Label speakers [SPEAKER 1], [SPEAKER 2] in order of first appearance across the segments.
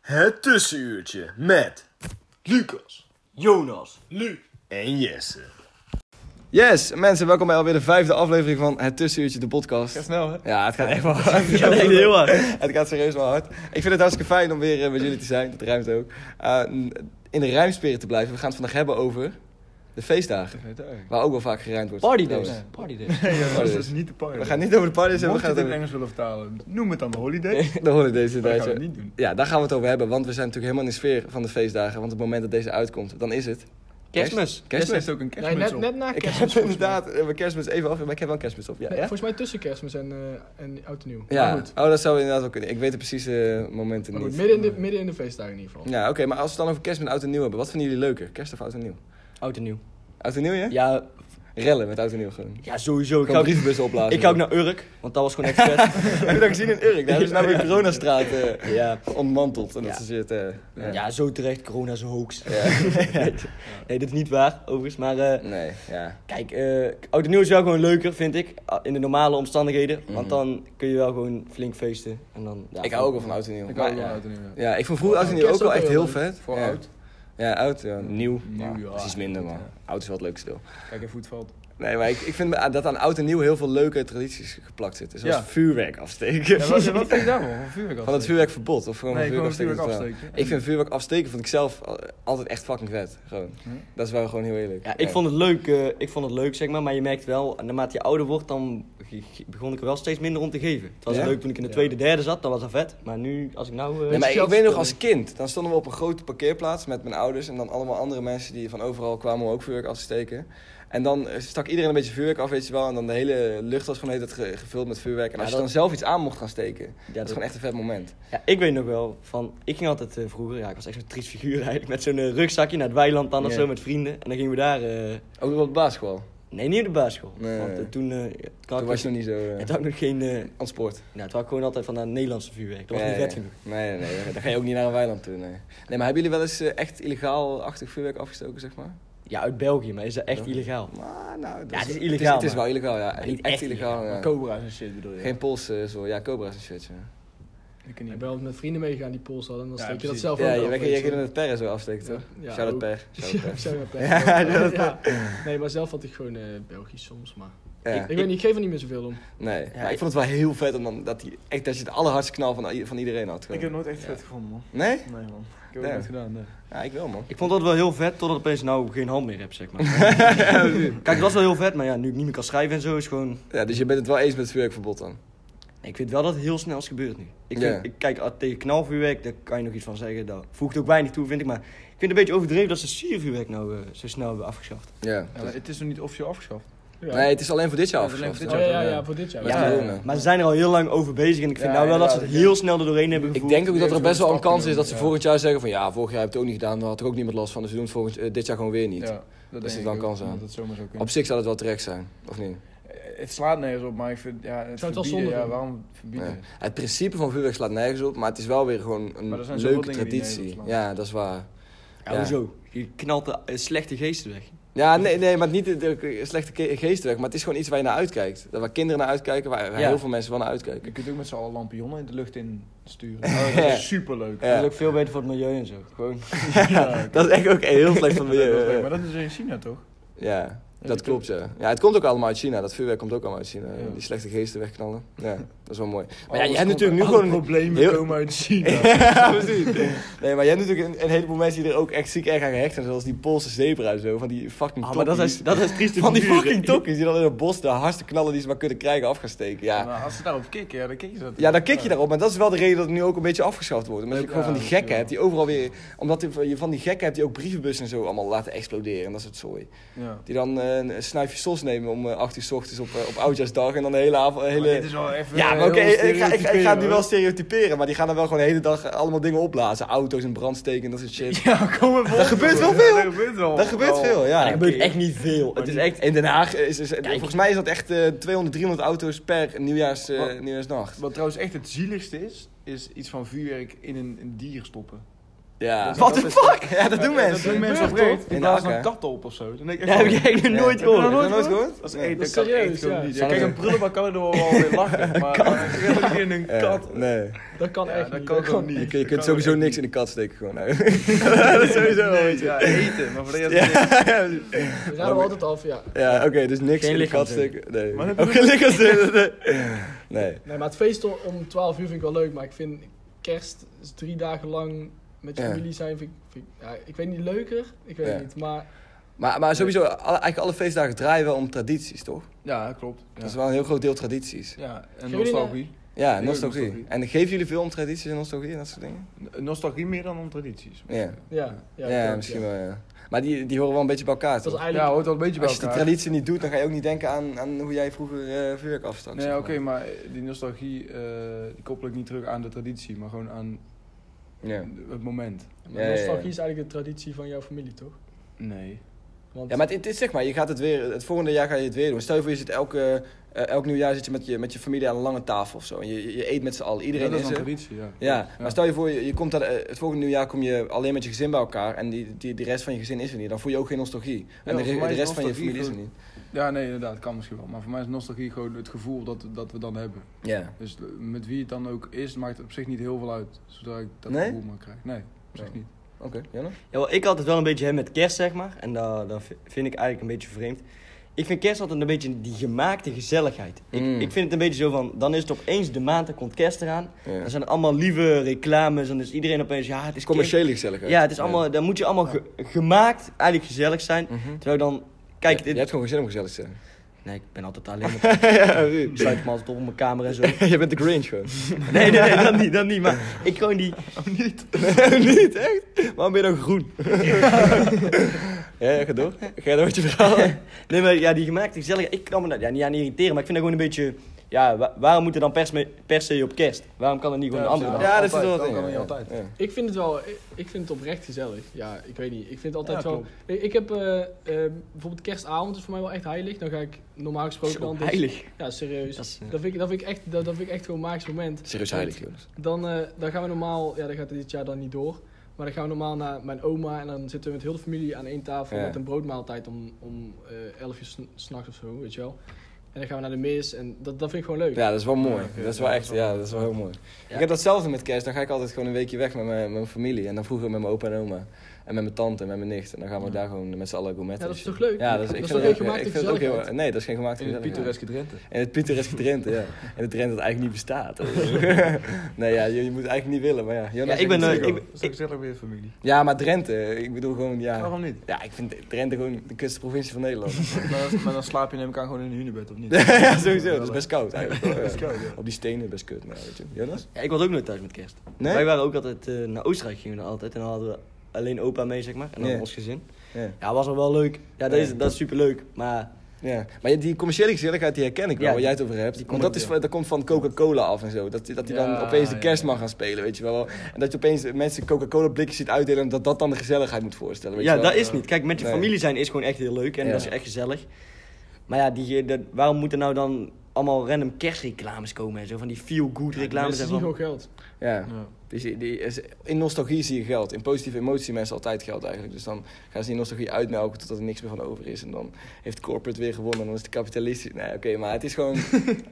[SPEAKER 1] Het tussenuurtje met Lucas, Jonas, Lu en Jesse.
[SPEAKER 2] Yes, mensen, welkom bij alweer de vijfde aflevering van Het Tussenuurtje, de podcast.
[SPEAKER 3] snel, hè?
[SPEAKER 2] Ja, het gaat echt wel hard. Het gaat
[SPEAKER 3] echt heel hard.
[SPEAKER 2] Het gaat serieus wel hard. Ik vind het hartstikke fijn om weer eh, met jullie te zijn, dat ruimt ook. Eh, in de ruimspirit te blijven. We gaan het vandaag hebben over de feestdagen. Waar ook wel vaak geruimd wordt.
[SPEAKER 4] Partydays.
[SPEAKER 2] trouwens.
[SPEAKER 3] Nee, jongens, dat
[SPEAKER 2] Holidays.
[SPEAKER 3] is niet de party.
[SPEAKER 2] We gaan niet over de parties hebben,
[SPEAKER 3] Mocht
[SPEAKER 2] we
[SPEAKER 3] je
[SPEAKER 2] gaan
[SPEAKER 3] het
[SPEAKER 2] het
[SPEAKER 3] in
[SPEAKER 2] over
[SPEAKER 3] Engels willen vertalen, noem het dan de holiday.
[SPEAKER 2] de holidays
[SPEAKER 3] Dat
[SPEAKER 2] inderdaad.
[SPEAKER 3] gaan we
[SPEAKER 2] ja.
[SPEAKER 3] niet doen.
[SPEAKER 2] Ja, daar gaan we het over hebben, want we zijn natuurlijk helemaal in de sfeer van de feestdagen. Want op het moment dat deze uitkomt, dan is het...
[SPEAKER 4] Kerstmis.
[SPEAKER 3] Kerst
[SPEAKER 2] Kerstmis.
[SPEAKER 3] heeft ook een
[SPEAKER 4] Nee,
[SPEAKER 3] kerstmuts
[SPEAKER 4] net,
[SPEAKER 3] op.
[SPEAKER 4] net na
[SPEAKER 2] Ik
[SPEAKER 4] kerstmis.
[SPEAKER 2] heb
[SPEAKER 4] volgens mij.
[SPEAKER 2] inderdaad eh, mijn kerstmis even af, maar ik heb wel een kerstmis op. Ja,
[SPEAKER 4] Nee,
[SPEAKER 2] ja?
[SPEAKER 4] Volgens mij tussen kerstmis en, eh en oud en nieuw. Maar
[SPEAKER 2] Ja,
[SPEAKER 4] goed.
[SPEAKER 2] oh, dat zou inderdaad wel kunnen. Ik weet de precieze eh, momenten
[SPEAKER 4] Maar goed,
[SPEAKER 2] niet.
[SPEAKER 4] midden in, de, midden in de feestdagen in ieder geval.
[SPEAKER 2] Ja, oké, maar als we het dan over kerst met oud en nieuw hebben, wat vinden jullie leuker? Kerst of oud en nieuw?
[SPEAKER 5] Oud en nieuw.
[SPEAKER 2] Oud en nieuw, ja?
[SPEAKER 5] Ja,
[SPEAKER 2] Rellen met oud en nieuw gewoon.
[SPEAKER 5] ja sowieso. Ik ga
[SPEAKER 2] Gewoon
[SPEAKER 5] ook,
[SPEAKER 2] brievenbussen opblazen.
[SPEAKER 5] ik ga ook naar Urk, want dat was gewoon echt vet.
[SPEAKER 2] Heb je dat gezien in Urk? Daar hebben ze nou weer coronastraat eh,
[SPEAKER 5] ja.
[SPEAKER 2] ontmanteld. En dat
[SPEAKER 5] Ja.
[SPEAKER 2] ze zit... eh, ja.
[SPEAKER 5] ja, zo terecht. Corona is een hoax.
[SPEAKER 2] Ja.
[SPEAKER 5] Nee, dit is niet waar, overigens. Maar eh,
[SPEAKER 2] Nee, ja.
[SPEAKER 5] kijk, eh oud en nieuw is wel gewoon leuker, vind ik. a- In de normale omstandigheden. Want dan kun je wel gewoon flink feesten. En dan, ja,
[SPEAKER 2] Ik hou ook wel van oud en nieuw.
[SPEAKER 3] Ik
[SPEAKER 2] maar-
[SPEAKER 3] hou ook wel uit en nieuw.
[SPEAKER 2] Ja, ik vond vroeger oud en nieuw
[SPEAKER 4] Kerst
[SPEAKER 2] ook wel
[SPEAKER 4] ook
[SPEAKER 2] echt
[SPEAKER 4] wel
[SPEAKER 2] heel
[SPEAKER 4] leuk.
[SPEAKER 2] vet.
[SPEAKER 3] Voor
[SPEAKER 2] ja.
[SPEAKER 3] oud.
[SPEAKER 2] Ja, oud, ja. Nieuw.
[SPEAKER 3] Nieuw, ja.
[SPEAKER 2] Dat is iets minder, man.
[SPEAKER 3] Ja.
[SPEAKER 2] Oud is wel het leukste deel.
[SPEAKER 3] Kijk in voetveld.
[SPEAKER 2] Nee, maar ik, ik vind dat aan oud en nieuw heel veel leuke tradities geplakt zitten. Zoals
[SPEAKER 3] Ja.
[SPEAKER 2] vuurwerk afsteken.
[SPEAKER 3] Ja, wat, wat vind je daarvan? Van vuurwerk
[SPEAKER 2] Van het vuurwerkverbod of gewoon
[SPEAKER 3] Nee,
[SPEAKER 2] van
[SPEAKER 3] gewoon
[SPEAKER 2] vuurwerk afsteken?
[SPEAKER 3] vuurwerk
[SPEAKER 2] in
[SPEAKER 3] afsteken.
[SPEAKER 2] het raam? Ik vind vuurwerk afsteken vond ik zelf al- altijd echt fucking vet. Gewoon.
[SPEAKER 3] Hm?
[SPEAKER 2] Dat is wel gewoon heel eerlijk.
[SPEAKER 5] Ja, ik vond het leuk, eh, ik vond het leuk zeg maar, maar je merkt wel, naarmate je ouder wordt, dan ge- ge- begon ik er wel steeds minder om te geven. Het was
[SPEAKER 2] Ja?
[SPEAKER 5] leuk toen ik in de
[SPEAKER 3] Ja.
[SPEAKER 5] tweede, derde zat, dat was dat vet. Maar nu, als ik nou... eh,
[SPEAKER 2] Nee, maar ik
[SPEAKER 5] zelf-
[SPEAKER 2] weet nog als kind, dan stonden we op een grote parkeerplaats met mijn ouders en dan allemaal andere mensen die van overal kwamen om ook vuurwerk af te steken. En dan eh, stak iedereen een beetje vuurwerk af, weet je wel. En dan de hele lucht was gewoon heet het gevuld met vuurwerk. En
[SPEAKER 5] Ja,
[SPEAKER 2] als je
[SPEAKER 5] dat-
[SPEAKER 2] dan zelf iets aan mocht gaan steken, dat,
[SPEAKER 5] dat-
[SPEAKER 2] is gewoon echt een vet moment.
[SPEAKER 5] Ja, ik weet nog wel van. Ik ging altijd eh, vroeger, ja, ik was echt zo'n triest figuur eigenlijk. Met zo'n eh, rugzakje naar het weiland dan of
[SPEAKER 2] Ja.
[SPEAKER 5] zo met vrienden. En dan gingen we daar. eh,
[SPEAKER 2] Ook nog op de basisschool.
[SPEAKER 5] nee, niet op de basisschool.
[SPEAKER 2] Nee.
[SPEAKER 5] Want eh, toen. eh, het had
[SPEAKER 2] Toen
[SPEAKER 5] ik-
[SPEAKER 2] was je nog niet zo eh,
[SPEAKER 5] Het had ik nog geen. eh,
[SPEAKER 2] ontspoord.
[SPEAKER 5] nou, het was gewoon altijd van dat Nederlandse vuurwerk. Dat was niet
[SPEAKER 2] Nee,
[SPEAKER 5] vet genoeg.
[SPEAKER 2] Nee, nee, nee, daar ga je ook niet naar een weiland toe. Nee, nee maar hebben jullie wel eens eh, echt illegaal-achtig vuurwerk afgestoken, zeg maar?
[SPEAKER 5] Ja, uit België, maar is dat echt illegaal?
[SPEAKER 2] Maar, nou, dat
[SPEAKER 5] Ja, het is illegaal,
[SPEAKER 2] Het is,
[SPEAKER 5] maar-
[SPEAKER 2] wel illegaal, ja.
[SPEAKER 5] niet
[SPEAKER 2] echt,
[SPEAKER 5] echt
[SPEAKER 2] illegaal. ja.
[SPEAKER 3] Cobra's en shit bedoel je?
[SPEAKER 2] Geen polsen, zo. Ja, cobra's en shit. Ja,
[SPEAKER 3] Ik ken
[SPEAKER 4] Ik
[SPEAKER 3] niet.
[SPEAKER 4] ben altijd met vrienden meegegaan die pols hadden, dan
[SPEAKER 3] Ja,
[SPEAKER 4] steek je dat
[SPEAKER 3] precies.
[SPEAKER 4] zelf
[SPEAKER 2] ja
[SPEAKER 4] ook
[SPEAKER 2] je
[SPEAKER 4] af,
[SPEAKER 2] weet-
[SPEAKER 4] weet
[SPEAKER 2] je
[SPEAKER 4] je.
[SPEAKER 2] kunt het perren zo afsteken,
[SPEAKER 4] Ja.
[SPEAKER 2] toch?
[SPEAKER 4] Ja,
[SPEAKER 2] Shout-out
[SPEAKER 4] ook.
[SPEAKER 2] per. Shout-out per.
[SPEAKER 4] Ja, zo met
[SPEAKER 2] Ja,
[SPEAKER 4] pech.
[SPEAKER 2] dat-
[SPEAKER 4] Ja. Nee, maar zelf had ik gewoon eh, Belgisch soms, maar...
[SPEAKER 2] Ja.
[SPEAKER 4] Ik weet niet, ik geef er niet meer zoveel om.
[SPEAKER 2] Nee, maar ik
[SPEAKER 5] ik-
[SPEAKER 2] vond het wel heel vet om dan dat, die, echt, dat je het allerhardste knal van, i- van iedereen had. gewoon.
[SPEAKER 3] Ik heb nooit echt
[SPEAKER 2] Ja.
[SPEAKER 3] vet gevonden, man.
[SPEAKER 2] Nee?
[SPEAKER 3] Nee, man. Ik heb
[SPEAKER 2] Nee.
[SPEAKER 3] het nooit gedaan, nee.
[SPEAKER 2] Ja, ik wel, man.
[SPEAKER 5] Ik vond dat wel heel vet totdat opeens nou geen hand meer heb, zeg maar. Kijk, dat was wel heel vet, maar ja, nu ik niet meer kan schrijven en zo is gewoon.
[SPEAKER 2] Ja, dus je bent het wel eens met het vuurwerkverbod dan?
[SPEAKER 5] Nee, Ik vind wel dat het heel snel is gebeurd nu. Ik
[SPEAKER 2] Ja.
[SPEAKER 5] vind, ik, kijk, ah, tegen knalvuurwerk, daar kan je nog iets van zeggen. Dat voegt ook weinig toe, vind ik. Maar ik vind het een beetje overdreven dat ze siervuurwerk nou eh, zo snel hebben afgeschaft.
[SPEAKER 2] Ja.
[SPEAKER 3] Ja, maar het is nog niet officieel afgeschaft.
[SPEAKER 4] Ja.
[SPEAKER 2] Nee, het is alleen voor dit jaar
[SPEAKER 3] Ja, het is alleen
[SPEAKER 2] afgeschaft.
[SPEAKER 3] voor
[SPEAKER 4] Oh,
[SPEAKER 3] dit
[SPEAKER 4] ja,
[SPEAKER 3] jaar.
[SPEAKER 4] ja, ja, voor dit jaar.
[SPEAKER 2] Met
[SPEAKER 5] Ja,
[SPEAKER 2] corona.
[SPEAKER 5] maar ze zijn er al heel lang over bezig. En ik vind
[SPEAKER 3] Ja,
[SPEAKER 5] nou wel dat ze het
[SPEAKER 3] inderdaad,
[SPEAKER 5] heel snel er doorheen hebben
[SPEAKER 2] Ik
[SPEAKER 5] gevoerd.
[SPEAKER 2] denk ook dat
[SPEAKER 3] heeft
[SPEAKER 2] er best wel
[SPEAKER 3] gewoon
[SPEAKER 2] een kans
[SPEAKER 3] stappen
[SPEAKER 2] is dat ze
[SPEAKER 3] genomen, ja.
[SPEAKER 2] volgend jaar zeggen van ja, vorig jaar heb je het ook niet gedaan, daar had er ook niemand last van, dus we doen het volgend, eh, dit jaar gewoon weer niet.
[SPEAKER 3] Ja, dat
[SPEAKER 2] zit
[SPEAKER 3] denk ik
[SPEAKER 2] wel
[SPEAKER 3] ook,
[SPEAKER 2] kans aan.
[SPEAKER 3] Dat het zomaar zou kunnen.
[SPEAKER 2] Op zich zou het wel terecht zijn, of niet?
[SPEAKER 3] Eh, Het slaat nergens op, maar ik vind... Ja, het
[SPEAKER 4] Zou het wel
[SPEAKER 3] verbieden,
[SPEAKER 4] zonde
[SPEAKER 3] ja,
[SPEAKER 4] doen?
[SPEAKER 3] waarom
[SPEAKER 2] Ja.
[SPEAKER 3] verbieden?
[SPEAKER 2] Het principe van vuurwerk slaat nergens op, maar het is wel weer gewoon
[SPEAKER 3] Maar
[SPEAKER 2] een
[SPEAKER 3] er zijn zoveel
[SPEAKER 2] leuke
[SPEAKER 3] dingen die
[SPEAKER 2] traditie.
[SPEAKER 3] nergens op
[SPEAKER 2] Ja, dat is waar.
[SPEAKER 5] Ja,
[SPEAKER 2] Ja.
[SPEAKER 5] hoezo? Je knalt de eh, slechte geesten weg.
[SPEAKER 2] Ja, nee, nee maar niet de, de slechte ke- geest weg, maar het is gewoon iets waar je naar uitkijkt. Waar kinderen naar uitkijken, waar, waar
[SPEAKER 5] Ja.
[SPEAKER 2] heel veel mensen wel naar uitkijken.
[SPEAKER 3] Je kunt ook met z'n allen lampionnen in de lucht in sturen. Oh, dat is superleuk.
[SPEAKER 2] Ja.
[SPEAKER 5] Dat is ook veel beter voor het milieu en zo. Gewoon.
[SPEAKER 3] Ja, oké.
[SPEAKER 2] Dat is echt ook heel slecht van
[SPEAKER 3] Ja, dat is leuk,
[SPEAKER 2] milieu.
[SPEAKER 3] Maar dat is in China toch?
[SPEAKER 2] Ja. Dat klopt, ja. Ja, het komt ook allemaal uit China. Dat vuurwerk komt ook allemaal uit China. Die slechte geesten wegknallen. Ja, dat is wel mooi. Maar ja, je hebt natuurlijk nu gewoon...
[SPEAKER 4] problemen
[SPEAKER 2] heel-
[SPEAKER 4] komen uit China.
[SPEAKER 2] ja, precies. Nee, maar je hebt natuurlijk een, een heleboel mensen die er ook echt ziek erg aan gehecht zijn. Zoals die Poolse zebra en zo. Van die fucking
[SPEAKER 5] Ah, maar dat
[SPEAKER 2] tokkies.
[SPEAKER 5] is, dat is trieste
[SPEAKER 2] Van die
[SPEAKER 5] figuren.
[SPEAKER 2] fucking tokkies die dan in het bos de hardste knallen die ze maar kunnen krijgen af gaan steken. Ja.
[SPEAKER 3] Nou,
[SPEAKER 6] Maar als ze daarop kicken, ja, dan kik je dat.
[SPEAKER 2] Ja, dan kik je daarop. Maar dat is wel de reden dat het nu ook een beetje afgeschaft wordt. Omdat je
[SPEAKER 6] Ook,
[SPEAKER 2] gewoon van
[SPEAKER 6] ja,
[SPEAKER 2] die gekken
[SPEAKER 6] ja.
[SPEAKER 2] hebt die overal weer... Omdat je van die gekken hebt die ook brievenbussen en zo allemaal laten exploderen. En dat soort zooi.
[SPEAKER 6] Ja.
[SPEAKER 2] Die dan eh, een snuifje sos nemen om eh, 8 uur s ochtends op, eh, op Oudjaarsdag. En dan de hele avond...
[SPEAKER 6] Maar
[SPEAKER 2] Hele...
[SPEAKER 6] Oh, dit is wel even.
[SPEAKER 2] Ja, maar oké,
[SPEAKER 6] heel
[SPEAKER 2] ik, ik, ga- ik, ik ga het nu
[SPEAKER 6] stereotyperend,
[SPEAKER 2] wel
[SPEAKER 6] hoor.
[SPEAKER 2] stereotyperen. Maar die gaan dan wel gewoon de hele dag allemaal dingen opblazen. Auto's in brand steken en dat soort shit.
[SPEAKER 6] Ja, kom maar vol.
[SPEAKER 2] Dat gebeurt wel
[SPEAKER 6] Ja,
[SPEAKER 2] veel.
[SPEAKER 6] Dat gebeurt wel.
[SPEAKER 2] Dat gebeurt veel, ja.
[SPEAKER 5] Er gebeurt echt niet veel. Oh, Het is echt...
[SPEAKER 2] In Den Haag is, is- volgens mij is dat echt eh 200, 300 auto's per nieuwjaars, eh,
[SPEAKER 6] Wat?
[SPEAKER 2] nieuwjaarsnacht.
[SPEAKER 6] Wat trouwens echt het zieligste is, is iets van vuurwerk in een, een dier stoppen.
[SPEAKER 2] Ja.
[SPEAKER 6] What the
[SPEAKER 2] fuck? Ja, Dus dat doen mensen.
[SPEAKER 6] Dat doen mensen
[SPEAKER 2] Gebeurt
[SPEAKER 6] oprecht. Die
[SPEAKER 2] In
[SPEAKER 6] blazen
[SPEAKER 2] Aken.
[SPEAKER 6] een kat op of zo. Dan denk ik
[SPEAKER 5] Dat heb ik echt nog nooit
[SPEAKER 2] Ja.
[SPEAKER 5] gehoord.
[SPEAKER 2] Heb je dat nooit gehoord?
[SPEAKER 6] Dat is
[SPEAKER 2] Nee.
[SPEAKER 6] echt,
[SPEAKER 4] Dat is
[SPEAKER 6] dat kan ik
[SPEAKER 4] serieus,
[SPEAKER 6] echt gewoon
[SPEAKER 4] ja.
[SPEAKER 6] niet. Ja,
[SPEAKER 2] Zijn
[SPEAKER 6] kijk,
[SPEAKER 2] er-
[SPEAKER 6] een prullenbak kan er nog wel weer lachen, maar eh, in een kat.
[SPEAKER 2] Eh, Nee.
[SPEAKER 4] Dat kan
[SPEAKER 6] Ja,
[SPEAKER 4] echt
[SPEAKER 6] dat
[SPEAKER 4] niet.
[SPEAKER 6] kan gewoon niet.
[SPEAKER 2] Je,
[SPEAKER 6] Dat kan
[SPEAKER 2] kunt sowieso
[SPEAKER 6] echt
[SPEAKER 2] niks in
[SPEAKER 6] niet.
[SPEAKER 2] de kat steken gewoon. hè. dat is sowieso wel
[SPEAKER 6] Nee,
[SPEAKER 2] iets.
[SPEAKER 6] ja,
[SPEAKER 2] Ja,
[SPEAKER 6] eten, maar voor de rest niks.
[SPEAKER 4] We zijn er altijd af, ja.
[SPEAKER 2] oké, dus niks
[SPEAKER 5] Geen
[SPEAKER 2] in de kat
[SPEAKER 5] lichaamsdelen.
[SPEAKER 2] steken. Nee.
[SPEAKER 6] Maar dan-
[SPEAKER 2] Ook geen lichaamsdelen, nee. Nee.
[SPEAKER 4] Nee, maar het feest om- om 12 uur vind ik wel leuk, maar ik vind kerst is drie dagen lang met je
[SPEAKER 2] Ja.
[SPEAKER 4] familie zijn, vind ik, vind ik, ja, ik weet niet leuker, ik weet
[SPEAKER 2] Ja.
[SPEAKER 4] het niet, maar
[SPEAKER 2] Maar, maar sowieso, alle, eigenlijk alle feestdagen draaien wel om tradities, toch?
[SPEAKER 6] Ja, klopt.
[SPEAKER 2] Dat is
[SPEAKER 6] Ja,
[SPEAKER 2] wel een heel groot deel tradities.
[SPEAKER 6] ja en
[SPEAKER 4] jullie
[SPEAKER 6] nostalgie.
[SPEAKER 2] Ja,
[SPEAKER 6] Heel
[SPEAKER 2] nostalgie.
[SPEAKER 6] nostalgie.
[SPEAKER 2] En geven jullie veel om tradities en nostalgie en dat soort dingen?
[SPEAKER 6] N- Nostalgie meer dan om tradities.
[SPEAKER 2] Ja,
[SPEAKER 4] ja.
[SPEAKER 2] ja,
[SPEAKER 4] klopt,
[SPEAKER 2] misschien wel, ja. Maar die, die horen wel een beetje bij elkaar,
[SPEAKER 4] Dat is
[SPEAKER 2] toch?
[SPEAKER 6] Ja,
[SPEAKER 4] eigenlijk,
[SPEAKER 6] hoort wel een beetje bij
[SPEAKER 2] Als je de
[SPEAKER 6] elkaar.
[SPEAKER 2] traditie niet doet, dan ga je ook niet denken aan, aan hoe jij vroeger eh vuurwerk afstak.
[SPEAKER 6] Nee,
[SPEAKER 2] zeg
[SPEAKER 6] oké,
[SPEAKER 2] maar.
[SPEAKER 6] maar die nostalgie eh, die koppel ik niet terug aan de traditie, maar gewoon aan
[SPEAKER 2] Ja.
[SPEAKER 6] het moment.
[SPEAKER 4] maar
[SPEAKER 2] Ja, ja, ja.
[SPEAKER 4] nostalgie is eigenlijk de traditie van jouw familie, toch?
[SPEAKER 6] Nee.
[SPEAKER 4] Want,
[SPEAKER 2] Ja, maar het, het is zeg maar, je gaat het weer, het volgende jaar ga je het weer doen. Stel je voor, je zit elke, eh, elk nieuwjaar zit je met, je met je familie aan een lange tafel of zo. En je, je eet met z'n allen, iedereen
[SPEAKER 6] dat
[SPEAKER 2] is
[SPEAKER 6] is een
[SPEAKER 2] er.
[SPEAKER 6] traditie, ja.
[SPEAKER 2] Ja, maar stel je voor, je, je komt daar, eh, het volgende nieuwjaar kom je alleen met je gezin bij elkaar en die, die, die rest van je gezin is er niet. Dan voel je ook geen nostalgie. en de,
[SPEAKER 6] voor
[SPEAKER 2] re-
[SPEAKER 6] mij
[SPEAKER 2] de
[SPEAKER 6] is
[SPEAKER 2] rest van je
[SPEAKER 6] nostalgie
[SPEAKER 2] familie is er niet.
[SPEAKER 6] Ja, nee, inderdaad, kan misschien wel. Maar voor mij is nostalgie gewoon het gevoel dat, dat we dan hebben.
[SPEAKER 2] Ja.
[SPEAKER 6] Dus eh, met wie het dan ook is, maakt het op zich niet heel veel uit. Zodat ik dat
[SPEAKER 2] Nee?
[SPEAKER 6] gevoel maar krijg. Nee, op zich
[SPEAKER 2] Nee.
[SPEAKER 6] niet.
[SPEAKER 2] Oké, Janne?
[SPEAKER 5] Ja, wel, ik altijd wel een beetje heb met kerst, zeg maar. En dat, dat vi- vind ik eigenlijk een beetje vreemd. Ik vind kerst altijd een beetje die gemaakte gezelligheid.
[SPEAKER 2] Mm.
[SPEAKER 5] Ik, ik vind het een beetje zo van, dan is het opeens de maand, dan komt kerst eraan.
[SPEAKER 2] Ja.
[SPEAKER 5] Dan zijn er allemaal lieve reclames, dan is iedereen opeens, ja, het is kerst.
[SPEAKER 2] Commerciële gezelligheid.
[SPEAKER 5] Ja, het is allemaal, dan moet je allemaal ge- gemaakt eigenlijk gezellig zijn.
[SPEAKER 2] Mhm.
[SPEAKER 5] Terwijl dan, kijk,
[SPEAKER 2] je,
[SPEAKER 5] dit...
[SPEAKER 2] je hebt gewoon gezin om gezellig te zijn.
[SPEAKER 5] Nee, ik ben altijd alleen. maar- Ik sluit me altijd op op mijn camera en zo.
[SPEAKER 2] je bent de Grinch gewoon.
[SPEAKER 5] Nee, nee, nee, dat niet, dat niet. Maar ik gewoon die...
[SPEAKER 2] Oh,
[SPEAKER 5] niet. niet, echt? Waarom ben je dan groen?
[SPEAKER 2] Ja, ja, ga door. Ga je door met je verhaal?
[SPEAKER 5] nee, maar ja, die gemaakte gezelligheid. Ik kan me daar ja, niet aan irriteren, maar ik vind dat gewoon een beetje... Ja, wa- waarom moet er dan per, se- per se op kerst? Waarom kan er niet gewoon een andere dag?
[SPEAKER 2] Ja, dat is wel
[SPEAKER 6] altijd,
[SPEAKER 2] wat
[SPEAKER 6] dat kan
[SPEAKER 2] in.
[SPEAKER 6] niet
[SPEAKER 2] ja.
[SPEAKER 6] altijd.
[SPEAKER 2] Ja.
[SPEAKER 4] Ik vind het wel, ik- ik vind het oprecht gezellig. Ja, ik weet niet. Ik vind het altijd
[SPEAKER 6] Ja,
[SPEAKER 4] wel.
[SPEAKER 6] klopt.
[SPEAKER 4] Ik, ik heb eh, eh, bijvoorbeeld kerstavond is voor mij wel echt heilig. Dan ga ik normaal gesproken
[SPEAKER 5] Zo,
[SPEAKER 4] dan. dus-
[SPEAKER 5] heilig.
[SPEAKER 4] Ja, serieus.
[SPEAKER 5] Dat
[SPEAKER 4] Dat,
[SPEAKER 5] is, eh,
[SPEAKER 4] vind ik, dat, vind ik echt, dat, dat vind ik echt gewoon een magisch moment.
[SPEAKER 2] Serieus heilig, jongens.
[SPEAKER 4] Dan, eh, dan gaan we normaal, ja, dat gaat dit jaar dan niet door. Maar dan gaan we normaal naar mijn oma en dan zitten we met heel de familie aan één tafel
[SPEAKER 2] Ja.
[SPEAKER 4] met een broodmaaltijd om, om eh 11 uur sn- s'nachts of zo, weet je wel. En dan gaan we naar de mis en dat, dat vind ik gewoon leuk.
[SPEAKER 2] Ja, dat is wel mooi.
[SPEAKER 6] Ja, oké.
[SPEAKER 2] Dat is wel
[SPEAKER 6] Ja,
[SPEAKER 2] echt,
[SPEAKER 6] dat is wel
[SPEAKER 2] ja, dat is wel heel mooi. Ik heb datzelfde met kerst. Dan ga ik altijd gewoon een weekje weg met mijn, met mijn familie. En dan vroeger met mijn opa en oma. En met mijn tante en met mijn nicht. En dan gaan we daar gewoon met z'n allen gourmetten.
[SPEAKER 4] Ja, dat
[SPEAKER 2] en
[SPEAKER 4] is
[SPEAKER 2] shit.
[SPEAKER 4] toch leuk?
[SPEAKER 2] Ja, dat is,
[SPEAKER 4] Dat
[SPEAKER 2] ik vind
[SPEAKER 4] is toch
[SPEAKER 2] het-
[SPEAKER 4] geen gemaakte
[SPEAKER 2] ik vind het ook heel,
[SPEAKER 4] gezelligheid?
[SPEAKER 2] Nee, dat is geen gemaakte
[SPEAKER 6] In het
[SPEAKER 2] gezelligheid.
[SPEAKER 6] pittoreske Drenthe.
[SPEAKER 2] In het pittoreske Drenthe, ja. In de Drenthe dat eigenlijk niet bestaat. nee, ja, je, je moet het eigenlijk niet willen, maar ja. Jonas,
[SPEAKER 5] Ja, ik ben,
[SPEAKER 2] zegt
[SPEAKER 5] eh,
[SPEAKER 2] het ook
[SPEAKER 5] ik
[SPEAKER 2] al.
[SPEAKER 6] Dat is toch gezellig bij je familie.
[SPEAKER 2] Ja, maar Drenthe, ik bedoel gewoon, ja.
[SPEAKER 6] Waarom niet?
[SPEAKER 2] Ja, ik vind Drenthe gewoon de kutste provincie van Nederland.
[SPEAKER 6] Maar, dan- maar dan slaap je neem ik aan gewoon in een hunebed, of niet?
[SPEAKER 2] ja, sowieso. Dat is best koud eigenlijk.
[SPEAKER 6] Dat is koud, ja.
[SPEAKER 2] Op die stenen best kut, maar weet je. Jonas?
[SPEAKER 5] Ja, ik was ook nooit thuis met kerst.
[SPEAKER 2] Nee?
[SPEAKER 5] Wij waren ook altijd eh, naar Oostenrijk gingen we dan altijd. En dan hadden we alleen opa mee, zeg maar. En dan
[SPEAKER 2] Ja.
[SPEAKER 5] ons gezin.
[SPEAKER 2] Ja.
[SPEAKER 5] Ja, was al wel leuk. Ja, dat
[SPEAKER 2] Ja.
[SPEAKER 5] is, dat is superleuk. Maar
[SPEAKER 2] Ja, maar die commerciële gezelligheid die herken ik wel,
[SPEAKER 5] Ja,
[SPEAKER 2] waar
[SPEAKER 5] die-
[SPEAKER 2] jij het over hebt.
[SPEAKER 5] die
[SPEAKER 2] Want
[SPEAKER 5] kom
[SPEAKER 2] dat,
[SPEAKER 5] ik
[SPEAKER 2] is,
[SPEAKER 5] wel.
[SPEAKER 2] van- dat komt van Coca-Cola af en zo. Dat, dat die dan
[SPEAKER 6] Ja,
[SPEAKER 2] opeens de
[SPEAKER 6] ja,
[SPEAKER 2] kerst
[SPEAKER 6] ja.
[SPEAKER 2] mag gaan spelen, weet je wel. En dat je opeens mensen Coca-Cola blikjes ziet uitdelen en dat dat dan de gezelligheid moet voorstellen, weet
[SPEAKER 5] ja,
[SPEAKER 2] je wel.
[SPEAKER 5] dat is niet. Kijk, met je
[SPEAKER 2] Nee.
[SPEAKER 5] familie zijn is gewoon echt heel leuk en
[SPEAKER 2] Ja.
[SPEAKER 5] dat is echt gezellig. Maar ja, die, dat, waarom moet er nou dan allemaal random kerstreclames komen en zo. Van die feel-good reclames.
[SPEAKER 4] Mensen
[SPEAKER 5] en
[SPEAKER 4] zien
[SPEAKER 5] van,
[SPEAKER 4] gewoon geld.
[SPEAKER 2] Ja,
[SPEAKER 6] Ja.
[SPEAKER 2] dus die, die is, in nostalgie zie je geld. In positieve emotie zien mensen altijd geld eigenlijk. Dus dan gaan ze die nostalgie uitmelken totdat er niks meer van over is. En dan heeft corporate weer gewonnen en dan is de kapitalistisch. Nee, oké, maar het is gewoon...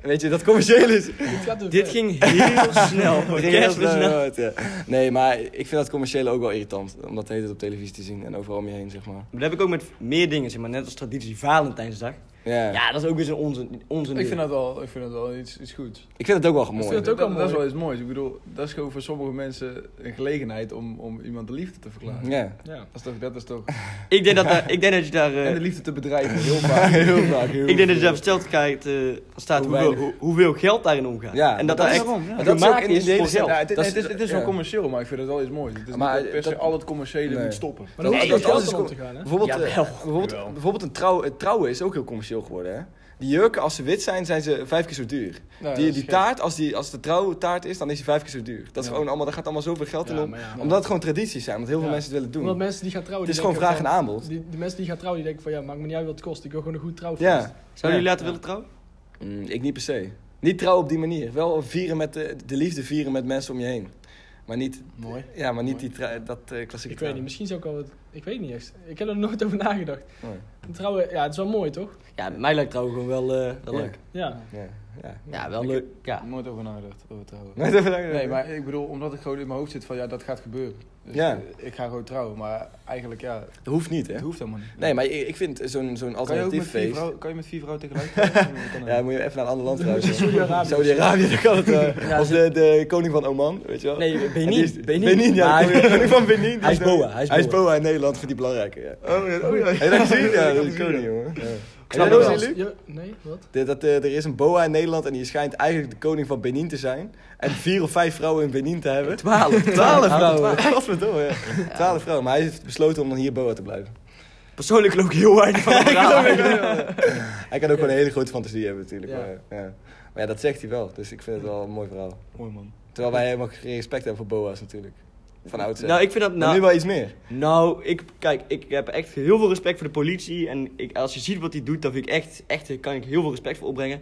[SPEAKER 2] weet je, dat commercieel is...
[SPEAKER 4] Dit, gaat te
[SPEAKER 5] dit
[SPEAKER 4] ver.
[SPEAKER 5] ging heel snel. Voor
[SPEAKER 2] Ik denk dat
[SPEAKER 5] kerst
[SPEAKER 2] het
[SPEAKER 5] was
[SPEAKER 2] wel
[SPEAKER 5] snel.
[SPEAKER 2] wordt, ja. Nee, maar ik vind dat commerciële ook wel irritant. Om dat de hele tijd op televisie te zien en overal om je heen, zeg maar.
[SPEAKER 5] Maar dat heb ik ook met meer dingen, zeg maar. Net als traditie Valentijnsdag.
[SPEAKER 2] Ja.
[SPEAKER 5] Ja, dat is ook weer zo'n onzin. onzin
[SPEAKER 6] Ik
[SPEAKER 5] ding.
[SPEAKER 6] vind dat wel, ik vind dat wel iets, iets goeds.
[SPEAKER 2] Ik vind het ook wel mooi.
[SPEAKER 4] vind het ook
[SPEAKER 6] dat,
[SPEAKER 4] wel
[SPEAKER 6] dat is
[SPEAKER 4] mooi.
[SPEAKER 6] wel iets moois. Ik bedoel, dat is gewoon voor sommige mensen een gelegenheid om, om iemand de liefde te verklaren.
[SPEAKER 2] Ja.
[SPEAKER 4] Ja.
[SPEAKER 6] Dat is toch, dat is toch...
[SPEAKER 5] Ik denk dat, daar- ik denk dat je daar... eh,
[SPEAKER 6] En de liefde te bedrijven, heel
[SPEAKER 2] Ja,
[SPEAKER 6] vaak.
[SPEAKER 2] heel vaak. heel
[SPEAKER 5] ik denk dat je
[SPEAKER 2] veel.
[SPEAKER 5] daar versteld krijgt, eh, staat
[SPEAKER 2] Hoe
[SPEAKER 5] hoeveel,
[SPEAKER 2] weinig.
[SPEAKER 5] hoe- hoeveel geld daarin omgaat.
[SPEAKER 2] Ja,
[SPEAKER 5] en dat
[SPEAKER 2] dat
[SPEAKER 5] daar
[SPEAKER 2] is
[SPEAKER 5] echt
[SPEAKER 6] daarom, ja.
[SPEAKER 2] Dat is ook
[SPEAKER 5] gemaakt
[SPEAKER 2] in die
[SPEAKER 5] is voor
[SPEAKER 2] hele-
[SPEAKER 5] geld.
[SPEAKER 6] Ja, het,
[SPEAKER 2] Dat
[SPEAKER 6] het
[SPEAKER 2] is-
[SPEAKER 6] is, het is wel
[SPEAKER 2] ja.
[SPEAKER 6] commercieel, maar ik vind het wel iets moois. Het is
[SPEAKER 2] Maar
[SPEAKER 6] niet per se
[SPEAKER 2] dat-
[SPEAKER 6] al het commerciële
[SPEAKER 2] Nee.
[SPEAKER 6] moet stoppen.
[SPEAKER 4] Maar dan
[SPEAKER 2] Nee,
[SPEAKER 4] hoeft dat
[SPEAKER 2] dat
[SPEAKER 4] geld
[SPEAKER 2] is
[SPEAKER 4] is om
[SPEAKER 2] gewoon-
[SPEAKER 4] te gaan, hè?
[SPEAKER 2] Bijvoorbeeld, eh,
[SPEAKER 5] Jawel.
[SPEAKER 2] bijvoorbeeld,
[SPEAKER 6] Jawel.
[SPEAKER 2] bijvoorbeeld een trouw, het trouwen is ook heel commercieel geworden, hè? Die jurken, als ze wit zijn, zijn ze vijf keer zo duur.
[SPEAKER 6] Nou,
[SPEAKER 2] die
[SPEAKER 6] dat
[SPEAKER 2] die
[SPEAKER 6] is
[SPEAKER 2] taart, als, die, als de trouwtaart is, dan is die vijf keer zo duur. Dat is
[SPEAKER 6] Ja.
[SPEAKER 2] gewoon allemaal, daar gaat allemaal zoveel geld in
[SPEAKER 4] Ja,
[SPEAKER 2] om.
[SPEAKER 4] maar ja.
[SPEAKER 2] Omdat het gewoon tradities zijn, want heel veel
[SPEAKER 4] Ja.
[SPEAKER 2] mensen het willen
[SPEAKER 4] Omdat
[SPEAKER 2] doen.
[SPEAKER 4] mensen die gaan trouwen...
[SPEAKER 2] Het is
[SPEAKER 4] die
[SPEAKER 2] gewoon vraag
[SPEAKER 4] denken
[SPEAKER 2] en aanbod.
[SPEAKER 4] van- Die, die mensen die gaan trouwen, die denken van ja, maakt me niet uit wat het kost. Ik wil gewoon een goed trouwfeest.
[SPEAKER 2] Ja.
[SPEAKER 5] Zouden jullie
[SPEAKER 2] Ja.
[SPEAKER 5] laten willen trouwen?
[SPEAKER 2] Mm, ik niet per se. Niet trouwen op die manier. Wel vieren met de, de liefde vieren met mensen om je heen. Maar niet,
[SPEAKER 6] Mooi.
[SPEAKER 2] ja, maar niet die trui- dat eh, klassieke
[SPEAKER 4] Ik weet niet, misschien zou ik wel wat... Ik weet niet echt. Ik heb er nooit over nagedacht.
[SPEAKER 2] Nee.
[SPEAKER 4] Trouwen, ja, het is wel mooi, toch?
[SPEAKER 5] Ja, mij lijkt trouwen gewoon wel, eh, wel
[SPEAKER 2] Ja.
[SPEAKER 5] leuk.
[SPEAKER 4] Ja.
[SPEAKER 2] Ja, ja.
[SPEAKER 5] Ja, wel
[SPEAKER 6] Ik-
[SPEAKER 5] leuk. Ja.
[SPEAKER 6] Nooit over nagedacht, over trouwen.
[SPEAKER 2] Nooit over nagedacht.
[SPEAKER 6] Nee, maar ik bedoel, omdat ik gewoon in mijn hoofd zit van ja, dat gaat gebeuren. Dus
[SPEAKER 2] Ja.
[SPEAKER 6] eh, ik ga gewoon trouwen, maar eigenlijk ja,
[SPEAKER 2] Dat hoeft niet, hè?
[SPEAKER 6] het hoeft helemaal niet.
[SPEAKER 2] Nee, maar ik, ik vind zo'n zo'n
[SPEAKER 6] kan je, ook met
[SPEAKER 2] alternatief
[SPEAKER 6] vier
[SPEAKER 2] feest...
[SPEAKER 6] vrouwen, kan je met vier vrouwen tegelijk trouwen? Dat kan
[SPEAKER 2] Ja,
[SPEAKER 6] ook.
[SPEAKER 2] moet je even naar een ander land trouwen. Saudi-Arabië, dan kan het. eh,
[SPEAKER 5] Ja,
[SPEAKER 2] of
[SPEAKER 5] ze-
[SPEAKER 2] de, de koning van Oman, weet je wel.
[SPEAKER 5] Nee,
[SPEAKER 2] En
[SPEAKER 5] Benin.
[SPEAKER 2] die is- Benin, ja.
[SPEAKER 5] Maar-
[SPEAKER 2] de koning- koning van Benin. die
[SPEAKER 5] Hij is
[SPEAKER 2] dan-
[SPEAKER 5] boa, dus hij is boa.
[SPEAKER 2] boa in Nederland, vind die belangrijker, ja.
[SPEAKER 6] Oh ja, oh ja.
[SPEAKER 2] Heb je dat gezien? Ja,
[SPEAKER 6] heb
[SPEAKER 2] dat
[SPEAKER 6] ik
[SPEAKER 2] is
[SPEAKER 6] gezien,
[SPEAKER 2] koning,
[SPEAKER 6] ja.
[SPEAKER 2] jongen. Ja. Heb jij
[SPEAKER 5] Snap ik
[SPEAKER 2] dat
[SPEAKER 5] wel.
[SPEAKER 2] gezien, Luc?
[SPEAKER 4] Ja, nee, wat?
[SPEAKER 2] Dit- Dat, eh, er is een boa in Nederland en die schijnt eigenlijk de koning van Benin te zijn. En vier of vijf vrouwen in Benin te hebben.
[SPEAKER 5] Twaalf.
[SPEAKER 2] Twaalf
[SPEAKER 5] vrouwen.
[SPEAKER 2] Twaalf ja. Twaalf vrouwen, maar hij heeft besloten om dan hier boa te blijven.
[SPEAKER 5] Persoonlijk loop ik heel weinig van
[SPEAKER 2] Hij kan ook wel een hele grote fantasie hebben natuurlijk.
[SPEAKER 4] Ja.
[SPEAKER 2] Maar, ja. maar ja, dat zegt hij wel, dus ik vind het wel een mooi verhaal.
[SPEAKER 6] Mooi man.
[SPEAKER 2] Terwijl wij helemaal geen respect hebben voor boa's natuurlijk. Van oudsher.
[SPEAKER 5] Nou, ik vind dat...
[SPEAKER 2] Maar nu
[SPEAKER 5] Nou,
[SPEAKER 2] wel iets meer.
[SPEAKER 5] nou, ik... Kijk, ik heb echt heel veel respect voor de politie. En ik, als je ziet wat hij doet, dan vind ik echt... Echt, daar kan ik heel veel respect voor opbrengen.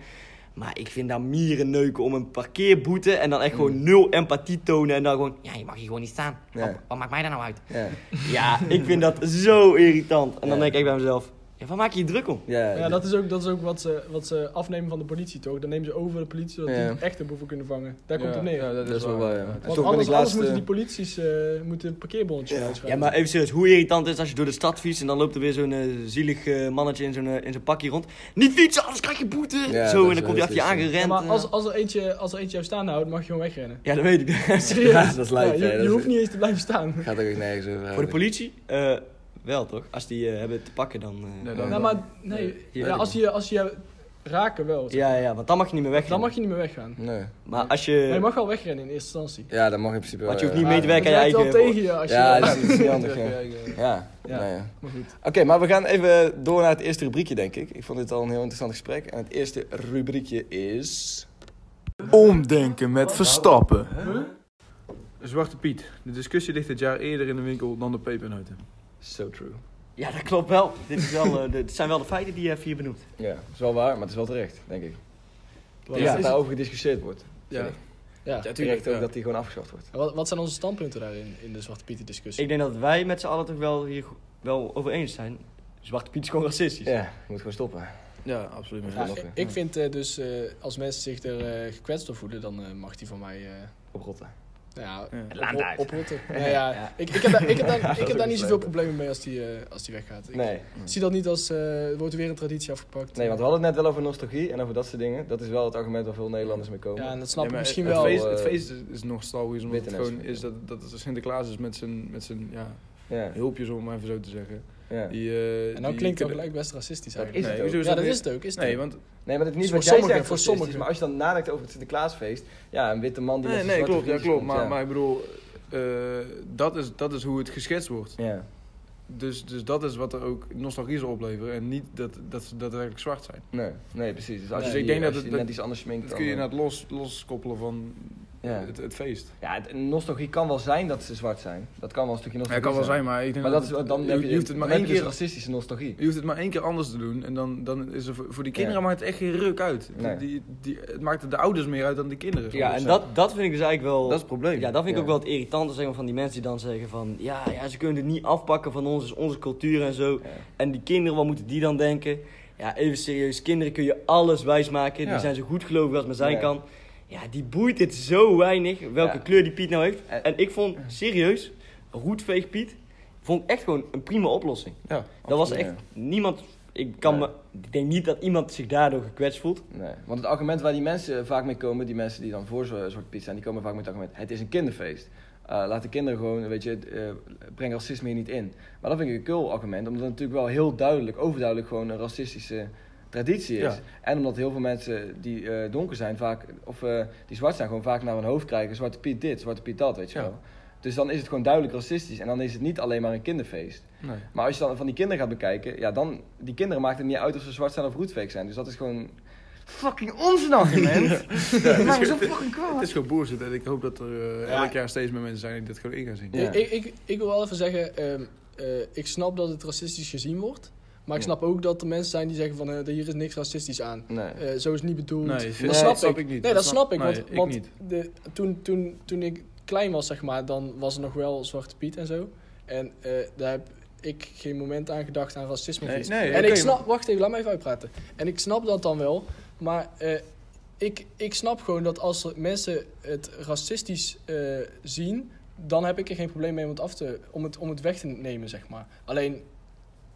[SPEAKER 5] Maar ik vind daar mieren neuken om een parkeerboete en dan echt gewoon nul empathie tonen. En dan gewoon, ja, je mag hier gewoon niet staan.
[SPEAKER 2] Ja.
[SPEAKER 5] Wat, wat maakt mij daar nou uit?
[SPEAKER 2] Ja.
[SPEAKER 5] Ja, ik vind dat zo irritant. En dan
[SPEAKER 2] Ja.
[SPEAKER 5] denk ik bij mezelf, ja, waar maak je je druk om?
[SPEAKER 2] Ja,
[SPEAKER 4] Maar ja, dat is ook, dat is ook wat, ze, wat ze afnemen van de politie, toch? Dan nemen ze over de politie, zodat
[SPEAKER 2] Ja.
[SPEAKER 4] die echte boeven kunnen vangen. Daar komt het neer.
[SPEAKER 6] Ja, dat,
[SPEAKER 2] dat is wel waar, ja. En
[SPEAKER 4] Want
[SPEAKER 2] toch ben
[SPEAKER 4] anders,
[SPEAKER 2] ik laatst...
[SPEAKER 4] anders moeten
[SPEAKER 2] eh,
[SPEAKER 4] die polities eh, moeten een parkeerbonnetje
[SPEAKER 5] Ja,
[SPEAKER 4] uitschrijven.
[SPEAKER 5] maar even serieus, hoe irritant is het als je door de stad fietst en dan loopt er weer zo'n eh, zielig eh, mannetje in zo'n eh, in zo'n pakje rond. Niet fietsen, anders krijg je boete!
[SPEAKER 2] Ja,
[SPEAKER 5] zo,
[SPEAKER 2] dat
[SPEAKER 5] en dan
[SPEAKER 2] is-
[SPEAKER 5] komt hij
[SPEAKER 2] dat
[SPEAKER 5] achter je
[SPEAKER 2] is-
[SPEAKER 5] aangerend.
[SPEAKER 4] Ja, maar
[SPEAKER 5] eh.
[SPEAKER 4] als, als, er eentje, als er eentje jou staan houdt, mag je gewoon wegrennen.
[SPEAKER 5] Ja, dat weet ik.
[SPEAKER 4] Serieus?
[SPEAKER 2] dat is lijp,
[SPEAKER 4] Ja,
[SPEAKER 2] hè,
[SPEAKER 4] je,
[SPEAKER 2] dat
[SPEAKER 4] je
[SPEAKER 2] is-
[SPEAKER 4] hoeft niet eens te blijven staan.
[SPEAKER 2] Gaat ook nergens over.
[SPEAKER 5] Voor de
[SPEAKER 2] eigenlijk.
[SPEAKER 5] politie? Eh, wel toch? Als die eh, hebben te pakken dan... eh,
[SPEAKER 6] Nee,
[SPEAKER 5] ja.
[SPEAKER 6] dan-
[SPEAKER 4] Nou, maar nee.
[SPEAKER 5] hier
[SPEAKER 4] Ja,
[SPEAKER 5] ook
[SPEAKER 4] als, je, als je jou raken wel,
[SPEAKER 5] ja, want dan mag je niet meer weg.
[SPEAKER 4] dan mag je niet meer weggaan.
[SPEAKER 2] Nee.
[SPEAKER 5] Maar als
[SPEAKER 4] Maar
[SPEAKER 5] je...
[SPEAKER 4] je mag wel wegrennen in eerste instantie.
[SPEAKER 2] Ja, dat mag in principe wel.
[SPEAKER 5] Want je hoeft
[SPEAKER 2] ja.
[SPEAKER 5] niet mee te werken aan
[SPEAKER 4] Dat
[SPEAKER 5] je
[SPEAKER 4] werkt wel
[SPEAKER 5] eigen...
[SPEAKER 4] tegen je als je...
[SPEAKER 2] Ja, dat is dat is niet handig. Ja, ja.
[SPEAKER 4] Ja.
[SPEAKER 2] nou ja.
[SPEAKER 4] Maar goed.
[SPEAKER 2] Oké, maar we gaan even door naar het eerste rubriekje, denk ik. Ik vond dit al een heel interessant gesprek. En het eerste rubriekje is...
[SPEAKER 1] Omdenken met Verstappen.
[SPEAKER 6] Zwarte Piet. De discussie ligt dit jaar eerder in de winkel dan de pepernoten.
[SPEAKER 2] So true.
[SPEAKER 5] Ja, dat klopt wel. Dit, is wel eh, dit zijn wel de feiten die je hebt hier benoemd.
[SPEAKER 2] Ja, dat is wel waar, maar het is wel terecht, denk ik.
[SPEAKER 4] Wat,
[SPEAKER 2] Ja, dat daarover gediscussieerd wordt.
[SPEAKER 6] Ja.
[SPEAKER 4] ja.
[SPEAKER 2] Terecht ook dat die gewoon afgeschaft wordt.
[SPEAKER 4] En Wat, wat zijn onze standpunten daarin, in de Zwarte Pieter discussie?
[SPEAKER 5] Ik denk dat wij met z'n allen toch wel hier go- wel over eens zijn. Zwarte Piet is gewoon racistisch.
[SPEAKER 2] Ja, moet gewoon stoppen.
[SPEAKER 6] Ja, absoluut.
[SPEAKER 4] Ja,
[SPEAKER 2] Lachen.
[SPEAKER 4] ik- ik vind eh, dus, eh, als mensen zich er eh, gekwetst door voelen, dan eh, mag die van mij... eh,
[SPEAKER 2] Oprotten.
[SPEAKER 4] nou ja,
[SPEAKER 6] Ja.
[SPEAKER 5] Laat
[SPEAKER 4] op-
[SPEAKER 5] uit.
[SPEAKER 4] ophotten. Nou ja, Ik, ik heb daar, ik heb daar, ik heb daar niet zoveel problemen mee als die, eh, als die weggaat. Ik
[SPEAKER 2] Nee.
[SPEAKER 4] zie dat niet als, eh, wordt weer een traditie afgepakt.
[SPEAKER 2] Nee, want we hadden het net wel over nostalgie en over dat soort dingen. Dat is wel het argument waar veel Nederlanders mee komen.
[SPEAKER 4] Ja, en dat snap
[SPEAKER 6] Nee,
[SPEAKER 4] ik
[SPEAKER 6] maar
[SPEAKER 4] misschien
[SPEAKER 6] het
[SPEAKER 4] wel.
[SPEAKER 6] Feest,
[SPEAKER 2] eh,
[SPEAKER 6] het feest is, is nog stalgisch, omdat het
[SPEAKER 2] witte
[SPEAKER 6] gewoon
[SPEAKER 2] neus.
[SPEAKER 6] is dat, dat het Sinterklaas is met zijn, met zijn ja,
[SPEAKER 2] Ja,
[SPEAKER 6] hulpjes, om maar even zo te zeggen.
[SPEAKER 2] ja.
[SPEAKER 6] Die, eh,
[SPEAKER 4] en dan
[SPEAKER 6] die
[SPEAKER 4] klinkt dat
[SPEAKER 6] kunnen-
[SPEAKER 4] gelijk best racistisch
[SPEAKER 2] Dat
[SPEAKER 4] eigenlijk.
[SPEAKER 2] is het
[SPEAKER 6] Nee,
[SPEAKER 2] ook.
[SPEAKER 6] hoezo
[SPEAKER 4] ja, dat
[SPEAKER 6] niet?
[SPEAKER 4] is het ook. Is het
[SPEAKER 6] Nee,
[SPEAKER 4] ook.
[SPEAKER 6] want
[SPEAKER 2] Nee, maar dat is niet
[SPEAKER 4] Voor
[SPEAKER 2] wat jij
[SPEAKER 4] sommigen,
[SPEAKER 2] zegt
[SPEAKER 4] voor
[SPEAKER 2] voor
[SPEAKER 4] sommigen.
[SPEAKER 2] sommigen. Maar als je dan nadenkt over het Sinterklaasfeest, ja, een witte man die
[SPEAKER 6] nee,
[SPEAKER 2] met
[SPEAKER 6] nee
[SPEAKER 2] zijn
[SPEAKER 6] klopt,
[SPEAKER 2] zwarte
[SPEAKER 6] ja,
[SPEAKER 2] vriendjes
[SPEAKER 6] klopt. Maar,
[SPEAKER 2] komt,
[SPEAKER 6] maar ik bedoel, eh, dat, is, dat is hoe het geschetst wordt.
[SPEAKER 2] ja. ja,
[SPEAKER 6] Dus, dus dat is wat er ook nostalgie zal opleveren en niet dat, dat ze daadwerkelijk zwart zijn.
[SPEAKER 2] nee, nee, precies. Dus als
[SPEAKER 6] Dus
[SPEAKER 2] je,
[SPEAKER 6] ik denk
[SPEAKER 2] als
[SPEAKER 6] dat
[SPEAKER 2] je
[SPEAKER 6] het-
[SPEAKER 2] net iets anders sminkt
[SPEAKER 6] Dat
[SPEAKER 2] dan...
[SPEAKER 6] kun je
[SPEAKER 2] eh,
[SPEAKER 6] inderdaad los, loskoppelen van
[SPEAKER 2] Ja.
[SPEAKER 6] Het, het feest.
[SPEAKER 2] Ja, het- nostalgie kan wel zijn dat ze zwart zijn. Dat kan wel een stukje
[SPEAKER 6] Ja,
[SPEAKER 2] nostalgie
[SPEAKER 6] kan wel zijn, maar ik denk
[SPEAKER 2] Maar dat is, wel- dan heb je,
[SPEAKER 6] je hoeft het maar
[SPEAKER 2] dan
[SPEAKER 6] één
[SPEAKER 2] heb je
[SPEAKER 6] keer
[SPEAKER 2] racistische nostalgie.
[SPEAKER 6] je hoeft het maar één keer anders te doen en dan, dan is er voor, voor die kinderen maakt het echt geen ruk uit.
[SPEAKER 2] Nee.
[SPEAKER 6] Die, die, het maakt de ouders meer uit dan de kinderen.
[SPEAKER 5] Ja, en dat, dat vind ik dus eigenlijk wel...
[SPEAKER 6] dat is het probleem.
[SPEAKER 5] Ja, dat vind ik
[SPEAKER 2] Ja.
[SPEAKER 5] ook wel het irritante zeg maar, van die mensen die dan zeggen van... Ja, ja, ze kunnen het niet afpakken van ons, is onze cultuur en zo.
[SPEAKER 2] Ja.
[SPEAKER 5] En die kinderen, wat moeten die dan denken? Ja, even serieus, kinderen kun je alles wijsmaken.
[SPEAKER 6] Ja.
[SPEAKER 5] Die zijn zo goed gelovig als maar zijn
[SPEAKER 2] Ja.
[SPEAKER 5] kan. Ja, die boeit het zo weinig welke
[SPEAKER 2] Ja.
[SPEAKER 5] kleur die Piet nou heeft.
[SPEAKER 2] En-
[SPEAKER 5] En ik vond serieus, roetveeg Piet, vond ik echt gewoon een prima oplossing.
[SPEAKER 6] Ja,
[SPEAKER 5] Dat was echt
[SPEAKER 2] absoluut,
[SPEAKER 5] niemand... Ik, kan
[SPEAKER 2] Nee.
[SPEAKER 5] me, ik denk niet dat iemand zich daardoor gekwetst voelt.
[SPEAKER 2] Nee. Want het argument waar die mensen vaak mee komen, die mensen die dan voor zo'n soort piet zijn, die komen vaak met het argument: het is een kinderfeest. Eh, laat de kinderen gewoon, weet je, eh, breng racisme hier niet in. Maar dat vind ik een kul argument, omdat het natuurlijk wel heel duidelijk, overduidelijk gewoon een racistische traditie is.
[SPEAKER 6] Ja.
[SPEAKER 2] En omdat heel veel mensen die eh, donker zijn, vaak, of eh, die zwart zijn, gewoon vaak naar hun hoofd krijgen: Zwarte Piet dit, Zwarte Piet dat, weet je
[SPEAKER 6] Ja.
[SPEAKER 2] wel. Dus dan is het gewoon duidelijk racistisch en dan is het niet alleen maar een kinderfeest.
[SPEAKER 6] Nee.
[SPEAKER 2] Maar als je dan van die kinderen gaat bekijken, ja, dan, die kinderen maakt het niet uit of ze zwart zijn of roetveeg zijn. Dus dat is gewoon fucking onzin argument.
[SPEAKER 6] Ja,
[SPEAKER 2] Maar
[SPEAKER 6] het, is,
[SPEAKER 2] zo
[SPEAKER 6] gewoon-
[SPEAKER 2] fucking
[SPEAKER 6] het
[SPEAKER 2] kwaad.
[SPEAKER 6] is gewoon bullshit en ik hoop dat er eh, elk jaar steeds meer mensen zijn die dit gewoon in gaan zien.
[SPEAKER 2] Ja.
[SPEAKER 4] Ik, ik, ik, ik wil wel even zeggen, ehm, eh, ik snap dat het racistisch gezien wordt. Maar ik
[SPEAKER 2] Ja.
[SPEAKER 4] snap ook dat er mensen zijn die zeggen van, eh, hier is niks racistisch aan.
[SPEAKER 2] Nee.
[SPEAKER 4] Eh, zo is het niet bedoeld.
[SPEAKER 6] Nee,
[SPEAKER 4] dat
[SPEAKER 6] vind-
[SPEAKER 4] snap,
[SPEAKER 6] snap
[SPEAKER 4] ik.
[SPEAKER 6] ik niet.
[SPEAKER 4] Nee, dat,
[SPEAKER 6] Dat
[SPEAKER 4] snap
[SPEAKER 6] snap-
[SPEAKER 4] ik.
[SPEAKER 6] nee,
[SPEAKER 4] Want,
[SPEAKER 6] ik
[SPEAKER 4] want
[SPEAKER 6] niet.
[SPEAKER 4] De, toen, toen, toen ik klein was, zeg maar, dan was er nog wel Zwarte Piet en zo. En eh, daar heb ik geen moment aan gedacht aan racisme.
[SPEAKER 6] Nee,
[SPEAKER 4] of iets.
[SPEAKER 6] nee,
[SPEAKER 4] en
[SPEAKER 6] oké,
[SPEAKER 4] ik
[SPEAKER 6] maar-
[SPEAKER 4] snap, wacht even, laat me even uitpraten. En ik snap dat dan wel, maar eh, ik, ik snap gewoon dat als er mensen het racistisch eh, zien, dan heb ik er geen probleem mee om het, af te, om het, om het weg te nemen, zeg maar. Alleen,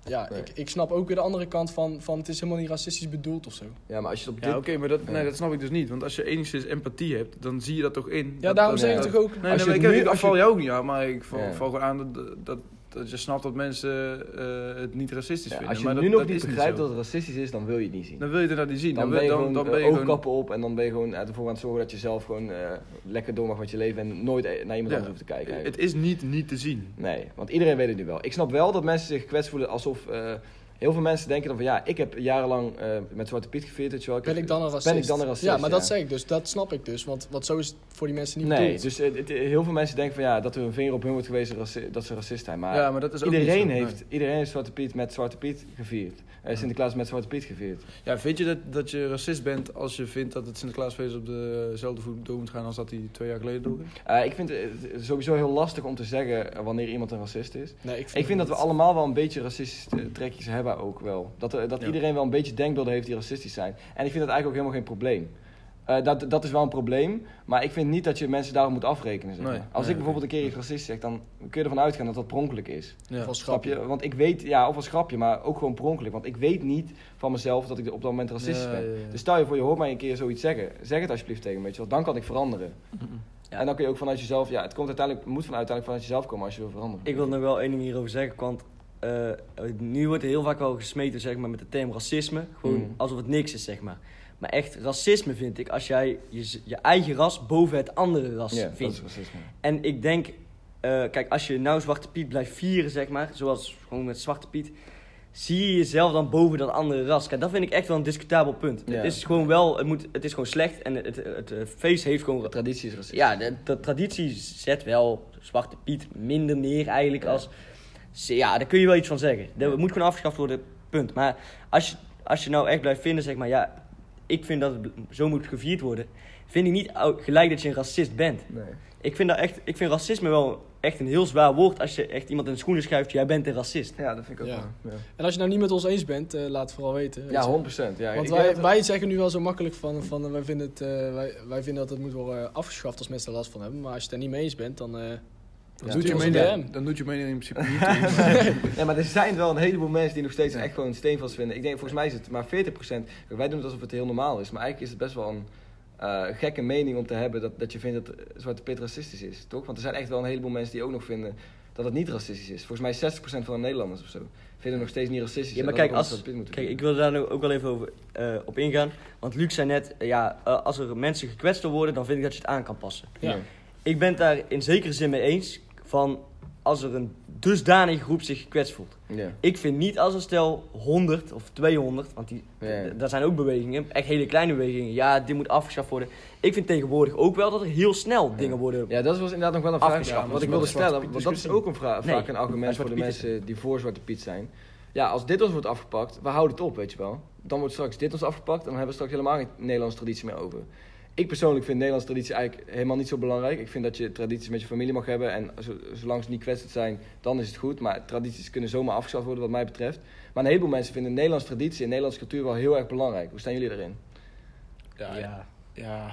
[SPEAKER 4] ja,
[SPEAKER 2] Nee.
[SPEAKER 4] ik, ik snap ook weer de andere kant van, van het is helemaal niet racistisch bedoeld of zo.
[SPEAKER 2] Ja, maar als je het op
[SPEAKER 6] Ja,
[SPEAKER 2] dit...
[SPEAKER 6] oké, maar dat, nee, dat snap ik dus niet. Want als je enigszins empathie hebt, dan zie je dat toch in.
[SPEAKER 4] Ja,
[SPEAKER 6] Dat-
[SPEAKER 4] daarom
[SPEAKER 6] dat-
[SPEAKER 4] zeg ik
[SPEAKER 6] dat-
[SPEAKER 4] toch ook...
[SPEAKER 6] Nee,
[SPEAKER 2] Als
[SPEAKER 6] nee,
[SPEAKER 2] je
[SPEAKER 6] maar ik,
[SPEAKER 2] het nu-
[SPEAKER 6] ik
[SPEAKER 2] als je-
[SPEAKER 6] val jou ook niet aan, maar ik val,
[SPEAKER 2] Ja.
[SPEAKER 6] val gewoon aan dat, dat, dat je snapt dat mensen eh, het niet racistisch
[SPEAKER 2] Ja,
[SPEAKER 6] vinden.
[SPEAKER 2] als je
[SPEAKER 6] maar
[SPEAKER 2] het
[SPEAKER 6] dat,
[SPEAKER 2] nu nog
[SPEAKER 6] dat
[SPEAKER 2] niet
[SPEAKER 6] is
[SPEAKER 2] begrijpt
[SPEAKER 6] zo.
[SPEAKER 2] dat het racistisch is, dan wil je het niet zien.
[SPEAKER 6] Dan wil je het nou niet zien.
[SPEAKER 2] Dan ben je
[SPEAKER 6] wil-
[SPEAKER 2] gewoon
[SPEAKER 6] dan
[SPEAKER 2] eh,
[SPEAKER 6] ben je gewoon-
[SPEAKER 2] oogkappen op en dan ben je gewoon ervoor aan het zorgen dat je zelf gewoon eh, lekker door mag met je leven en nooit eh, naar iemand
[SPEAKER 6] Ja.
[SPEAKER 2] anders hoeft te kijken. eigenlijk.
[SPEAKER 6] Het is niet niet te zien.
[SPEAKER 2] Nee, want iedereen weet het nu wel. Ik snap wel dat mensen zich gekwetst voelen alsof... eh, heel veel mensen denken dan van ja, ik heb jarenlang eh, met Zwarte Piet gevierd, weet je wel.
[SPEAKER 4] Ben
[SPEAKER 2] heb-
[SPEAKER 4] ik dan een racist?
[SPEAKER 2] Ben ik dan een racist?
[SPEAKER 4] Ja, maar dat
[SPEAKER 2] ja.
[SPEAKER 4] zeg ik dus. Dat snap ik dus. Want, want zo is het voor die mensen niet
[SPEAKER 2] Nee,
[SPEAKER 4] bedoeld.
[SPEAKER 2] dus eh, het- heel veel mensen denken van ja, dat er een vinger op hun wordt gewezen raci- dat ze racist zijn. Maar,
[SPEAKER 6] Ja, maar dat is ook niet
[SPEAKER 2] iedereen,
[SPEAKER 6] zo, nee.
[SPEAKER 2] heeft, iedereen heeft Zwarte Piet met Zwarte Piet gevierd. Eh, Sinterklaas met Zwarte Piet gevierd.
[SPEAKER 6] Ja, vind je dat, dat je racist bent als je vindt dat het Sinterklaasfeest op dezelfde voet door moet gaan als dat hij twee jaar geleden door
[SPEAKER 2] Eh, ik vind het eh, sowieso heel lastig om te zeggen eh, wanneer iemand een racist is.
[SPEAKER 4] Nee, ik
[SPEAKER 2] Ik vind dat we
[SPEAKER 4] allemaal.
[SPEAKER 2] allemaal wel een beetje racistische eh, trekjes hebben ook wel. Dat, er- dat
[SPEAKER 6] Ja.
[SPEAKER 2] iedereen wel een beetje denkbeelden heeft die racistisch zijn. En ik vind dat eigenlijk ook helemaal geen probleem. Eh, dat, dat is wel een probleem, maar ik vind niet dat je mensen daarop moet afrekenen. Zeg maar.
[SPEAKER 6] Nee,
[SPEAKER 2] Als
[SPEAKER 6] nee,
[SPEAKER 2] ik bijvoorbeeld een keer iets racistisch zeg, dan kun je ervan uitgaan dat dat per ongeluk is.
[SPEAKER 6] Ja.
[SPEAKER 2] Snap
[SPEAKER 4] Van schrapje.
[SPEAKER 2] je? Want ik weet, ja, of als grapje, maar ook gewoon per ongeluk. Want ik weet niet van mezelf dat ik op dat moment racistisch
[SPEAKER 6] Ja,
[SPEAKER 2] ben.
[SPEAKER 6] ja, ja.
[SPEAKER 2] Dus stel je voor, je hoort mij een keer zoiets zeggen. Zeg het alsjeblieft tegen me, weet je wel. Dan kan ik veranderen.
[SPEAKER 5] Ja.
[SPEAKER 2] En dan kun je ook vanuit jezelf, ja, het komt uiteindelijk, moet van uiteindelijk vanuit jezelf komen als je wil veranderen.
[SPEAKER 5] Ik wil nog wel één ding hierover zeggen, want eh, nu wordt er heel vaak wel gesmeten zeg maar, met de term racisme. Gewoon
[SPEAKER 2] Mm.
[SPEAKER 5] alsof het niks is, zeg maar. Maar echt, racisme vind ik als jij je, z- je eigen ras boven het andere ras
[SPEAKER 2] ja, dat
[SPEAKER 5] vindt.
[SPEAKER 2] is racisme.
[SPEAKER 5] En ik denk, eh, kijk, als je nou Zwarte Piet blijft vieren, zeg maar, zoals gewoon met Zwarte Piet, zie je jezelf dan boven dat andere ras. Kijk, dat vind ik echt wel een discutabel punt.
[SPEAKER 2] Ja.
[SPEAKER 5] Het is gewoon wel, het, moet, het is gewoon slecht en het, het, het, eh, feest heeft gewoon
[SPEAKER 2] De traditie is racistisch.
[SPEAKER 5] ja, de, de traditie zet wel Zwarte Piet minder neer eigenlijk
[SPEAKER 2] Ja.
[SPEAKER 5] als... ze- Ja, daar kun je wel iets van zeggen. Dat moet gewoon afgeschaft worden, punt. Maar als je, als je nou echt blijft vinden, zeg maar... Ja, ik vind dat het zo moet gevierd worden. Vind ik niet au- gelijk dat je een racist bent.
[SPEAKER 2] Nee.
[SPEAKER 5] Ik vind, dat echt, ik vind racisme wel echt een heel zwaar woord als je echt iemand in de schoenen schuift. Jij bent een racist.
[SPEAKER 2] Ja, dat vind ik ook
[SPEAKER 4] Ja.
[SPEAKER 2] wel. Ja,
[SPEAKER 4] En als je nou niet met ons eens bent, eh, laat het vooral weten. weet je.
[SPEAKER 2] ja 100%. Ja,
[SPEAKER 4] Want
[SPEAKER 2] ik
[SPEAKER 4] wij,
[SPEAKER 2] denk dat-
[SPEAKER 4] wij zeggen nu wel zo makkelijk van, van eh, wij, vinden het, eh, wij, wij vinden dat het moet worden eh, afgeschaft als mensen er last van hebben. Maar als je het er niet mee eens bent, dan... eh
[SPEAKER 6] Dan,
[SPEAKER 4] Ja.
[SPEAKER 6] doet je
[SPEAKER 4] Tuurlijk,
[SPEAKER 6] mening,
[SPEAKER 4] ja.
[SPEAKER 6] dan doet je mening in principe niet toe.
[SPEAKER 2] Nee, maar er zijn wel een heleboel mensen die nog steeds echt gewoon steenvast vinden. Ik denk, volgens mij is het maar 40%. Kijk, Wij doen het alsof het heel normaal is. Maar eigenlijk is het best wel een eh, gekke mening om te hebben dat, dat je vindt dat eh, Zwarte Piet racistisch is, toch? Want er zijn echt wel een heleboel mensen die ook nog vinden dat het niet racistisch is. Volgens mij 60% van de Nederlanders of zo vinden het nog steeds niet racistisch.
[SPEAKER 5] Ja,
[SPEAKER 2] En
[SPEAKER 5] maar
[SPEAKER 2] dat
[SPEAKER 5] kijk,
[SPEAKER 2] we gewoon
[SPEAKER 5] als,
[SPEAKER 2] Zwarte Piet moeten
[SPEAKER 5] kijk, ik
[SPEAKER 2] vinden.
[SPEAKER 5] wil daar nou ook wel even over, eh, op ingaan. Want Luc zei net, eh, ja, eh, als er mensen gekwetst worden, dan vind ik dat je het aan kan passen.
[SPEAKER 4] ja.
[SPEAKER 5] Ik ben het daar in zekere zin mee eens. Van als er een dusdanige groep zich gekwetst voelt.
[SPEAKER 2] Ja.
[SPEAKER 5] Ik vind niet als een stel 100 of 200, want die,
[SPEAKER 2] Ja.
[SPEAKER 5] d- daar zijn ook bewegingen, echt hele kleine bewegingen. Ja, dit moet afgeschaft worden. Ik vind tegenwoordig ook wel dat er heel snel dingen worden.
[SPEAKER 2] Ja, dat was inderdaad nog wel een vraag
[SPEAKER 5] Afgeschaft.
[SPEAKER 2] ja, wat ik
[SPEAKER 5] Dat
[SPEAKER 2] wilde
[SPEAKER 5] is wel een
[SPEAKER 2] stellen. Want dat is ook een vra-
[SPEAKER 5] dus Nee,
[SPEAKER 2] vaak een argument voor
[SPEAKER 5] Zwarte
[SPEAKER 2] de
[SPEAKER 5] Piet is-
[SPEAKER 2] mensen die voor Zwarte Piet zijn. Ja, als dit ons wordt afgepakt, waar houdt het op, weet je wel? Dan wordt straks dit ons afgepakt en dan hebben we straks helemaal geen Nederlandse traditie meer over. Ik persoonlijk vind Nederlandse traditie eigenlijk helemaal niet zo belangrijk. Ik vind dat je tradities met je familie mag hebben en zo- zolang ze niet kwetsend zijn, dan is het goed. Maar tradities kunnen zomaar afgeschaft worden wat mij betreft. Maar een heleboel mensen vinden Nederlandse traditie en Nederlandse cultuur wel heel erg belangrijk. Hoe staan jullie erin?
[SPEAKER 4] Ja, ja. ja.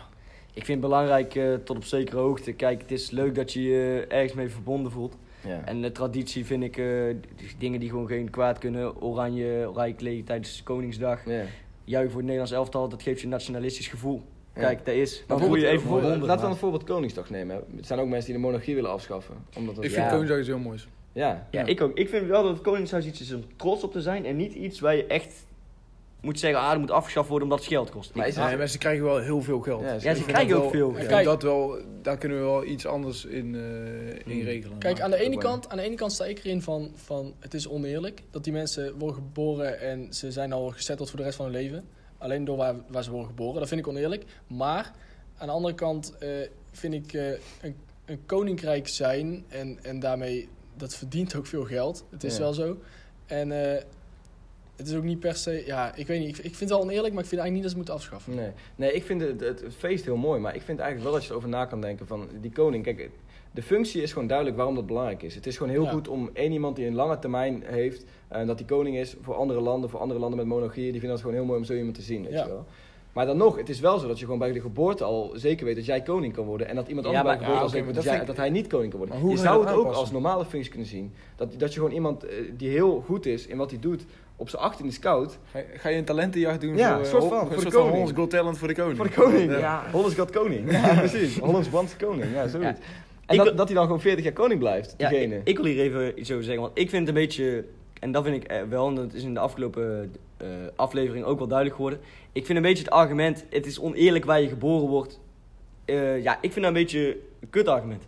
[SPEAKER 5] Ik vind het belangrijk eh, tot op zekere hoogte. Kijk, het is leuk dat je je ergens mee verbonden voelt.
[SPEAKER 2] Ja.
[SPEAKER 5] En de traditie vind ik eh, d- dingen die gewoon geen kwaad kunnen. Oranje, oranje kleden tijdens Koningsdag.
[SPEAKER 2] Ja.
[SPEAKER 5] Juichen voor het Nederlands elftal, dat geeft je een nationalistisch gevoel.
[SPEAKER 2] Ja.
[SPEAKER 5] Kijk, daar is. Dan voel je
[SPEAKER 2] Bijvoorbeeld-
[SPEAKER 5] je even verbonden.
[SPEAKER 2] Laten we dan
[SPEAKER 5] maar-
[SPEAKER 2] bijvoorbeeld Koningsdag nemen. hè. Er zijn ook mensen die de monarchie willen afschaffen. Omdat dat-
[SPEAKER 6] Ik vind
[SPEAKER 5] Ja.
[SPEAKER 6] Koningsdag iets heel moois.
[SPEAKER 2] Ja.
[SPEAKER 5] Ja, ik ook. Ik vind wel dat het Koningshuis iets is om trots op te zijn. En niet iets waar je echt moet zeggen, ah, dat moet afgeschaft worden omdat het geld kost.
[SPEAKER 2] Maar
[SPEAKER 5] Ik-
[SPEAKER 2] is het-
[SPEAKER 6] Nee, maar ze krijgen wel heel veel geld.
[SPEAKER 2] Ja, ze-
[SPEAKER 5] ja,
[SPEAKER 6] Ik
[SPEAKER 5] ze
[SPEAKER 6] vind
[SPEAKER 5] krijgen
[SPEAKER 6] dat
[SPEAKER 5] ook
[SPEAKER 6] wel-
[SPEAKER 5] veel.
[SPEAKER 6] Ik
[SPEAKER 4] Ja.
[SPEAKER 6] vind dat wel, daar kunnen we wel iets anders in, eh,
[SPEAKER 2] Hmm.
[SPEAKER 6] in regelen.
[SPEAKER 4] Kijk,
[SPEAKER 6] Maar-
[SPEAKER 4] aan de, ene
[SPEAKER 2] wel.
[SPEAKER 4] kant, aan de ene kant sta ik erin van, van het is oneerlijk dat die mensen worden geboren en ze zijn al gezetteld voor de rest van hun leven. Alleen door waar, waar ze worden geboren. Dat vind ik oneerlijk. Maar aan de andere kant eh, vind ik eh, een, een koninkrijk zijn en, en daarmee dat verdient ook veel geld. Het is
[SPEAKER 2] Ja.
[SPEAKER 4] wel zo. En eh, het is ook niet per se, ja, ik weet niet. Ik, ik vind het wel oneerlijk, maar ik vind eigenlijk niet dat ze het moeten afschaffen.
[SPEAKER 2] Nee. nee, ik vind het, het feest heel mooi, maar ik vind eigenlijk wel dat je erover na kan denken van die koning. Kijk, de functie is gewoon duidelijk waarom dat belangrijk is. Het is gewoon heel
[SPEAKER 4] Ja.
[SPEAKER 2] goed om één iemand die een lange termijn heeft, en dat die koning is voor andere landen, voor andere landen met monarchieën, die vinden het gewoon heel mooi om zo iemand te zien, weet
[SPEAKER 4] Ja.
[SPEAKER 2] je wel. Maar dan nog, het is wel zo dat je gewoon bij de geboorte al zeker weet dat jij koning kan worden. En dat iemand
[SPEAKER 5] Ja,
[SPEAKER 2] anders bij
[SPEAKER 5] maar-
[SPEAKER 2] de geboorte
[SPEAKER 6] ja,
[SPEAKER 2] al
[SPEAKER 6] oké,
[SPEAKER 2] zeker weet
[SPEAKER 6] maar
[SPEAKER 2] dat,
[SPEAKER 6] dat
[SPEAKER 2] jij-
[SPEAKER 6] vind
[SPEAKER 2] dat hij niet koning kan worden.
[SPEAKER 6] Maar hoe
[SPEAKER 2] je
[SPEAKER 6] ga je
[SPEAKER 2] zou
[SPEAKER 6] dat
[SPEAKER 2] het ook
[SPEAKER 6] aanpassen?
[SPEAKER 2] als normale functie kunnen zien. Dat, dat je gewoon iemand eh, die heel goed is in wat hij doet, op zijn 18 is koud.
[SPEAKER 6] Ga, ga je een talentenjacht doen
[SPEAKER 2] Ja,
[SPEAKER 6] voor,
[SPEAKER 2] een
[SPEAKER 6] eh,
[SPEAKER 2] soort
[SPEAKER 6] Hol-
[SPEAKER 2] van,
[SPEAKER 6] een
[SPEAKER 2] voor de
[SPEAKER 6] soort van
[SPEAKER 2] koning.
[SPEAKER 6] Hollands Got Talent voor de koning.
[SPEAKER 2] Voor de koning.
[SPEAKER 6] Ja.
[SPEAKER 2] Ja. Hollands God Koning. Ja, precies. Hollands Band Koning. Ja, zoiets. En
[SPEAKER 5] Ik
[SPEAKER 2] dat,
[SPEAKER 5] wil-
[SPEAKER 2] dat hij dan gewoon 40 jaar koning blijft,
[SPEAKER 5] Ja,
[SPEAKER 2] diegene.
[SPEAKER 5] ik, ik wil hier even iets over zeggen, want ik vind het een beetje, en dat vind ik eh, wel, en dat is in de afgelopen eh, aflevering ook wel duidelijk geworden. Ik vind een beetje het argument, het is oneerlijk waar je geboren wordt. Eh, ja, ik vind dat een beetje een kut argument.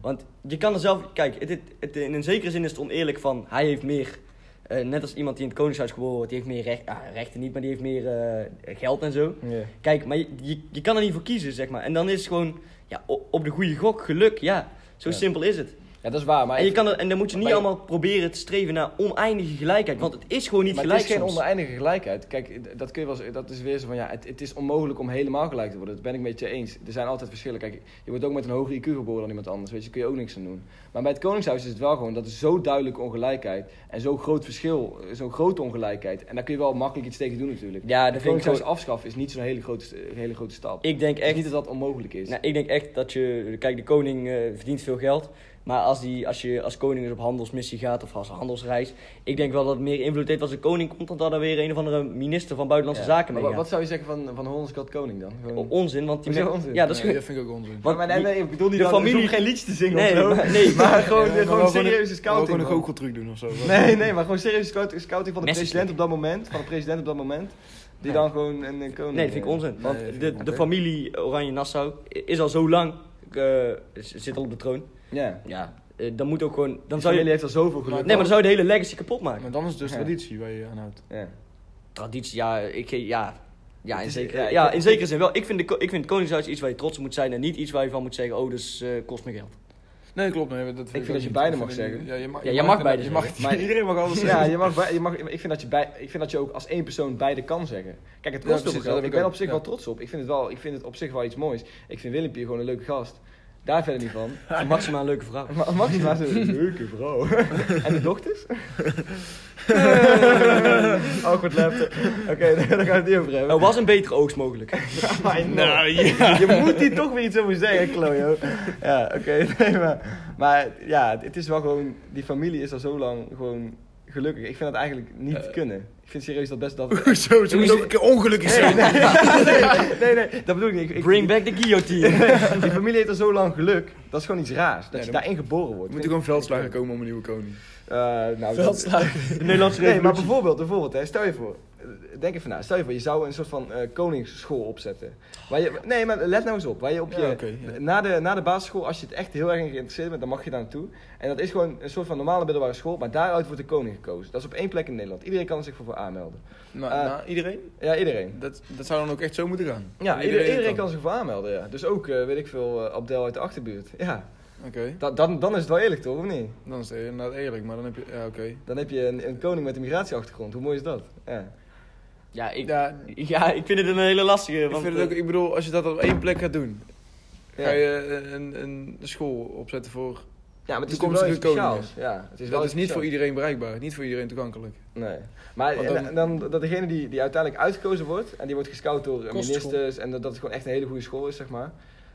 [SPEAKER 5] Want je kan er zelf, kijk, het, het, het- in een zekere zin is het oneerlijk van, hij heeft meer, eh, net als iemand die in het koningshuis geboren wordt, die heeft meer recht, ah, rechten niet, maar die heeft meer eh, geld en zo.
[SPEAKER 2] Ja.
[SPEAKER 5] Kijk, maar je, je, je kan er niet voor kiezen, zeg maar. En dan is het gewoon, ja, o- op de goede gok, geluk, ja. Zo
[SPEAKER 2] Ja.
[SPEAKER 5] simpel is het.
[SPEAKER 2] ja, dat is waar. Maar
[SPEAKER 5] En, je
[SPEAKER 2] ik-
[SPEAKER 5] kan er, en dan moet je niet
[SPEAKER 2] Maar-
[SPEAKER 5] allemaal proberen te streven naar oneindige gelijkheid. Want het is gewoon niet
[SPEAKER 2] maar
[SPEAKER 5] gelijk
[SPEAKER 2] het is geen
[SPEAKER 5] soms.
[SPEAKER 2] oneindige gelijkheid. Kijk, d- dat, kun je wel, z- dat is weer zo van, ja, het, het is onmogelijk om helemaal gelijk te worden. Dat ben ik met je eens. Er zijn altijd verschillen. Kijk, je wordt ook met een hoger IQ geboren dan iemand anders. Weet je, daar kun je ook niks aan doen. Maar bij het Koningshuis is het wel gewoon, dat is zo duidelijk ongelijkheid. En zo'n groot verschil, eh, zo'n grote ongelijkheid. En daar kun je wel makkelijk iets tegen doen natuurlijk.
[SPEAKER 5] Ja, dat
[SPEAKER 2] het
[SPEAKER 5] vind ik
[SPEAKER 2] Koningshuis
[SPEAKER 5] zo.
[SPEAKER 2] afschaffen is niet zo'n hele grote, st- hele grote stap.
[SPEAKER 5] Ik denk
[SPEAKER 2] Het is
[SPEAKER 5] echt,
[SPEAKER 2] niet dat dat onmogelijk is.
[SPEAKER 5] nou, ik denk echt dat je... Kijk, de koning eh, verdient veel geld. Maar als, die, als je als koning dus op handelsmissie gaat of als handelsreis... Ik denk wel dat het meer invloed heeft als een koning komt... dan dat er weer een of andere minister van Buitenlandse
[SPEAKER 2] Ja.
[SPEAKER 5] Zaken mee
[SPEAKER 2] Maar wa- Wat
[SPEAKER 5] gaat.
[SPEAKER 2] zou je zeggen van, van Hollands Got Koning dan? Gewoon...
[SPEAKER 5] O- Onzin, want die...
[SPEAKER 2] Hoezo
[SPEAKER 5] men-
[SPEAKER 2] onzin?
[SPEAKER 5] Ja, dat is
[SPEAKER 6] Nee,
[SPEAKER 5] gewoon...
[SPEAKER 6] dat vind ik ook onzin.
[SPEAKER 5] Want
[SPEAKER 2] Oh, maar nee,
[SPEAKER 5] die-
[SPEAKER 2] nee, ik bedoel niet
[SPEAKER 5] de
[SPEAKER 2] dat- dus
[SPEAKER 5] familie-
[SPEAKER 2] je hoeft geen liedje te zingen
[SPEAKER 5] Nee,
[SPEAKER 2] of zo.
[SPEAKER 5] maar- nee,
[SPEAKER 2] maar gewoon,
[SPEAKER 6] Ja, maar
[SPEAKER 2] gewoon
[SPEAKER 6] wel gewoon een-
[SPEAKER 2] serieuze
[SPEAKER 6] Wou
[SPEAKER 2] scouting.
[SPEAKER 6] gewoon een
[SPEAKER 2] man.
[SPEAKER 6] goocheltruc doen of zo.
[SPEAKER 2] Nee, nee, maar gewoon serieuze scout- scouting van de
[SPEAKER 5] Messi
[SPEAKER 2] president op dat moment. Van de president op dat moment. Die
[SPEAKER 5] Nee.
[SPEAKER 2] dan gewoon een, een koning...
[SPEAKER 5] Nee, dat vind ik onzin. Want
[SPEAKER 6] dat vind ik
[SPEAKER 5] de, de familie Oranje Nassau is al zo lang... eh, z- zit al op de troon.
[SPEAKER 2] Ja.
[SPEAKER 5] Ja, eh, dan moet ook gewoon... Dan
[SPEAKER 2] Dan
[SPEAKER 5] zou je, nee,
[SPEAKER 2] heeft al zoveel geluk.
[SPEAKER 5] maar dan zou je de hele legacy kapot maken.
[SPEAKER 6] Maar dan is het dus
[SPEAKER 2] Ja.
[SPEAKER 6] traditie waar je aan houdt.
[SPEAKER 2] Ja.
[SPEAKER 5] Traditie, ja, ik, ge- ja, ja, in
[SPEAKER 2] is-
[SPEAKER 5] zekere,
[SPEAKER 2] ja, ik-
[SPEAKER 5] ja, in zekere zin wel. Ik vind, de, ko- ik vind het Koningshuis iets waar je trots op moet zijn en niet iets waar je van moet zeggen, oh, dus eh, kost me geld.
[SPEAKER 6] Nee, klopt. Nee, dat vind ik
[SPEAKER 2] vind
[SPEAKER 6] ook
[SPEAKER 2] dat je
[SPEAKER 6] niet.
[SPEAKER 2] beide
[SPEAKER 6] Ik
[SPEAKER 2] mag
[SPEAKER 6] vind
[SPEAKER 2] zeggen.
[SPEAKER 6] niet- Ja, je mag,
[SPEAKER 5] Ja, jij mag beide
[SPEAKER 6] beide je mag,
[SPEAKER 2] zeggen. Maar-
[SPEAKER 6] Iedereen mag alles
[SPEAKER 2] Ja,
[SPEAKER 6] zeggen.
[SPEAKER 2] je mag, bij- je mag, ik, vind dat je bij, ik vind dat je ook als één persoon beide kan zeggen. Kijk, het
[SPEAKER 6] Ja,
[SPEAKER 2] kost
[SPEAKER 6] precies,
[SPEAKER 2] ook
[SPEAKER 6] dat
[SPEAKER 2] geld.
[SPEAKER 6] heb
[SPEAKER 2] Ik
[SPEAKER 6] ik
[SPEAKER 2] ben
[SPEAKER 6] ook.
[SPEAKER 2] op zich
[SPEAKER 6] Ja.
[SPEAKER 2] wel trots op. Ik vind, het wel, ik vind het op zich wel iets moois. Ik vind Willempje gewoon een leuke gast. Daar verder niet van.
[SPEAKER 5] Maximaal een leuke vrouw.
[SPEAKER 2] Maar Maxima is een leuke vrouw. en de dochters? Awkward laughter. Oké, daar gaan we het niet over hebben.
[SPEAKER 5] Er was een betere oogst mogelijk.
[SPEAKER 2] I know. Je moet hier toch weer iets over zeggen, Klojo. Ja, oké. nee, maar, maar ja, het is wel gewoon... Die familie is al zo lang gewoon gelukkig. Ik vind dat eigenlijk niet kunnen. Ik vind vind serieus dat best dat...
[SPEAKER 6] Zo, het moet ook een keer ongelukkig zijn.
[SPEAKER 2] nee, nee, dat bedoel ik niet. Ik- ik-
[SPEAKER 5] Bring back the guillotine.
[SPEAKER 2] Die familie heeft al zo lang geluk. Dat is gewoon iets raars. Dat
[SPEAKER 6] Ja,
[SPEAKER 2] je
[SPEAKER 6] dan-
[SPEAKER 2] daarin geboren wordt.
[SPEAKER 6] Er moet ook een veldslager komen om een nieuwe koning.
[SPEAKER 2] Eh, nou, dat-
[SPEAKER 4] Veldslagen.
[SPEAKER 5] De Nederlandse
[SPEAKER 2] Nee, maar
[SPEAKER 5] revolutie.
[SPEAKER 2] bijvoorbeeld, bijvoorbeeld hè, stel je voor. eh, Denk even na. Stel je voor, je zou een soort van eh, koningsschool opzetten. Waar je, nee, maar let nou eens op. Waar je op je,
[SPEAKER 6] Ja, oké, ja.
[SPEAKER 2] na, de, na de basisschool, als je het echt heel erg in geïnteresseerd bent, dan mag je daar naartoe. En dat is gewoon een soort van normale middelbare school, maar daaruit wordt de koning gekozen. Dat is op één plek in Nederland. Iedereen kan zich voor, voor aanmelden.
[SPEAKER 6] Nou,
[SPEAKER 2] Eh,
[SPEAKER 6] nou, iedereen?
[SPEAKER 2] Ja, iedereen.
[SPEAKER 6] Dat, dat zou dan ook echt zo moeten gaan.
[SPEAKER 2] Ja,
[SPEAKER 6] Dat
[SPEAKER 2] ieder- iedereen, kan zich voor aanmelden, ja. Dus ook, eh, weet ik veel, eh, Abdel uit de Achterbuurt. Ja,
[SPEAKER 6] Oké,
[SPEAKER 2] da- dan, dan is het wel eerlijk toch, of niet?
[SPEAKER 6] dan is het inderdaad eerlijk, maar dan heb je... Ja, oké.
[SPEAKER 2] Dan heb je een, een koning met een migratieachtergrond. Hoe mooi is dat? Ja.
[SPEAKER 5] Ja, ik,
[SPEAKER 6] Ja,
[SPEAKER 5] ja, ik vind het een hele lastige.
[SPEAKER 6] ik,
[SPEAKER 5] Want,
[SPEAKER 6] vind het ook,
[SPEAKER 5] eh,
[SPEAKER 6] ik bedoel, als je dat op één plek gaat doen,
[SPEAKER 2] Ja.
[SPEAKER 6] ga je eh, een, een school opzetten voor...
[SPEAKER 2] Ja, maar het is
[SPEAKER 6] Toekomstige
[SPEAKER 2] natuurlijk wel iets
[SPEAKER 6] koning,
[SPEAKER 2] speciaals. Ja, het is wel
[SPEAKER 6] dat is
[SPEAKER 2] iets
[SPEAKER 6] niet voor
[SPEAKER 2] speciaals.
[SPEAKER 6] iedereen bereikbaar, niet voor iedereen toegankelijk.
[SPEAKER 2] Nee. Maar
[SPEAKER 6] Want
[SPEAKER 2] en dan, dat degene die, die uiteindelijk uitgekozen wordt, en die wordt gescout door eh,
[SPEAKER 4] Kostschool.
[SPEAKER 2] ministers, en dat, dat het gewoon echt een hele goede school is, zeg maar.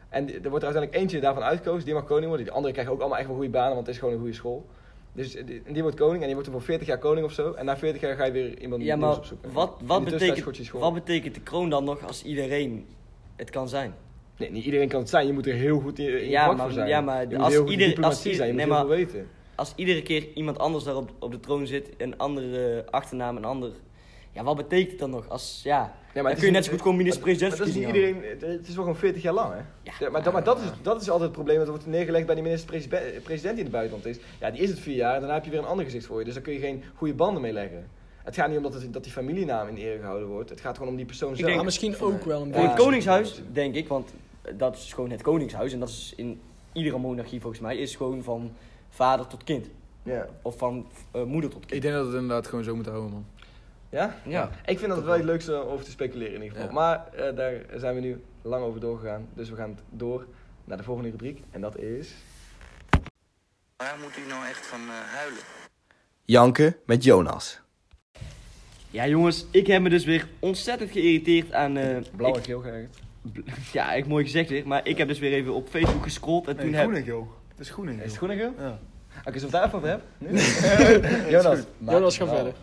[SPEAKER 2] En die- er wordt er uiteindelijk eentje daarvan uitgekozen, die mag koning worden. Die anderen krijgen ook allemaal echt wel goede banen, want het is gewoon een goede school. Dus eh, die, en die wordt koning, en die wordt er voor 40 jaar koning of zo. En na 40 jaar ga je weer iemand
[SPEAKER 5] ja,
[SPEAKER 2] nieuws
[SPEAKER 5] maar
[SPEAKER 2] opzoeken.
[SPEAKER 5] wat,
[SPEAKER 2] In de
[SPEAKER 5] wat,
[SPEAKER 2] tussentijd schort je
[SPEAKER 5] betekent,
[SPEAKER 2] school.
[SPEAKER 5] wat betekent de kroon dan nog als iedereen het kan zijn?
[SPEAKER 2] Nee, niet iedereen kan het zijn. Je moet er heel goed in, in
[SPEAKER 5] Ja,
[SPEAKER 2] ja, vak
[SPEAKER 5] maar-
[SPEAKER 2] voor zijn.
[SPEAKER 5] ja, maar
[SPEAKER 2] je moet
[SPEAKER 5] als
[SPEAKER 2] heel goed in
[SPEAKER 5] ieder- als
[SPEAKER 2] diplomatie
[SPEAKER 5] i-
[SPEAKER 2] zijn, je moet
[SPEAKER 5] nee,
[SPEAKER 2] heel
[SPEAKER 5] maar-
[SPEAKER 2] veel weten.
[SPEAKER 5] Als iedere keer iemand anders daar op, op de troon zit, een andere eh, achternaam, een ander. Ja, wat betekent het dan nog? Als, ja,
[SPEAKER 2] Ja,
[SPEAKER 5] dan
[SPEAKER 2] het is
[SPEAKER 5] kun je
[SPEAKER 2] niet-
[SPEAKER 5] net zo goed gewoon
[SPEAKER 2] Maar dat is niet
[SPEAKER 5] minister-president
[SPEAKER 2] iedereen, het is wel gewoon 40 jaar lang, hè? Ja, maar dat, maar dat, is, dat is altijd het probleem, dat wordt neergelegd bij die minister-president die in het buitenland is. Ja, die is het vier jaar en daarna heb je weer een ander gezicht voor je, dus daar kun je geen goede banden mee leggen. Het gaat niet om dat, het, dat die familienaam in ere gehouden wordt, het gaat gewoon om die persoon zelf.
[SPEAKER 5] denk-
[SPEAKER 4] Maar misschien ook wel een
[SPEAKER 2] Ja.
[SPEAKER 5] Voor
[SPEAKER 4] beetje.
[SPEAKER 5] het koningshuis, denk ik, want dat is gewoon het koningshuis. En dat is in iedere monarchie volgens mij, is gewoon van vader tot kind.
[SPEAKER 2] Ja.
[SPEAKER 5] Of van eh, moeder tot
[SPEAKER 6] Ik
[SPEAKER 5] kind.
[SPEAKER 6] denk dat we het inderdaad gewoon zo moet houden, man.
[SPEAKER 2] Ja?
[SPEAKER 5] Ja.
[SPEAKER 2] Ik vind dat het wel het leukste om over te speculeren in ieder geval.
[SPEAKER 6] Ja.
[SPEAKER 2] Maar eh, daar zijn we nu lang over doorgegaan, dus we gaan het door naar de volgende rubriek en dat is...
[SPEAKER 7] Waar moet u nou echt van eh, huilen?
[SPEAKER 2] Janken met Jonas.
[SPEAKER 5] Ja jongens, ik heb me dus weer ontzettend geïrriteerd aan... eh,
[SPEAKER 2] Blauw en
[SPEAKER 5] ik-
[SPEAKER 2] geel geërgerd.
[SPEAKER 5] ja, echt mooi gezegd weer, maar ik heb dus weer even op Facebook gescrolld. En toen heb...
[SPEAKER 6] joh. Het is groen en
[SPEAKER 2] Is het groen en geel?
[SPEAKER 6] Ja.
[SPEAKER 2] Oké, zullen we het daarover hebben? Nu? Jonas, Nou, maak
[SPEAKER 4] Jonas,
[SPEAKER 2] het verhaal.
[SPEAKER 4] ga verder.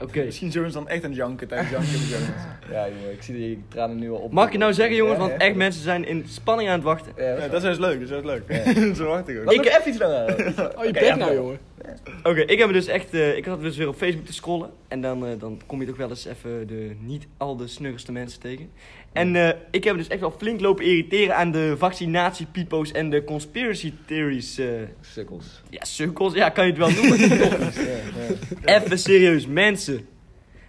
[SPEAKER 5] Oké.
[SPEAKER 6] Misschien zullen ze dan echt aan het janken tijdens janken met Jonas.
[SPEAKER 2] Ja, jongen, ik zie die tranen nu al op.
[SPEAKER 5] Mag ik het nou zeggen jongens,
[SPEAKER 2] Ja,
[SPEAKER 5] want
[SPEAKER 2] hè?
[SPEAKER 5] echt mensen zijn in spanning aan het wachten.
[SPEAKER 2] Ja,
[SPEAKER 6] Ja,
[SPEAKER 2] dat
[SPEAKER 6] dat
[SPEAKER 2] is
[SPEAKER 6] is leuk, dat is juist leuk. Zo wacht ik ook.
[SPEAKER 2] ik
[SPEAKER 5] Ik-
[SPEAKER 2] even iets langer.
[SPEAKER 4] Oh, je
[SPEAKER 2] Oké,
[SPEAKER 4] bek
[SPEAKER 2] ja,
[SPEAKER 4] nou,
[SPEAKER 2] verder.
[SPEAKER 4] jongen.
[SPEAKER 5] Oké, ik heb me dus echt, eh, ik had dus weer op Facebook te scrollen. En dan, eh, dan kom je toch wel eens even de niet al de snuggerste mensen tegen. En eh, ik heb me dus echt wel flink lopen irriteren aan de vaccinatiepipo's en de conspiracy theories. eh.
[SPEAKER 2] Sukkels.
[SPEAKER 5] ja, sukkels, ja, kan je het wel noemen. even serieus, mensen.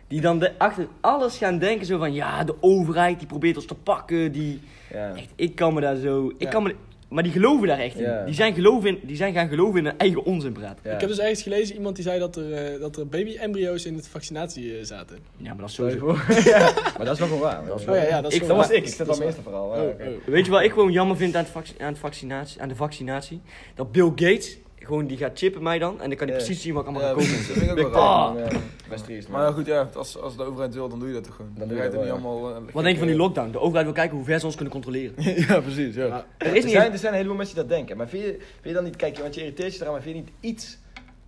[SPEAKER 5] Die dan de, achter alles gaan denken zo van, ja, de overheid die probeert ons te pakken, die...
[SPEAKER 2] Ja.
[SPEAKER 5] Echt, ik kan me daar zo... Ik kan me, maar die geloven daar echt in.
[SPEAKER 2] Ja.
[SPEAKER 5] Die, zijn geloven in. die zijn gaan geloven in hun eigen onzinpraat.
[SPEAKER 2] Ja.
[SPEAKER 4] Ik heb dus ergens gelezen, iemand die zei dat er, eh, dat er baby-embryo's in het vaccinatie eh, zaten.
[SPEAKER 5] Ja, maar dat is
[SPEAKER 2] Sorry
[SPEAKER 5] sowieso...
[SPEAKER 2] voor. ja, maar dat is wel gewoon waar. Dat, is
[SPEAKER 4] Oh
[SPEAKER 2] wel-
[SPEAKER 4] ja, ja dat is
[SPEAKER 5] Ik-
[SPEAKER 4] gewoon-
[SPEAKER 5] dat was
[SPEAKER 2] Ik zit al mijn eerste verhaal. ja,
[SPEAKER 4] Oh,
[SPEAKER 2] oké.
[SPEAKER 4] oh.
[SPEAKER 5] Weet je wat ik gewoon jammer vind aan, het vac- aan, het vaccinatie, aan de vaccinatie? Dat Bill Gates gewoon die gaat chippen mij dan. En dan kan hij
[SPEAKER 2] Ja.
[SPEAKER 5] precies zien wat ik allemaal
[SPEAKER 6] Ja,
[SPEAKER 5] ga kopen.
[SPEAKER 6] precies, dat vind ik ook wel raar.
[SPEAKER 5] Ah.
[SPEAKER 2] Ja, eh, Best triest, man.
[SPEAKER 6] Maar ja, goed, ja, als, als de overheid wil, dan doe je dat toch gewoon.
[SPEAKER 2] Dan
[SPEAKER 6] Dan,
[SPEAKER 2] doe je
[SPEAKER 6] ga je het
[SPEAKER 2] dat
[SPEAKER 6] niet
[SPEAKER 2] wel,
[SPEAKER 6] allemaal... eh,
[SPEAKER 5] Wat denk je van die lockdown? De overheid wil kijken hoe ver ze ons kunnen controleren.
[SPEAKER 6] ja, precies, ja.
[SPEAKER 4] Maar-
[SPEAKER 5] Er is
[SPEAKER 2] er,
[SPEAKER 5] niet
[SPEAKER 2] zijn, er zijn een heleboel mensen die dat denken. Maar vind je, vind je dan niet, kijk, want je irriteert je eraan, maar vind je niet iets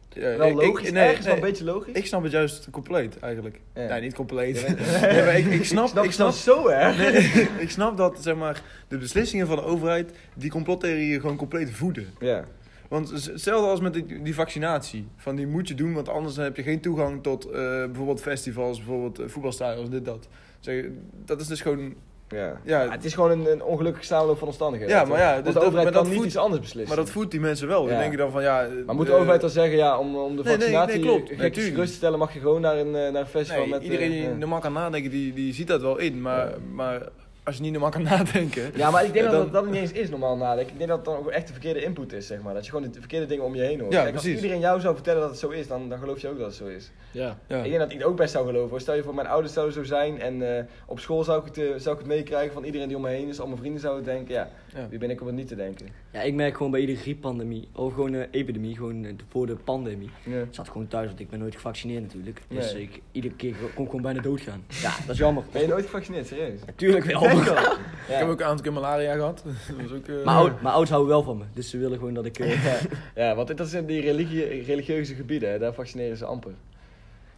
[SPEAKER 6] Ja,
[SPEAKER 2] wel
[SPEAKER 6] ik- ik-
[SPEAKER 2] logisch?
[SPEAKER 6] nee,
[SPEAKER 2] ergens wel een
[SPEAKER 6] nee,
[SPEAKER 2] beetje logisch?
[SPEAKER 6] Ik snap het juist compleet, eigenlijk.
[SPEAKER 2] Ja.
[SPEAKER 6] Nee, niet compleet. Nee, maar ik, ik snap...
[SPEAKER 2] snap
[SPEAKER 6] ik
[SPEAKER 2] het wel
[SPEAKER 6] snap,
[SPEAKER 2] zo, hè?
[SPEAKER 6] nee, ik snap dat, zeg maar, de beslissingen van de overheid die complottheorieën gewoon compleet voeden.
[SPEAKER 2] Ja.
[SPEAKER 6] Want z- hetzelfde als met die, die vaccinatie. Van die moet je doen, want anders heb je geen toegang tot eh, bijvoorbeeld festivals, bijvoorbeeld eh, voetbalstadions, dit, dat. Zeg, dat is dus gewoon...
[SPEAKER 2] ja.
[SPEAKER 6] Ja,
[SPEAKER 2] Maar het is gewoon een, een ongelukkig samenloop van omstandigheden.
[SPEAKER 6] Ja, maar ja,
[SPEAKER 2] Want
[SPEAKER 6] dus
[SPEAKER 2] de
[SPEAKER 6] dat-
[SPEAKER 2] overheid
[SPEAKER 6] maar
[SPEAKER 2] kan
[SPEAKER 6] dat
[SPEAKER 2] niet
[SPEAKER 6] voedt-
[SPEAKER 2] iets anders beslissen.
[SPEAKER 6] maar dat voedt die mensen wel.
[SPEAKER 2] Ja.
[SPEAKER 6] Die denken dan van, ja... eh,
[SPEAKER 2] Maar moet de
[SPEAKER 6] eh,
[SPEAKER 2] overheid dan zeggen, ja, om, om de
[SPEAKER 6] Nee, nee, nee,
[SPEAKER 2] vaccinatie
[SPEAKER 6] klopt.
[SPEAKER 2] gek
[SPEAKER 6] Natuurlijk.
[SPEAKER 2] rust te stellen, mag je gewoon naar een, eh, naar een festival
[SPEAKER 6] Nee,
[SPEAKER 2] met... eh,
[SPEAKER 6] iedereen die
[SPEAKER 2] ja.
[SPEAKER 6] normaal kan nadenken, die, die ziet dat wel in. Maar,
[SPEAKER 2] Ja.
[SPEAKER 6] maar als je niet normaal kan nadenken...
[SPEAKER 2] Ja, maar ik denk
[SPEAKER 6] Ja,
[SPEAKER 2] dat
[SPEAKER 6] dan-
[SPEAKER 2] dat dat niet eens is normaal nadenken. Ik denk dat het dan ook echt de verkeerde input is, zeg maar. Dat je gewoon de verkeerde dingen om je heen hoort.
[SPEAKER 6] Ja,
[SPEAKER 2] Kijk, als
[SPEAKER 6] precies.
[SPEAKER 2] iedereen jou zou vertellen dat het zo is, dan, dan geloof je ook dat het zo is.
[SPEAKER 4] Ja.
[SPEAKER 6] Ja.
[SPEAKER 2] Ik denk dat ik het ook best zou geloven. hoor. Stel je voor, mijn ouders zouden zo zijn en eh, op school zou ik, het, eh, zou ik het meekrijgen van iedereen die om me heen is. Al mijn vrienden zouden het denken, ja,
[SPEAKER 6] Ja.
[SPEAKER 2] wie ben ik om het niet te denken.
[SPEAKER 5] Ja, ik merk gewoon bij iedere grieppandemie. Of gewoon eh, epidemie, gewoon eh, voor de pandemie.
[SPEAKER 2] Ja.
[SPEAKER 5] Ik zat gewoon thuis, want ik ben nooit gevaccineerd natuurlijk. Dus
[SPEAKER 2] Nee.
[SPEAKER 5] ik, iedere keer kon ik gewoon bijna doodgaan. Ja, dat is jammer.
[SPEAKER 2] Ben je nooit gevaccineerd, serieus?
[SPEAKER 5] Natuurlijk wel.
[SPEAKER 2] Denk wel.
[SPEAKER 6] Ik heb
[SPEAKER 2] Ja.
[SPEAKER 6] ook een aantal keer malaria gehad. Dat was ook... eh,
[SPEAKER 5] Mijn, oud, mijn ouders houden wel van me, dus ze willen gewoon dat ik... eh,
[SPEAKER 2] Ja, want dat zijn die religie, religieuze gebieden, hè, daar vaccineren ze amper.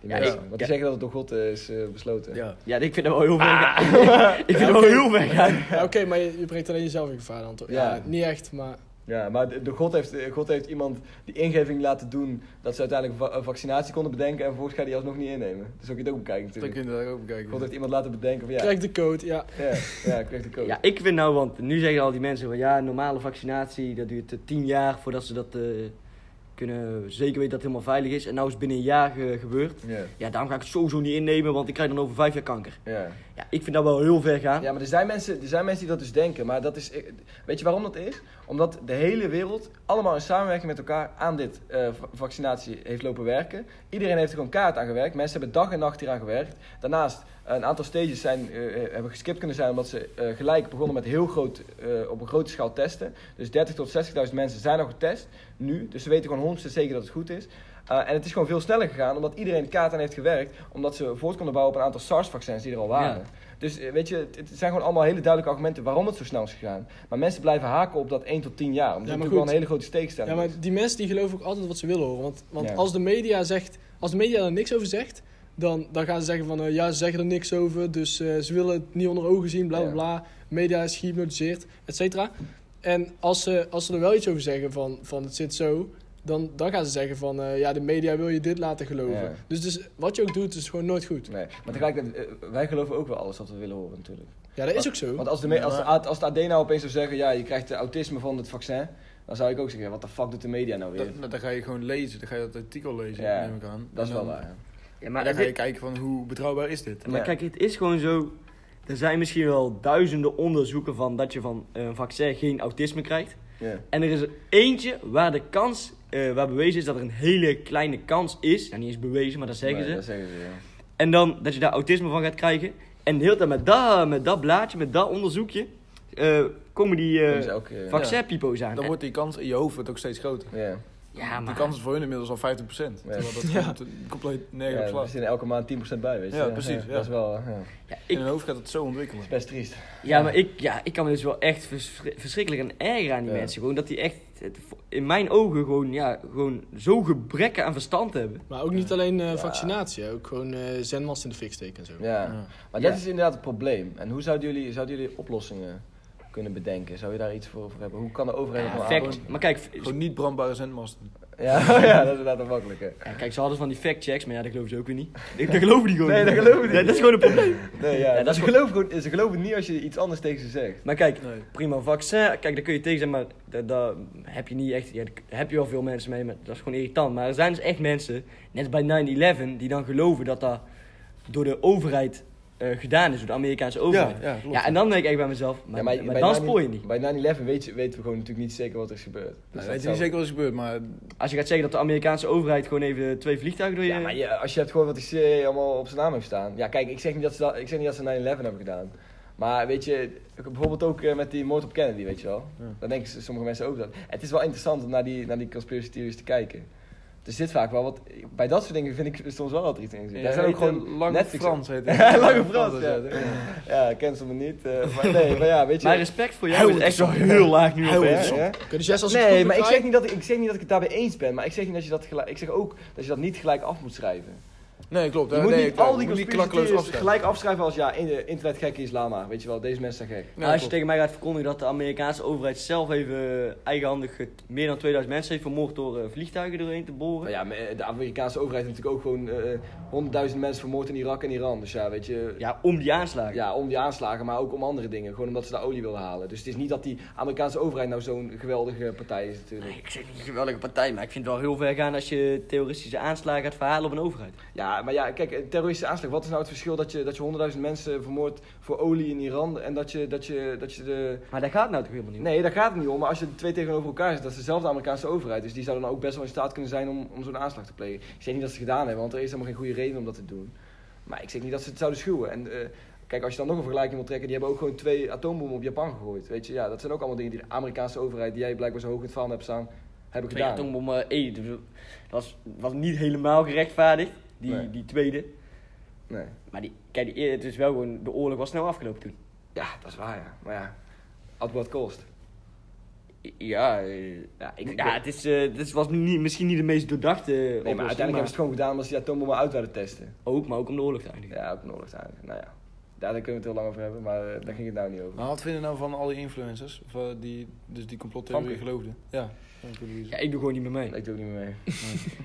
[SPEAKER 2] Die Die mensen. Want die zeggen dat het door God eh, is eh, besloten.
[SPEAKER 3] Ja.
[SPEAKER 5] Ja, ik vind hem wel heel ver gaan. ik vind hem wel heel ver gaan.
[SPEAKER 4] Ja, Oké, maar je, je brengt alleen jezelf in gevaar dan toch? Ja,
[SPEAKER 2] Ja.
[SPEAKER 4] niet echt, maar...
[SPEAKER 2] Ja, maar de, de God, heeft, eh, God heeft iemand die ingeving laten doen dat ze uiteindelijk va- een vaccinatie konden bedenken en vervolgens gaat hij alsnog niet innemen. Dus zo kun je het ook bekijken
[SPEAKER 3] Dat
[SPEAKER 2] natuurlijk.
[SPEAKER 3] kun je daar ook bekijken.
[SPEAKER 2] God heeft iemand laten bedenken van ja,
[SPEAKER 4] Krijg de code, ja.
[SPEAKER 2] ja, ja krijg de code.
[SPEAKER 5] Ja, ik vind nou, want nu zeggen al die mensen van ja, normale vaccinatie, dat duurt eh, tien jaar voordat ze dat eh, kunnen zeker weten dat het helemaal veilig is. En nou is het binnen een jaar ge- gebeurd.
[SPEAKER 2] Ja.
[SPEAKER 5] Ja, daarom ga ik het sowieso niet innemen, want ik krijg dan over vijf jaar kanker.
[SPEAKER 2] Ja.
[SPEAKER 5] Ja, ik vind dat wel heel ver gaan.
[SPEAKER 2] Ja, maar er zijn, mensen, er zijn mensen die dat dus denken. Maar dat is. eh, Weet je waarom dat is? Omdat de hele wereld allemaal in samenwerking met elkaar aan dit eh, va- vaccinatie heeft lopen werken. Iedereen heeft er gewoon kaart aan gewerkt. Mensen hebben dag en nacht hieraan gewerkt. Daarnaast, een aantal stages zijn, eh, hebben geskipt kunnen zijn omdat ze eh, gelijk begonnen met heel groot, eh, op een grote schaal testen. Dus 30.000 tot 60.000 mensen zijn al getest nu. Dus ze weten gewoon 100% zeker dat het goed is. Eh, en het is gewoon veel sneller gegaan omdat iedereen de kaart aan heeft gewerkt. Omdat ze voort konden bouwen op een aantal SARS-vaccins die er al waren.
[SPEAKER 5] Ja.
[SPEAKER 2] Dus eh, weet je, het, het zijn gewoon allemaal hele duidelijke argumenten waarom het zo snel is gegaan. Maar mensen blijven haken op dat 1 tot 10 jaar. Omdat
[SPEAKER 4] Ja,
[SPEAKER 2] ja,
[SPEAKER 4] maar
[SPEAKER 2] natuurlijk
[SPEAKER 4] goed.
[SPEAKER 2] wel een hele grote steekstelling
[SPEAKER 4] Ja,
[SPEAKER 2] is.
[SPEAKER 4] maar die mensen die geloven ook altijd wat ze willen horen. Want, want
[SPEAKER 2] Ja.
[SPEAKER 4] als de media zegt, als de media er niks over zegt, dan, dan gaan ze zeggen van eh, ja, ze zeggen er niks over, dus eh, ze willen het niet onder ogen zien, bla bla
[SPEAKER 2] Ja.
[SPEAKER 4] bla. Media is gehypnotiseerd, et cetera. En als ze, als ze er wel iets over zeggen van, van het zit zo, dan, dan gaan ze zeggen van eh, ja, de media wil je dit laten geloven.
[SPEAKER 2] Ja.
[SPEAKER 4] Dus, dus wat je ook doet, is gewoon nooit goed.
[SPEAKER 2] Nee, maar tegelijkertijd, eh, wij geloven ook wel alles wat we willen horen natuurlijk.
[SPEAKER 4] Ja, dat is ook zo.
[SPEAKER 2] Want als de, me- als, de A- als de AD nou opeens zou zeggen, ja, je krijgt de autisme van het vaccin. Dan zou ik ook zeggen, wat de fuck doet de media nou weer?
[SPEAKER 6] Dat, nou, dan ga je gewoon lezen, dan ga je dat artikel lezen,
[SPEAKER 2] Ja,
[SPEAKER 6] neem ik aan.
[SPEAKER 2] Dat is
[SPEAKER 6] En
[SPEAKER 2] wel
[SPEAKER 6] dan-
[SPEAKER 2] waar. ja.
[SPEAKER 5] Ja,
[SPEAKER 6] en
[SPEAKER 5] maar
[SPEAKER 6] dan
[SPEAKER 5] het-
[SPEAKER 6] ga je kijken van hoe betrouwbaar is dit.
[SPEAKER 5] Maar
[SPEAKER 2] Ja.
[SPEAKER 5] kijk, het is gewoon zo. Er zijn misschien wel duizenden onderzoeken van dat je van eh, een vaccin geen autisme krijgt.
[SPEAKER 2] Ja.
[SPEAKER 5] En er is er eentje waar de kans, eh, waar bewezen is dat er een hele kleine kans is. Nou, niet eens bewezen, maar dat zeggen
[SPEAKER 2] Nee,
[SPEAKER 5] ze.
[SPEAKER 2] Dat zeggen ze, ja.
[SPEAKER 5] En dan dat je daar autisme van gaat krijgen. En de hele tijd met dat, met dat blaadje, met dat onderzoekje, eh, komen die
[SPEAKER 2] Dat is
[SPEAKER 5] eh
[SPEAKER 2] elke, ja.
[SPEAKER 5] vaccinpipo's aan.
[SPEAKER 6] Dan
[SPEAKER 5] En-
[SPEAKER 6] wordt die kans in je hoofd wordt ook steeds groter.
[SPEAKER 2] Ja.
[SPEAKER 5] Ja,
[SPEAKER 6] Die
[SPEAKER 5] maar...
[SPEAKER 6] kans is voor hun inmiddels al 50%. Terwijl dat komt compleet nergens
[SPEAKER 2] Ja,
[SPEAKER 6] op
[SPEAKER 2] er
[SPEAKER 6] slaat.
[SPEAKER 2] zit elke maand 10% bij, weet je.
[SPEAKER 6] Ja, precies, ja.
[SPEAKER 2] Dat is wel, ja.
[SPEAKER 5] Ja, ik,
[SPEAKER 6] In hun hoofd gaat het zo ontwikkelen.
[SPEAKER 2] Dat is best triest.
[SPEAKER 5] ja, maar ik, ja, ik kan me dus wel echt vers- verschrikkelijk aan ergeren aan die
[SPEAKER 2] Ja.
[SPEAKER 5] mensen. Gewoon dat die echt, het- in mijn ogen, gewoon, ja, gewoon zo gebrekken aan verstand hebben.
[SPEAKER 4] Maar ook niet alleen eh, vaccinatie, hè. ook gewoon eh zendmast in de fik steken en zo.
[SPEAKER 2] Ja.
[SPEAKER 6] Ja.
[SPEAKER 2] Maar
[SPEAKER 5] Ja.
[SPEAKER 2] dat is inderdaad het probleem. En hoe zouden jullie, zouden jullie oplossingen kunnen bedenken? Zou je daar iets voor, voor hebben? Hoe kan de overheid
[SPEAKER 5] Ja,
[SPEAKER 2] nog
[SPEAKER 5] fact, maar kijk,
[SPEAKER 6] Gewoon niet brandbare zendmasten.
[SPEAKER 2] Ja, oh ja, dat is inderdaad een makkelijke.
[SPEAKER 5] ja, kijk, ze hadden van die fact-checks, maar ja, dat geloven ze ook weer niet. Dat, dat geloven die gewoon
[SPEAKER 2] Nee,
[SPEAKER 5] niet.
[SPEAKER 2] dat geloven die
[SPEAKER 5] Ja, dat is gewoon een probleem.
[SPEAKER 2] Nee, ja,
[SPEAKER 5] Ja, dat is
[SPEAKER 2] ze,
[SPEAKER 5] goed.
[SPEAKER 2] geloven gewoon, ze geloven niet als je iets anders tegen ze zegt.
[SPEAKER 5] Maar kijk,
[SPEAKER 6] Nee.
[SPEAKER 5] prima vaccin, kijk, daar kun je tegen zijn, maar daar, daar heb je niet echt, ja, daar heb je wel veel mensen mee, maar dat is gewoon irritant. Maar er zijn dus echt mensen, net als bij 9-11, die dan geloven dat dat door de overheid eh, gedaan is, door de Amerikaanse overheid. Ja,
[SPEAKER 6] ja, klopt.
[SPEAKER 5] en dan denk ik echt bij mezelf, maar,
[SPEAKER 2] Ja,
[SPEAKER 5] maar,
[SPEAKER 2] bij
[SPEAKER 5] dan
[SPEAKER 2] 9
[SPEAKER 5] spoor je niet.
[SPEAKER 2] Bij 9-11 weet je- weten we gewoon natuurlijk niet zeker wat er is gebeurd. Dus
[SPEAKER 6] Nou,
[SPEAKER 2] dat
[SPEAKER 6] weet je
[SPEAKER 2] zou-
[SPEAKER 6] niet zeker wat is gebeurd, maar
[SPEAKER 5] Als je gaat zeggen dat de Amerikaanse overheid gewoon even twee vliegtuigen door je...
[SPEAKER 2] Ja, maar je- als je hebt gewoon wat die CIA allemaal op zijn naam heeft staan. Ja, kijk, ik zeg niet dat ze, dat, ik zeg niet dat ze 9-11 hebben gedaan. Maar weet je, bijvoorbeeld ook eh, met die moord op Kennedy, weet je wel. Dan denken ze- sommige mensen ook dat. Het is wel interessant om naar die, naar die conspiracy theories te kijken. Er zit vaak wel wat... Bij dat soort dingen vind ik soms wel wat er iets in. zit. Daar zijn ook gewoon
[SPEAKER 6] lange
[SPEAKER 2] Netflix-
[SPEAKER 6] Frans heet
[SPEAKER 2] Ja, Lange Frans, ja. Ja, ken ze me niet. eh, maar nee, maar ja, weet je...
[SPEAKER 5] Mijn respect voor jou is echt zo heel laag nu
[SPEAKER 2] Ja,
[SPEAKER 5] opeens.
[SPEAKER 2] ja.
[SPEAKER 4] Oké, dus jij als
[SPEAKER 2] Nee, maar ik zeg, niet dat ik, ik zeg niet dat ik het daarbij eens ben, maar ik zeg, niet dat je dat gelijk, ik zeg ook dat je dat niet gelijk af moet schrijven.
[SPEAKER 6] Nee, klopt.
[SPEAKER 2] Je
[SPEAKER 6] hè.
[SPEAKER 2] moet
[SPEAKER 6] Eh, nee,
[SPEAKER 2] niet
[SPEAKER 6] klopt.
[SPEAKER 2] al die
[SPEAKER 6] Je moet niet
[SPEAKER 2] conspiracy
[SPEAKER 6] klakkeloos
[SPEAKER 2] theorieën
[SPEAKER 6] afstaan.
[SPEAKER 2] gelijk afschrijven als ja, in- eh, internetgekken is lama. Weet je wel, deze mensen zijn gek.
[SPEAKER 6] Ja,
[SPEAKER 5] Maar als je
[SPEAKER 6] klopt.
[SPEAKER 5] tegen mij gaat verkondigen dat de Amerikaanse overheid zelf even eh, eigenhandig het- meer dan 2000 mensen heeft vermoord door eh, vliegtuigen doorheen te boren.
[SPEAKER 2] Maar ja, maar, eh, de Amerikaanse overheid heeft natuurlijk ook gewoon eh, honderdduizend mensen vermoord in Irak en Iran. Dus ja, weet je,
[SPEAKER 5] Ja, om die aanslagen.
[SPEAKER 2] ja, om die aanslagen, maar ook om andere dingen. Gewoon omdat ze daar olie wilden halen. Dus het is niet dat die Amerikaanse overheid nou zo'n geweldige partij is natuurlijk.
[SPEAKER 5] Nee, ik zeg niet een geweldige partij, maar ik vind het wel heel ver gaan als je terroristische aanslagen gaat verhalen op een overheid.
[SPEAKER 2] Ja, maar ja, kijk, een terroristische aanslag. Wat is nou het verschil dat je, dat je honderdduizend mensen vermoordt voor olie in Iran en dat je, dat je, dat je de...
[SPEAKER 5] Maar daar gaat het nou toch helemaal niet om?
[SPEAKER 2] Nee, daar gaat het niet om. Maar als je de twee tegenover elkaar zet, dat is dezelfde Amerikaanse overheid. Dus die zou dan ook best wel in staat kunnen zijn om, om zo'n aanslag te plegen. Ik zeg niet dat ze het gedaan hebben, want er is helemaal geen goede reden om dat te doen. Maar ik zeg niet dat ze het zouden schuwen. En eh, kijk, als je dan nog een vergelijking wil trekken, die hebben ook gewoon twee atoombommen op Japan gegooid. Weet je, ja, dat zijn ook allemaal dingen die de Amerikaanse overheid, die jij blijkbaar zo hoog in het vaandel hebt staan, hebben
[SPEAKER 5] Twee
[SPEAKER 2] gedaan.
[SPEAKER 5] atoombommen, eh, dat was, was niet helemaal gerechtvaardigd, die,
[SPEAKER 2] Nee.
[SPEAKER 5] die tweede.
[SPEAKER 2] Nee.
[SPEAKER 5] Maar die, kijk, die, eer- het is wel gewoon, de oorlog was snel afgelopen toen.
[SPEAKER 2] Ja, dat is waar, ja. Maar ja, at what cost?
[SPEAKER 5] Ja, eh, ja, ik,
[SPEAKER 2] Ik-
[SPEAKER 5] ja het is, eh, dit was niet, misschien niet de meest doordachte nee,
[SPEAKER 2] Nee, maar uiteindelijk hebben ze het gewoon gedaan omdat ze die atoombom maar uit wilden testen.
[SPEAKER 5] ook, maar ook om de oorlog te eindigen.
[SPEAKER 2] Ja, ook nodig eigenlijk. Nou ja, daar daar kunnen we het heel lang over hebben, maar eh, daar ging het nou niet over.
[SPEAKER 6] Maar wat vind je nou van al die influencers? Of, eh, die, dus die complottheorie
[SPEAKER 2] Famke.
[SPEAKER 6] geloofden? Ja. Famke Louise.
[SPEAKER 5] Ja, ik doe gewoon niet meer mee.
[SPEAKER 2] Ik doe ook niet meer mee.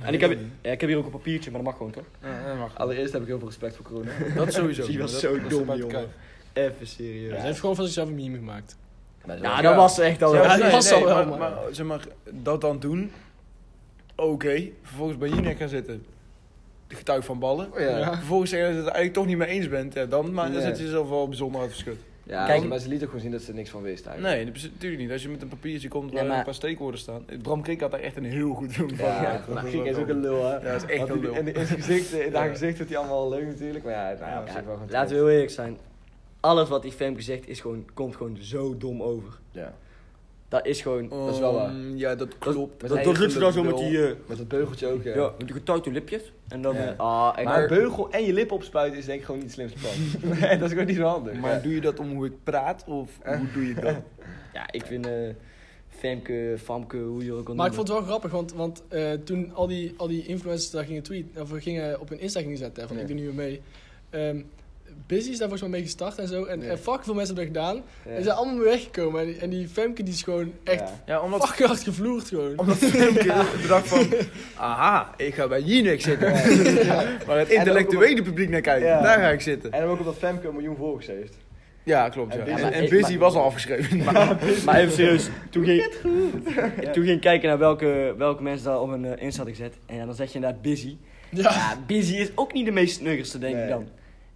[SPEAKER 5] En ik heb, ja, ik heb hier ook een papiertje, maar dat mag gewoon toch?
[SPEAKER 6] Ja, dat mag.
[SPEAKER 2] Allereerst heb ik heel veel respect voor corona.
[SPEAKER 6] Dat sowieso.
[SPEAKER 5] Die was
[SPEAKER 6] Maar
[SPEAKER 5] zo
[SPEAKER 6] dat- dat
[SPEAKER 5] dom,
[SPEAKER 6] staat buiten
[SPEAKER 5] jongen.
[SPEAKER 6] kijf.
[SPEAKER 5] Even serieus.
[SPEAKER 4] Ze
[SPEAKER 5] Ja,
[SPEAKER 4] heeft gewoon van zichzelf een meme gemaakt.
[SPEAKER 2] Ja,
[SPEAKER 5] dat was echt al.
[SPEAKER 6] Ja,
[SPEAKER 4] dat
[SPEAKER 6] nee,
[SPEAKER 4] was
[SPEAKER 6] nee,
[SPEAKER 4] al wel,
[SPEAKER 6] maar,
[SPEAKER 4] maar-
[SPEAKER 6] maar, zeg maar, dat dan doen. Oké, vervolgens bij Jinek gaan zitten. De getuig van ballen.
[SPEAKER 2] Oh, Ja. Ja.
[SPEAKER 6] Vervolgens zeggen dat je het eigenlijk toch niet mee eens bent. Ja, dan, maar dan
[SPEAKER 2] Nee.
[SPEAKER 6] zet je jezelf wel bijzonder uit verschut.
[SPEAKER 2] Kijk, maar ze lieten ook gewoon zien dat ze er niks van wist eigenlijk.
[SPEAKER 6] Nee, natuurlijk niet. Als je met een papiertje komt waar
[SPEAKER 5] Nee, maar-
[SPEAKER 6] een paar steekwoorden staan. Bram Krik had daar echt een heel goed doen van.
[SPEAKER 2] Ja,
[SPEAKER 6] dat
[SPEAKER 2] maar
[SPEAKER 6] was
[SPEAKER 2] Griek
[SPEAKER 6] wel
[SPEAKER 2] is ook
[SPEAKER 6] dom.
[SPEAKER 2] een lul, hè?
[SPEAKER 6] Ja, dat is echt
[SPEAKER 2] Want
[SPEAKER 6] een
[SPEAKER 2] die-
[SPEAKER 6] lul.
[SPEAKER 2] En in zijn gezicht, in haar gezicht wordt hij allemaal leuk natuurlijk, maar ja, nou ja, op zich wel goed.
[SPEAKER 5] laten we heel eerlijk zijn. Alles wat die Femke zegt is gewoon, komt gewoon zo dom over.
[SPEAKER 2] Ja.
[SPEAKER 5] Dat is gewoon...
[SPEAKER 2] dat is wel
[SPEAKER 5] Oh,
[SPEAKER 2] waar.
[SPEAKER 6] Ehm, Ja, dat klopt.
[SPEAKER 5] dat dat doet ze dan zo met die... eh,
[SPEAKER 2] Met dat beugeltje ook, hè.
[SPEAKER 5] ja, met die getuigde lipjes. En dan...
[SPEAKER 2] Ja.
[SPEAKER 5] eh, Ah, echt.
[SPEAKER 2] Maar een beugel en je lip opspuiten is denk ik gewoon niet het slimste plan. Nee, dat is gewoon niet zo handig.
[SPEAKER 6] Maar
[SPEAKER 2] Ja.
[SPEAKER 6] doe je dat om hoe ik praat of hoe doe je dat?
[SPEAKER 5] Ja, ik vind eh, Femke, Famke, hoe je ook al
[SPEAKER 4] Maar ik
[SPEAKER 5] noemt.
[SPEAKER 4] vond het wel grappig, want, want eh, toen al die, al die influencers daar gingen tweet, of gingen op hun Insta gingen zetten, hè, van
[SPEAKER 2] Ja.
[SPEAKER 4] ik doe niet meer mee. Ehm, Busy is daar volgens mij mee gestart en zo. En,
[SPEAKER 2] Ja.
[SPEAKER 4] en fuck veel mensen hebben dat gedaan.
[SPEAKER 2] Ja.
[SPEAKER 4] En ze zijn allemaal weer weggekomen. En, die- en die Femke die is gewoon echt
[SPEAKER 2] Ja.
[SPEAKER 6] Ja, omdat
[SPEAKER 4] fucking hard gevloerd gewoon.
[SPEAKER 6] Omdat Femke bedacht van, aha, ik ga bij Jinek zitten. Waar het intellectuele publiek naar kijkt,
[SPEAKER 2] Ja.
[SPEAKER 6] daar ga ik zitten.
[SPEAKER 2] En dan ook omdat Femke een miljoen volgers heeft.
[SPEAKER 6] Ja, klopt. Ja.
[SPEAKER 2] En
[SPEAKER 6] En,
[SPEAKER 2] Busy-
[SPEAKER 6] en Busy was al afgeschreven.
[SPEAKER 5] Maar even serieus, toen ging, toen ging ik kijken naar welke, welke mensen daar op hun eh, Insta hadden gezet. En ja, dan zeg je inderdaad Busy.
[SPEAKER 4] Ja.
[SPEAKER 5] Ja, Busy is ook niet de meest snuggerste, denk
[SPEAKER 2] Nee.
[SPEAKER 5] ik dan.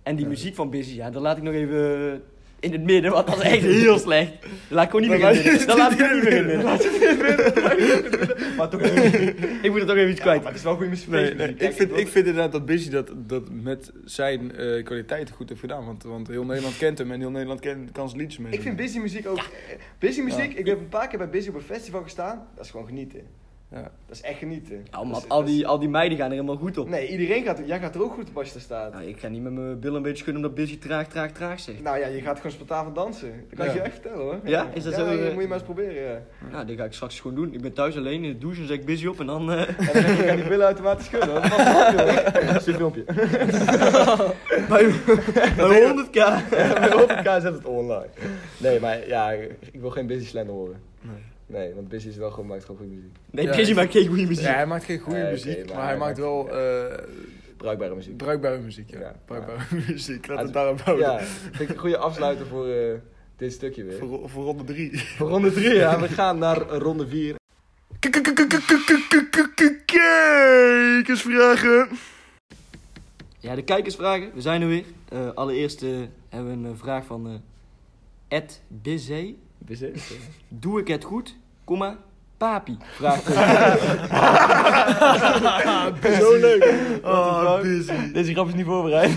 [SPEAKER 5] En die muziek van Busy, ja, dat laat ik nog even eh, in het midden, want dat is echt heel slecht. Dat laat ik gewoon niet meer in het midden. Dat laat ik gewoon niet meer in het midden. Laat ik het in het midden. Maar toch, ik moet er toch even iets kwijt.
[SPEAKER 2] Het is wel goed goede
[SPEAKER 6] Nee, nee, ik, vind, ik vind inderdaad dat Busy dat, dat met zijn eh, kwaliteiten goed heeft gedaan. Want, want heel Nederland kent hem en heel Nederland kent, kan zijn liedjes mee.
[SPEAKER 2] Ik vind busy muziek ook. eh, Busy muziek, ik heb een paar keer bij busy op een festival gestaan. Dat is gewoon genieten.
[SPEAKER 6] Ja.
[SPEAKER 2] Dat is echt genieten.
[SPEAKER 5] Ja, man,
[SPEAKER 2] Dat is-
[SPEAKER 5] al
[SPEAKER 2] dat is-
[SPEAKER 5] die, al die meiden gaan er helemaal goed op.
[SPEAKER 2] Nee, iedereen gaat. Jij gaat er ook goed op als je daar staat.
[SPEAKER 5] Nou, ik ga niet met mijn billen een beetje schudden omdat Busy traag, traag, traag zegt.
[SPEAKER 2] Nou ja, je gaat gewoon spontaan van dansen. Dat kan ik
[SPEAKER 6] Ja.
[SPEAKER 2] je echt vertellen hoor.
[SPEAKER 5] Ja? Is dat
[SPEAKER 2] ja,
[SPEAKER 5] zo,
[SPEAKER 2] dat
[SPEAKER 5] eh,
[SPEAKER 2] moet je maar eens proberen. Ja.
[SPEAKER 5] Nou, dit ga ik straks gewoon doen. Ik ben thuis alleen in de douche en zeg ik busy op en dan... eh,
[SPEAKER 2] En dan kan je die billen automatisch schudden. hoor. Dat was een filmpje, hoor. Zo'n filmpje.
[SPEAKER 5] bij bij 100k.
[SPEAKER 2] Bij elkaar zet het online. Nee, maar ja, ik wil geen busy slender horen.
[SPEAKER 6] Nee.
[SPEAKER 2] Nee, want busy is wel gewoon maakt gewoon goede muziek.
[SPEAKER 5] Nee,
[SPEAKER 6] Ja.
[SPEAKER 5] busy maakt geen goede muziek.
[SPEAKER 6] Ja, hij maakt geen goede
[SPEAKER 2] Nee, oké,
[SPEAKER 6] muziek,
[SPEAKER 2] maar
[SPEAKER 6] maar
[SPEAKER 2] hij
[SPEAKER 6] hij maakt wel eh,
[SPEAKER 2] Bruikbare muziek.
[SPEAKER 6] bruikbare muziek. Ja.
[SPEAKER 2] Ja.
[SPEAKER 6] Bruikbare muziek, Dus laat
[SPEAKER 2] Ja,
[SPEAKER 6] het daarop houden.
[SPEAKER 2] Ja, vind ik een goede afsluiter voor eh, dit stukje weer.
[SPEAKER 6] Voor, voor ronde drie.
[SPEAKER 2] Voor ronde 3, ja. We gaan naar ronde 4.
[SPEAKER 6] Kijkersvragen.
[SPEAKER 5] Ja, de kijkersvragen. We zijn er weer. Eh, allereerst eh, hebben we een eh, vraag van eh Ed Bizet. Doe ik het goed, comma, papi? Vraagteken.
[SPEAKER 2] Zo leuk.
[SPEAKER 6] Ah, busy.
[SPEAKER 2] Deze grap is niet voorbereid.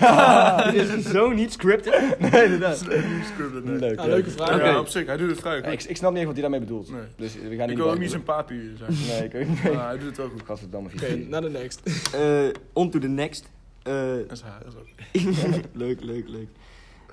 [SPEAKER 5] Dit is zo niet scripted.
[SPEAKER 2] Nee, inderdaad.
[SPEAKER 6] Scribbelen, nee.
[SPEAKER 2] Leuk.
[SPEAKER 4] Ja, Ah, leuke vraag.
[SPEAKER 5] Oké.
[SPEAKER 6] Ja, op zich, hij doet het vrij goed.
[SPEAKER 2] Ja, ik, ik snap niet echt wat hij daarmee bedoelt.
[SPEAKER 6] Nee.
[SPEAKER 2] Dus we gaan
[SPEAKER 6] ik
[SPEAKER 2] niet
[SPEAKER 6] wil ook
[SPEAKER 2] bij-
[SPEAKER 6] niet zijn papi zijn,
[SPEAKER 2] Nee, ik ook niet.
[SPEAKER 6] maar hij doet het wel goed.
[SPEAKER 2] Gadverdamme
[SPEAKER 4] Oké, naar de next.
[SPEAKER 5] Eh on to the next. Eh,
[SPEAKER 6] Dat is haar, dat is ook.
[SPEAKER 5] leuk, leuk, leuk.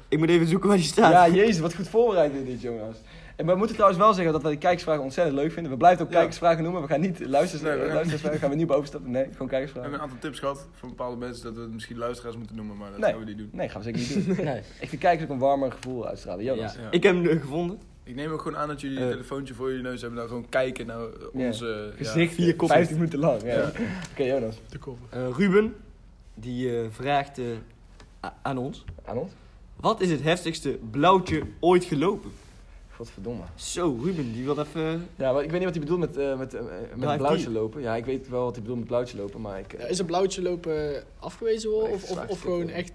[SPEAKER 5] Ik moet even zoeken waar die staat.
[SPEAKER 2] Ja, jezus, wat goed voorbereid dit, dit, Jonas. En we moeten trouwens wel zeggen dat wij de kijkersvragen ontzettend leuk vinden. We blijven ook
[SPEAKER 6] Ja.
[SPEAKER 2] kijkersvragen noemen. We gaan niet luisteraars,
[SPEAKER 6] Nee, we gaan-
[SPEAKER 2] luistersvragen. Gaan we niet bovenstappen? Nee, gewoon
[SPEAKER 6] We hebben
[SPEAKER 2] kijkersvragen.
[SPEAKER 6] een aantal tips gehad van bepaalde mensen dat we het misschien luisteraars moeten noemen, maar dat
[SPEAKER 2] Nee.
[SPEAKER 6] gaan we niet doen.
[SPEAKER 2] Nee, gaan we zeker niet doen.
[SPEAKER 5] Nee.
[SPEAKER 2] Ik vind kijkers ook een warmer gevoel uitstralen. Jonas.
[SPEAKER 5] Ja.
[SPEAKER 6] Ja.
[SPEAKER 5] Ik heb hem eh, gevonden.
[SPEAKER 6] Ik neem ook gewoon aan dat jullie een
[SPEAKER 5] Eh.
[SPEAKER 6] telefoontje voor jullie neus hebben en dan gewoon kijken naar eh,
[SPEAKER 2] Ja.
[SPEAKER 6] onze... ja.
[SPEAKER 5] Gezicht eh, vier koppen.
[SPEAKER 2] 50 minuten lang. Ja.
[SPEAKER 6] Ja.
[SPEAKER 2] Oké, Jonas.
[SPEAKER 4] De cover.
[SPEAKER 5] Eh, Ruben, die eh, vraagt eh, a- aan ons.
[SPEAKER 2] Aan ons?
[SPEAKER 5] Wat is het heftigste blauwtje ooit gelopen?
[SPEAKER 2] Godverdomme.
[SPEAKER 5] Zo, Ruben, die wil even... eh,
[SPEAKER 2] Ja, maar ik weet niet wat hij bedoelt met, eh met, eh, met
[SPEAKER 5] Drive
[SPEAKER 2] blauwtje
[SPEAKER 5] team.
[SPEAKER 2] lopen. Ja, ik weet wel wat hij bedoelt met blauwtje lopen, maar ik... eh,
[SPEAKER 4] Ja, is een blauwtje lopen afgewezen worden?
[SPEAKER 2] Echt
[SPEAKER 4] Of, of,
[SPEAKER 2] zwaar
[SPEAKER 4] of gewoon
[SPEAKER 2] stikken.
[SPEAKER 4] echt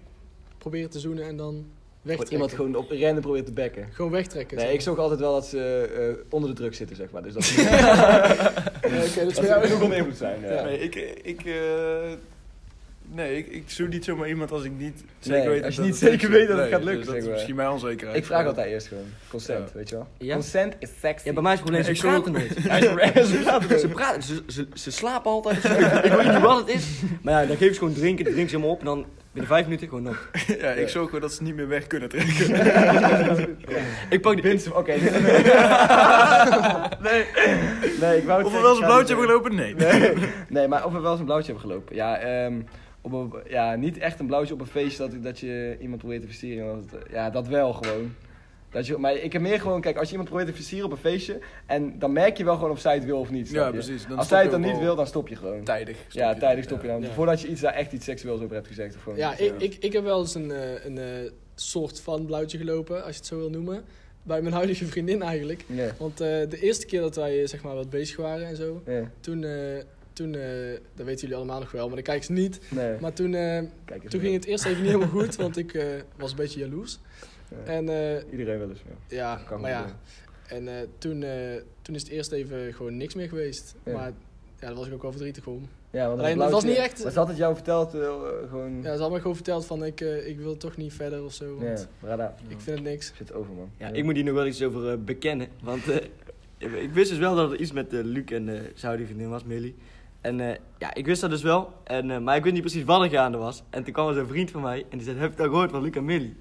[SPEAKER 4] proberen te zoenen en dan
[SPEAKER 2] Wordt
[SPEAKER 4] wegtrekken?
[SPEAKER 2] iemand gewoon op rennen probeert te bekken.
[SPEAKER 4] Gewoon wegtrekken.
[SPEAKER 2] Nee,
[SPEAKER 4] zeg
[SPEAKER 2] ik
[SPEAKER 4] maar.
[SPEAKER 2] zorg altijd wel dat ze eh, onder de druk zitten, zeg maar. Dus dat
[SPEAKER 4] Ja, Oké, dat is
[SPEAKER 2] dat
[SPEAKER 4] voor
[SPEAKER 2] zou
[SPEAKER 4] jou
[SPEAKER 2] ook onder invloed zijn. Ja.
[SPEAKER 6] Nee, ik... ik eh, Nee, ik, ik zoek niet zomaar iemand als ik niet zeker
[SPEAKER 2] Nee,
[SPEAKER 6] weet
[SPEAKER 2] als je
[SPEAKER 6] dat
[SPEAKER 2] niet
[SPEAKER 6] het
[SPEAKER 2] zeker
[SPEAKER 6] lukt.
[SPEAKER 2] weet dat het
[SPEAKER 6] Nee,
[SPEAKER 2] gaat lukken,
[SPEAKER 6] dus dat
[SPEAKER 2] zeg
[SPEAKER 6] is
[SPEAKER 2] maar.
[SPEAKER 6] misschien mijn onzekerheid.
[SPEAKER 2] Ik vraag altijd eerst gewoon. Consent,
[SPEAKER 6] Ja.
[SPEAKER 2] weet je wel?
[SPEAKER 5] Ja?
[SPEAKER 2] Consent is sexy.
[SPEAKER 5] Ja, bij mij is het probleem, ze
[SPEAKER 6] Ik zou
[SPEAKER 5] praten nooit. Ze praten- Ze praten, ze, ze, ze slapen altijd. Ik weet niet wat het is. Maar ja, dan geef ze gewoon drinken, drinken ze helemaal op. En dan Binnen vijf minuten gewoon nog.
[SPEAKER 6] Ja, ik zorg gewoon dat ze niet meer weg kunnen trekken.
[SPEAKER 5] Ik pak die...
[SPEAKER 2] Winsum, oké.
[SPEAKER 6] Nee.
[SPEAKER 2] nee, ik wou het
[SPEAKER 6] Of we
[SPEAKER 2] zeggen,
[SPEAKER 6] wel eens
[SPEAKER 2] ik ga het
[SPEAKER 6] een blauwtje hebben
[SPEAKER 2] niet
[SPEAKER 6] gelopen? Nee.
[SPEAKER 2] Nee, nee, maar of we wel eens een blauwtje hebben gelopen. Ja, ehm, op een, ja niet echt een blauwtje op een feestje dat, dat je iemand probeert te versieren. want het- eh, ja, dat wel gewoon. Dat je, maar ik heb meer gewoon, kijk, als je iemand probeert te versieren op een feestje, en dan merk je wel gewoon of zij het wil of niet. snap
[SPEAKER 6] Ja,
[SPEAKER 2] je?
[SPEAKER 6] precies. Dan
[SPEAKER 2] als zij
[SPEAKER 6] stop je
[SPEAKER 2] het dan
[SPEAKER 6] ook
[SPEAKER 2] niet
[SPEAKER 6] wel
[SPEAKER 2] wil, dan stop je gewoon.
[SPEAKER 6] Tijdig. stop
[SPEAKER 2] ja,
[SPEAKER 6] je.
[SPEAKER 2] tijdig stop je dan.
[SPEAKER 4] Ja.
[SPEAKER 2] Voordat je iets daar echt iets seksueels over hebt gezegd. Of gewoon, Dus,
[SPEAKER 4] Ja, ik, ik, ik heb wel eens een, eh, een eh, soort van blauwtje gelopen, als je het zo wil noemen. Bij mijn huidige vriendin eigenlijk.
[SPEAKER 2] Ja,
[SPEAKER 4] Want eh, de eerste keer dat wij eh, zeg maar wat bezig waren en zo,
[SPEAKER 2] ja,
[SPEAKER 4] toen, eh, toen eh, dat weten jullie allemaal nog wel, maar de kijkers niet.
[SPEAKER 2] nee.
[SPEAKER 4] Maar toen, eh,
[SPEAKER 2] Kijk eens mee.
[SPEAKER 4] toen ging het eerst even niet helemaal goed, want ik eh, was een beetje jaloers.
[SPEAKER 2] Ja.
[SPEAKER 4] En eh,
[SPEAKER 2] Iedereen wel eens. Ja.
[SPEAKER 4] ja,
[SPEAKER 2] Kan
[SPEAKER 4] maar ja.
[SPEAKER 2] gebeuren.
[SPEAKER 4] En eh, toen, eh, toen is het eerst even gewoon niks meer geweest.
[SPEAKER 2] Ja.
[SPEAKER 4] Maar ja, daar was ik ook wel verdrietig om.
[SPEAKER 2] Ja, want
[SPEAKER 4] Alleen,
[SPEAKER 2] een
[SPEAKER 4] dat was
[SPEAKER 2] blauwtje-
[SPEAKER 4] niet echt-
[SPEAKER 2] Maar ze had het jou verteld, eh, gewoon...
[SPEAKER 4] Ja, ze had me gewoon verteld van ik, eh, ik wil toch niet verder of zo, want
[SPEAKER 2] ja, Brada,
[SPEAKER 4] ik vind het niks.
[SPEAKER 2] zit over, man.
[SPEAKER 5] Ja, ik moet hier nog wel iets over eh, bekennen. Want eh, ik- ik wist dus wel dat het iets met eh, Luc en eh zou die vriendin was, Millie. En eh, ja, ik wist dat dus wel. En, eh, maar ik wist niet precies wat er gaande was. En toen kwam er zo'n vriend van mij en die zei, heb je het al gehoord van Luc en Millie?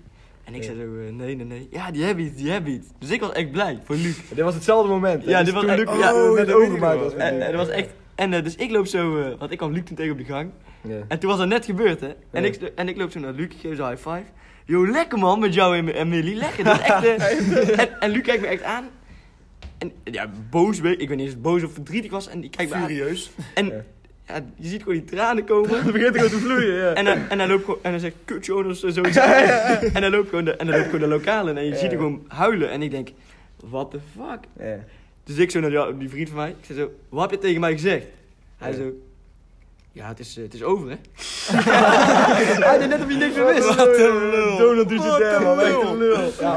[SPEAKER 5] En ik
[SPEAKER 2] Ja.
[SPEAKER 5] zei zo, eh, nee, nee, nee. Ja, die hebben iets, die hebben iets. Dus ik was echt blij voor Luc.
[SPEAKER 2] Dit was hetzelfde moment. hè?
[SPEAKER 5] Ja,
[SPEAKER 2] Dus
[SPEAKER 5] dit was
[SPEAKER 2] toen
[SPEAKER 5] echt-
[SPEAKER 2] Luc
[SPEAKER 5] ja,
[SPEAKER 2] oh,
[SPEAKER 5] dat
[SPEAKER 2] net
[SPEAKER 5] weet ik
[SPEAKER 2] overgemaakt
[SPEAKER 6] nog
[SPEAKER 2] was.
[SPEAKER 6] wel.
[SPEAKER 2] met
[SPEAKER 5] En,
[SPEAKER 2] Luc.
[SPEAKER 5] en dat was echt... En eh, dus ik loop zo, eh, want ik kwam Luc toen tegen op de gang.
[SPEAKER 2] Ja.
[SPEAKER 5] En toen was dat net gebeurd, hè? En,
[SPEAKER 2] Ja.
[SPEAKER 5] ik, en ik loop zo naar Luc, ik geef ze een high five. Yo, lekker man, met jou en, en Millie, lekker. Dat is echt, eh, en, en Luc kijkt me echt aan. En ja, boos, weet ik, ik weet niet eens boos of verdrietig was. En die kijkt me aan.
[SPEAKER 6] Furieus.
[SPEAKER 5] En
[SPEAKER 2] Ja.
[SPEAKER 5] ja, je ziet gewoon die tranen komen. Dan begint gewoon te vloeien, En hij, en hij loopt gewoon, en hij zegt, kut Jonas, en zoiets. En hij loopt gewoon de, en hij loopt gewoon de lokalen en je
[SPEAKER 2] Ja.
[SPEAKER 5] ziet hem gewoon huilen. En ik denk, what the fuck?
[SPEAKER 2] Ja.
[SPEAKER 5] Dus ik zo naar die, die vriend van mij, ik zei zo, wat heb je tegen mij gezegd? Hij
[SPEAKER 2] Ja.
[SPEAKER 5] zo, ja, het is, eh, het is over, hè?
[SPEAKER 2] Hij deed net of hij niks meer wist.
[SPEAKER 5] Wat een lul.
[SPEAKER 2] Donald doet het daar, man. Echt een lul. Ja,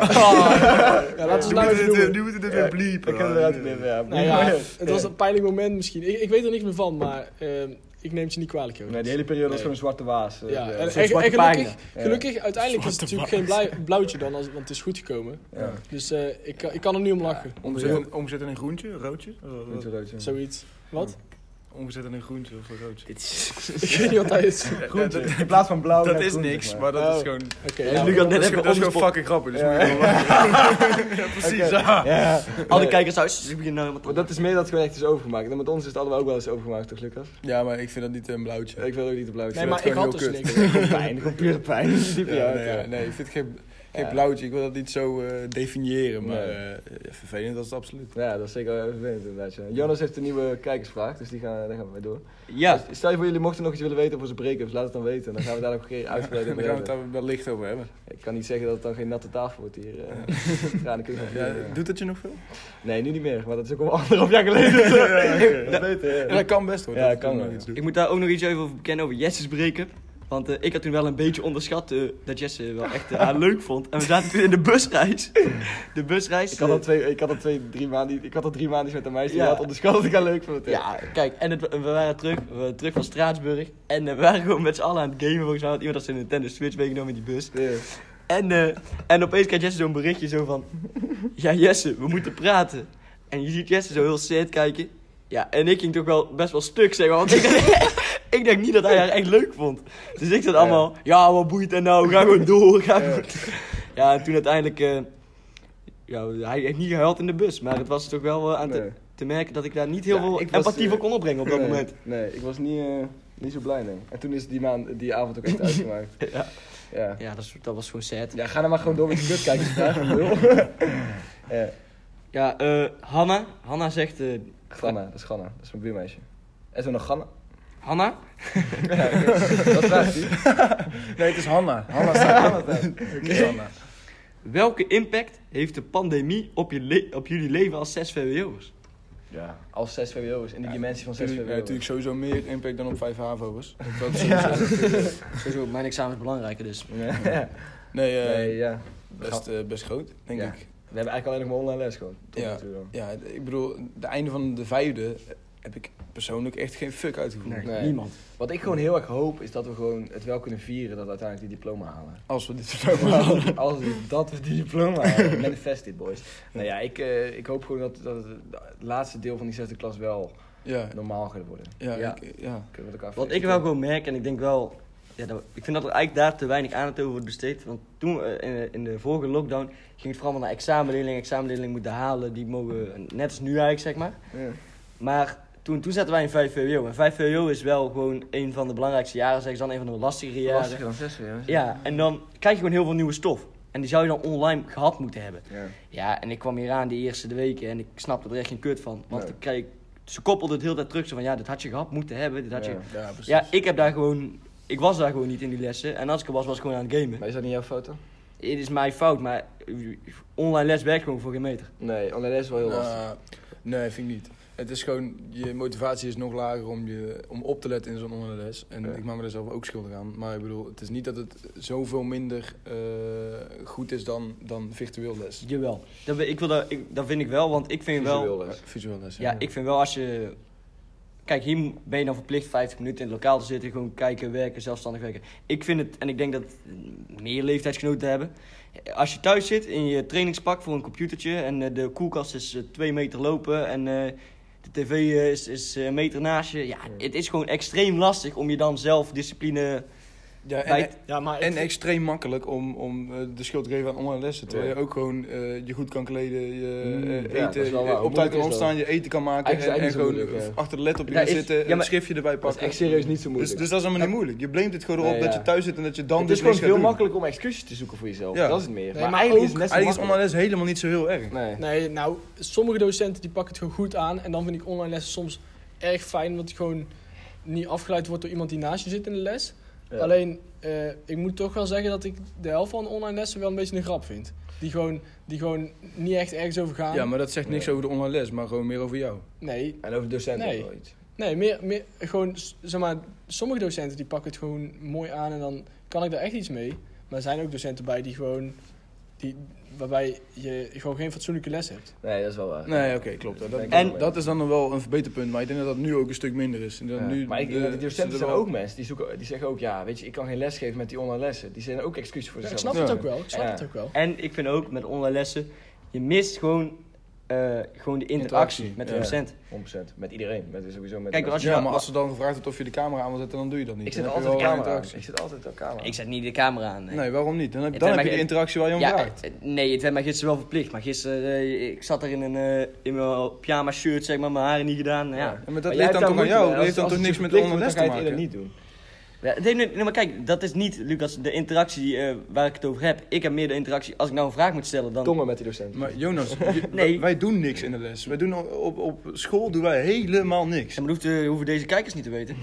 [SPEAKER 2] ja laten we het nou even noemen.
[SPEAKER 6] Nu moeten dit
[SPEAKER 2] Ja,
[SPEAKER 6] weer bliepen.
[SPEAKER 2] Ik kan het eruit knippen, ja.
[SPEAKER 4] Nou ja, het was een pijnlijk moment misschien. Ik, ik weet er niks meer van, maar ehm, ik neem het je niet kwalijk, joh.
[SPEAKER 2] Nee, die hele periode was
[SPEAKER 4] Nee.
[SPEAKER 2] gewoon een zwarte waas. eh,
[SPEAKER 4] Ja,
[SPEAKER 2] eh,
[SPEAKER 4] en,
[SPEAKER 2] een
[SPEAKER 4] en-
[SPEAKER 2] zwarte
[SPEAKER 4] en gelukkig,
[SPEAKER 2] pagina. Ja.
[SPEAKER 4] gelukkig uiteindelijk is het natuurlijk geen blauw- blauwtje dan, als, want het is goed gekomen.
[SPEAKER 2] Ja.
[SPEAKER 4] Dus eh, ik, kan- ik kan er nu om lachen,
[SPEAKER 6] Omgezet in- Omgezet in een groentje, roodje? Oh, Wat-
[SPEAKER 2] Niet zo
[SPEAKER 6] wat-
[SPEAKER 2] rood, ja.
[SPEAKER 4] zoiets. Wat?
[SPEAKER 6] Omgezet in een groentje of een roodje?
[SPEAKER 4] ik weet niet wat hij is. Oké,
[SPEAKER 6] Groentje.
[SPEAKER 2] In plaats van blauw.
[SPEAKER 6] Dat
[SPEAKER 2] net
[SPEAKER 6] is
[SPEAKER 2] groen,
[SPEAKER 6] niks,
[SPEAKER 2] zeg
[SPEAKER 6] maar dat is
[SPEAKER 4] Oh.
[SPEAKER 6] gewoon...
[SPEAKER 4] ja,
[SPEAKER 5] Luc had net
[SPEAKER 6] Dat is
[SPEAKER 5] even
[SPEAKER 6] gewoon- dat is gewoon
[SPEAKER 5] omgespot.
[SPEAKER 6] fucking grappig, dus
[SPEAKER 2] Ja.
[SPEAKER 6] moet je wel lachen. Ja, precies. ja.
[SPEAKER 2] Ja.
[SPEAKER 5] Alle kijkers thuis, ik begin nou helemaal
[SPEAKER 2] Maar dat is meer dat het gewoon echt is overgemaakt. En met ons is het allemaal ook wel eens overgemaakt, toch, Lucas?
[SPEAKER 6] Ja, maar ik vind dat niet een blauwtje.
[SPEAKER 2] Ik wil ook niet te blauw.
[SPEAKER 4] Nee, maar ik
[SPEAKER 2] vind dat
[SPEAKER 4] had
[SPEAKER 2] gewoon
[SPEAKER 4] dus
[SPEAKER 2] heel
[SPEAKER 4] niks.
[SPEAKER 2] kut. Pijn, gewoon pure pijn. Diep in je
[SPEAKER 6] Ja,
[SPEAKER 2] hart,
[SPEAKER 6] nee, ja,
[SPEAKER 2] ja.
[SPEAKER 6] nee, ik vind het geen, geen
[SPEAKER 2] Ja.
[SPEAKER 6] blauwtje. Ik wil dat niet zo eh, definiëren, maar
[SPEAKER 2] Nee.
[SPEAKER 6] eh, ja, vervelend dat is het absoluut.
[SPEAKER 2] Ja, dat is zeker wel even vervelend inderdaad. ja. Jonas heeft een nieuwe kijkersvraag, dus die gaan, daar gaan we mee door.
[SPEAKER 5] Ja,
[SPEAKER 2] Stel je voor jullie mochten nog iets willen weten over onze break-ups, laat het dan weten. Dan gaan we daar nog een keer uitgebreid
[SPEAKER 6] Daar
[SPEAKER 2] over
[SPEAKER 6] gaan we het
[SPEAKER 2] hebben.
[SPEAKER 6] daar wellicht over hebben.
[SPEAKER 2] Ik kan niet zeggen dat het dan geen natte tafel wordt hier. eh. Ja, dan kun je nog
[SPEAKER 6] Ja,
[SPEAKER 2] vieren.
[SPEAKER 6] Doet dat je nog veel?
[SPEAKER 2] Nee, nu niet meer, maar dat is ook al anderhalf jaar geleden. dus, eh, dat weten,
[SPEAKER 6] Ja,
[SPEAKER 2] ja.
[SPEAKER 6] dat kan best hoor.
[SPEAKER 2] Ja,
[SPEAKER 6] dat
[SPEAKER 2] kan
[SPEAKER 6] nog
[SPEAKER 2] wel,
[SPEAKER 6] iets
[SPEAKER 5] ik
[SPEAKER 6] doen.
[SPEAKER 5] moet daar ook nog iets even over bekennen over Jesse's break-up. Want eh, ik had toen wel een beetje onderschat eh, dat Jesse wel echt eh, haar leuk vond. En we zaten toen in de busreis. De busreis.
[SPEAKER 2] Ik had
[SPEAKER 5] eh,
[SPEAKER 2] al twee, ik had al twee, drie maanden, ik had al drie maanden met een meisje die
[SPEAKER 5] Ja.
[SPEAKER 2] had onderschat dat ik haar leuk vond.
[SPEAKER 5] Eh, Ja, kijk, en het, we waren terug, we waren terug van Straatsburg. En eh, we waren gewoon met z'n allen aan het gamen. Volgens mij had iemand als een Nintendo Switch meegenomen in die bus.
[SPEAKER 2] Ja.
[SPEAKER 5] En, eh, en opeens krijgt Jesse zo'n berichtje zo van... Ja, Jesse, we moeten praten. En je ziet Jesse zo heel sad kijken. Ja, en ik ging toch wel best wel stuk, zeg maar. Want ik dacht, ik dacht niet dat hij haar echt leuk vond. Dus ik zat allemaal... Ja, wat boeit dat nou? Ga gewoon door. Ga gewoon... Ja, en toen uiteindelijk... eh, ja, hij heeft niet gehuild in de bus. Maar het was toch wel eh, aan te,
[SPEAKER 2] Nee.
[SPEAKER 5] te merken dat ik daar niet heel
[SPEAKER 2] Ja,
[SPEAKER 5] veel
[SPEAKER 2] ik was,
[SPEAKER 5] empathie
[SPEAKER 2] eh,
[SPEAKER 5] voor kon opbrengen op dat
[SPEAKER 2] nee,
[SPEAKER 5] moment.
[SPEAKER 2] Nee, ik was niet, eh, niet zo blij, nee. En toen is die, maand, die avond ook echt uitgemaakt.
[SPEAKER 5] Ja.
[SPEAKER 2] Ja.
[SPEAKER 5] Ja, dat, is- dat was gewoon sad.
[SPEAKER 2] Ja, ga dan maar gewoon door met je kut kijken. ja,
[SPEAKER 5] Ja, eh, Hanna. Hanna zegt... eh,
[SPEAKER 2] Ganna, dat is Ganna. Dat is mijn buurmeisje. En zo nog Ganna?
[SPEAKER 5] Hanna?
[SPEAKER 2] Dat vraagt hij.
[SPEAKER 6] Nee, het is Hanna. Hanna staat Het is Hanna.
[SPEAKER 5] Welke impact heeft de pandemie op, je le- op jullie leven als 6 VWO'ers?
[SPEAKER 2] Ja. Als 6 VWO'ers, in de
[SPEAKER 6] Ja,
[SPEAKER 2] dimensie van 6
[SPEAKER 6] Natuurlijk, ja, natuurlijk
[SPEAKER 2] VWO'ers.
[SPEAKER 6] sowieso meer impact dan op vijf havo's.
[SPEAKER 5] Sowieso, mijn examen is belangrijker dus.
[SPEAKER 2] Ja.
[SPEAKER 6] Nee, eh,
[SPEAKER 2] Nee, ja.
[SPEAKER 6] best, eh, best groot, denk
[SPEAKER 2] Ja.
[SPEAKER 6] ik.
[SPEAKER 2] We hebben eigenlijk alleen nog maar online les gewoon. Tot
[SPEAKER 6] Ja.
[SPEAKER 2] nu toe dan.
[SPEAKER 6] Ja, ik bedoel, de einde van de vijfde heb ik persoonlijk echt geen fuck uitgevoerd.
[SPEAKER 5] Nee,
[SPEAKER 2] Nee.
[SPEAKER 5] niemand.
[SPEAKER 2] Wat ik gewoon heel erg hoop is dat we gewoon het wel kunnen vieren dat we uiteindelijk die diploma halen.
[SPEAKER 6] Als we dit verlopen
[SPEAKER 2] Maar als dat we die diploma halen, manifest dit boys. Nou ja, ik, eh, ik hoop gewoon dat, dat het laatste deel van die zesde klas wel
[SPEAKER 6] Ja,
[SPEAKER 2] normaal gaat worden.
[SPEAKER 6] ja,
[SPEAKER 2] ja.
[SPEAKER 6] Ik, ja.
[SPEAKER 2] Kunnen we het elkaar
[SPEAKER 5] Wat ik wel gewoon merk, en ik denk wel ja, dat- ik vind dat er eigenlijk daar te weinig aandacht over wordt besteed. Want toen, we, eh, in, de- in de vorige lockdown, ging het vooral maar naar examenleerlingen. Examenleerlingen moeten halen, die mogen, net als nu eigenlijk, zeg maar.
[SPEAKER 8] Ja.
[SPEAKER 5] Maar toen, toen zaten wij in 5 VWO. En 5 VWO is wel gewoon een van de belangrijkste jaren, zeg ze dan, een van de lastigere jaren.
[SPEAKER 2] Lastiger dan zes weer. hè?
[SPEAKER 5] Ja, en dan krijg je gewoon heel veel nieuwe stof. En die zou je dan online gehad moeten hebben.
[SPEAKER 8] Ja.
[SPEAKER 5] Ja, en ik kwam hier aan die eerste de weken en ik snapte er echt geen kut van. Want
[SPEAKER 8] Nee.
[SPEAKER 5] ik kreeg, ze koppelden het heel tijd terug. Zo van, ja, dit had je gehad moeten hebben. Dit had je...
[SPEAKER 8] Ja.
[SPEAKER 4] Ja, precies.
[SPEAKER 5] ja, ik heb daar gewoon... Ik was daar gewoon niet in die lessen. En als ik er was, was ik gewoon aan het gamen.
[SPEAKER 2] Maar is dat niet jouw foto?
[SPEAKER 5] Het is mijn fout, maar online les werkt gewoon voor geen meter.
[SPEAKER 2] Nee, online les is wel heel lastig.
[SPEAKER 6] Nou, nee, vind ik niet. Het is gewoon, je motivatie is nog lager om, je, om op te letten in zo'n onderles. En
[SPEAKER 2] Ja.
[SPEAKER 6] ik maak me daar zelf ook schuldig aan. Maar ik bedoel, het is niet dat het zoveel minder eh, goed is dan, dan virtueel les.
[SPEAKER 5] Jawel. Dat, ben- ik wil dat, ik, dat vind ik wel, want ik vind wel...
[SPEAKER 2] Visueel les.
[SPEAKER 6] Eh, Visueel les,
[SPEAKER 5] Ja, ik vind wel als je... Kijk, hier ben je dan verplicht 50 minuten in het lokaal te zitten. Gewoon kijken, werken, zelfstandig werken. Ik vind het, en ik denk dat meer leeftijdsgenoten hebben. Als je thuis zit in je trainingspak voor een computertje... en eh, de koelkast is eh, twee meter lopen en eh, de tv is, is eh, een meter naast je... Ja, het is gewoon extreem lastig om je dan zelf discipline...
[SPEAKER 6] Ja,
[SPEAKER 5] bij-
[SPEAKER 6] en,
[SPEAKER 4] Ja, maar ik
[SPEAKER 6] en
[SPEAKER 4] vind-
[SPEAKER 6] extreem makkelijk om, om eh, de schuld te geven aan online lessen. Terwijl je ook gewoon eh, je goed kan kleden, je eh,
[SPEAKER 2] Mm, ja, dat
[SPEAKER 6] eten,
[SPEAKER 2] is wel
[SPEAKER 6] je
[SPEAKER 2] waar. Hoe
[SPEAKER 6] op tijd
[SPEAKER 2] moeilijk
[SPEAKER 6] kan
[SPEAKER 2] is dat?
[SPEAKER 6] opstaan, je eten kan maken.
[SPEAKER 2] Eigenlijk
[SPEAKER 6] en
[SPEAKER 2] is
[SPEAKER 6] en
[SPEAKER 2] het eigenlijk niet
[SPEAKER 6] gewoon
[SPEAKER 2] zo moeilijk,
[SPEAKER 6] achter de laptop in
[SPEAKER 5] Daar
[SPEAKER 6] gaan
[SPEAKER 5] is-
[SPEAKER 6] zitten,
[SPEAKER 5] ja,
[SPEAKER 6] een
[SPEAKER 5] maar-
[SPEAKER 6] schriftje erbij
[SPEAKER 2] Dat is
[SPEAKER 6] pakken.
[SPEAKER 2] echt serieus niet zo
[SPEAKER 6] Dus,
[SPEAKER 2] moeilijk.
[SPEAKER 6] dus dat is allemaal niet moeilijk. Je blamed het gewoon erop
[SPEAKER 2] Nee,
[SPEAKER 6] dat
[SPEAKER 2] ja.
[SPEAKER 6] je thuis zit en dat je dan
[SPEAKER 2] het
[SPEAKER 6] dus
[SPEAKER 2] is gewoon
[SPEAKER 6] niks gaat
[SPEAKER 2] veel
[SPEAKER 6] doen.
[SPEAKER 2] makkelijker om excuses te zoeken voor jezelf.
[SPEAKER 6] Ja.
[SPEAKER 2] Dat is het meer.
[SPEAKER 4] Nee,
[SPEAKER 2] maar,
[SPEAKER 4] maar
[SPEAKER 2] eigenlijk is
[SPEAKER 4] ook-
[SPEAKER 2] het net zo
[SPEAKER 6] Eigenlijk is
[SPEAKER 2] makkelijk.
[SPEAKER 6] online les helemaal niet zo heel erg.
[SPEAKER 2] Nee.
[SPEAKER 4] Nee, nou, sommige docenten die pakken het gewoon goed aan. En dan vind ik online lessen soms erg fijn, want ik gewoon niet afgeleid wordt door iemand die naast je zit in de les. Alleen, eh, ik moet toch wel zeggen dat ik de helft van online lessen wel een beetje een grap vind. Die gewoon, die gewoon niet echt ergens over gaan.
[SPEAKER 6] Ja, maar dat zegt niks over de online les, maar gewoon meer over jou.
[SPEAKER 4] Nee,
[SPEAKER 2] En over docenten
[SPEAKER 4] Nee.
[SPEAKER 2] ook wel iets.
[SPEAKER 4] nee meer, meer, gewoon, s- zeg maar, sommige docenten die pakken het gewoon mooi aan en dan kan ik daar echt iets mee. Maar er zijn ook docenten bij die gewoon, die, waarbij je gewoon geen fatsoenlijke les hebt.
[SPEAKER 2] Nee, dat is wel waar.
[SPEAKER 6] Nee, oké, klopt. Dat,
[SPEAKER 2] Ben ik
[SPEAKER 5] En-
[SPEAKER 2] wel mee.
[SPEAKER 6] dat is dan nog wel een verbeterpunt, maar ik denk dat dat nu ook een stuk minder is. En dat
[SPEAKER 2] Ja.
[SPEAKER 6] nu
[SPEAKER 2] maar ik,
[SPEAKER 6] de-
[SPEAKER 2] denk dat die docenten
[SPEAKER 6] ze er
[SPEAKER 2] zijn
[SPEAKER 6] wel-
[SPEAKER 2] ook mensen. Die, zoeken, die zeggen ook, ja, weet je, ik kan geen les geven met die online lessen. Die zijn ook excuses voor
[SPEAKER 4] Ja, ik
[SPEAKER 2] zichzelf.
[SPEAKER 4] snap het ook wel, ik snap
[SPEAKER 2] Ja.
[SPEAKER 4] het ook wel.
[SPEAKER 5] En ik vind ook met online lessen... je mist gewoon, eh, gewoon de interactie,
[SPEAKER 6] Interactie,
[SPEAKER 5] met de
[SPEAKER 6] ja.
[SPEAKER 5] docent.
[SPEAKER 2] 100%. Met iedereen. Met, sowieso met
[SPEAKER 5] Kijk, als je
[SPEAKER 6] Ja,
[SPEAKER 5] dat-
[SPEAKER 6] maar als ze dan gevraagd wordt of je de camera aan wil zetten, dan doe je dat niet.
[SPEAKER 2] Ik zet
[SPEAKER 6] Dan heb je
[SPEAKER 2] altijd de
[SPEAKER 6] wel
[SPEAKER 2] camera aan.
[SPEAKER 6] interactie.
[SPEAKER 2] Ik zet altijd de camera aan.
[SPEAKER 5] Ik zet niet de camera aan. nee.
[SPEAKER 6] Nee, waarom niet? Dan heb,
[SPEAKER 5] Het
[SPEAKER 6] dan
[SPEAKER 5] zijn
[SPEAKER 6] heb je
[SPEAKER 5] maar-
[SPEAKER 6] de interactie waar je om
[SPEAKER 5] Ja,
[SPEAKER 6] vraagt.
[SPEAKER 5] eh, nee, het werd mij gisteren wel verplicht. Maar gisteren, eh, ik zat er in, een, eh, in mijn pyjama shirt, zeg maar, mijn haren niet gedaan. nou Ja.
[SPEAKER 6] Ja, maar dat
[SPEAKER 2] jij
[SPEAKER 6] ligt
[SPEAKER 2] hebt daar
[SPEAKER 6] dan toch aan
[SPEAKER 2] moeite
[SPEAKER 6] jou?
[SPEAKER 2] mee.
[SPEAKER 6] Dat
[SPEAKER 2] Als-
[SPEAKER 6] heeft dan
[SPEAKER 2] als
[SPEAKER 6] toch
[SPEAKER 2] het
[SPEAKER 6] niks
[SPEAKER 2] je
[SPEAKER 6] met
[SPEAKER 2] verplicht
[SPEAKER 6] online
[SPEAKER 2] wordt,
[SPEAKER 6] les te
[SPEAKER 2] dan ga je het
[SPEAKER 6] maken?
[SPEAKER 2] eerder niet doen.
[SPEAKER 5] Ja, nee, nee, nee, maar kijk, dat is niet, Lucas, de interactie eh, waar ik het over heb. Ik heb meer de interactie, als ik nou een vraag moet stellen, dan...
[SPEAKER 2] Kom maar met die docenten.
[SPEAKER 6] Maar Jonas, je-
[SPEAKER 5] Nee.
[SPEAKER 6] wij doen niks in de les. Wij doen op, op, op school doen wij helemaal niks.
[SPEAKER 5] En dat eh, hoeven, hoeven deze kijkers niet te weten.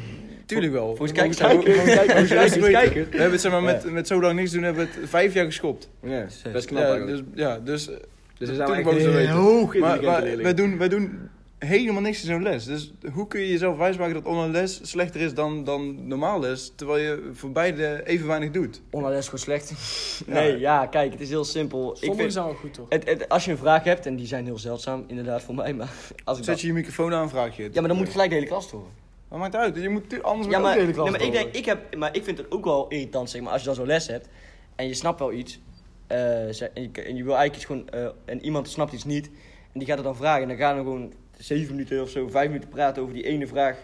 [SPEAKER 6] Tuurlijk wel.
[SPEAKER 5] Voor eens
[SPEAKER 6] We
[SPEAKER 5] kijken.
[SPEAKER 6] mogen- we mogen kijken hoe ze
[SPEAKER 2] Kijkers,
[SPEAKER 6] dat weten.
[SPEAKER 2] kijkers.
[SPEAKER 6] We hebben het zeg maar, met, met zo lang niks doen, hebben we het vijf jaar geschopt.
[SPEAKER 2] eh, Ja, best knap
[SPEAKER 6] Ja,
[SPEAKER 2] eigenlijk.
[SPEAKER 6] dus, ja, dus eh,
[SPEAKER 2] Dus we zijn eigenlijk
[SPEAKER 6] Natuurlijk mogen ze
[SPEAKER 2] heel
[SPEAKER 6] weten.
[SPEAKER 2] hoog
[SPEAKER 6] Maar,
[SPEAKER 2] intelligente
[SPEAKER 6] maar
[SPEAKER 2] leerlingen.
[SPEAKER 6] wij, doen, wij doen helemaal niks in zo'n les. Dus hoe kun je jezelf wijsmaken dat online les slechter is dan, dan normaal les, terwijl je voor beide even weinig doet?
[SPEAKER 5] Online is gewoon slecht. Nee, ja, kijk, het is heel simpel. Ik
[SPEAKER 4] Sommigen
[SPEAKER 5] vind,
[SPEAKER 4] zijn wel goed toch?
[SPEAKER 5] het, het- als je een vraag hebt, en die zijn heel zeldzaam, inderdaad, voor mij, maar... Als ik
[SPEAKER 6] Zet
[SPEAKER 5] dat-
[SPEAKER 6] je je microfoon aan, vraag je het.
[SPEAKER 5] Ja, maar dan moet gelijk de hele klas horen.
[SPEAKER 6] Maar maakt uit, je moet tu- anders
[SPEAKER 5] Ja,
[SPEAKER 6] moet
[SPEAKER 5] maar,
[SPEAKER 6] je ook
[SPEAKER 5] nee,
[SPEAKER 6] de hele
[SPEAKER 5] maar
[SPEAKER 6] klas
[SPEAKER 5] ik, denk, ik, heb, maar ik vind het ook wel irritant, zeg maar, als je dan zo'n les hebt en je snapt wel iets. eh, ze- en, je, en je wil eigenlijk iets gewoon, eh, en iemand snapt iets niet en die gaat het dan vragen. En dan gaan we gewoon zeven minuten of zo, vijf minuten praten over die ene vraag.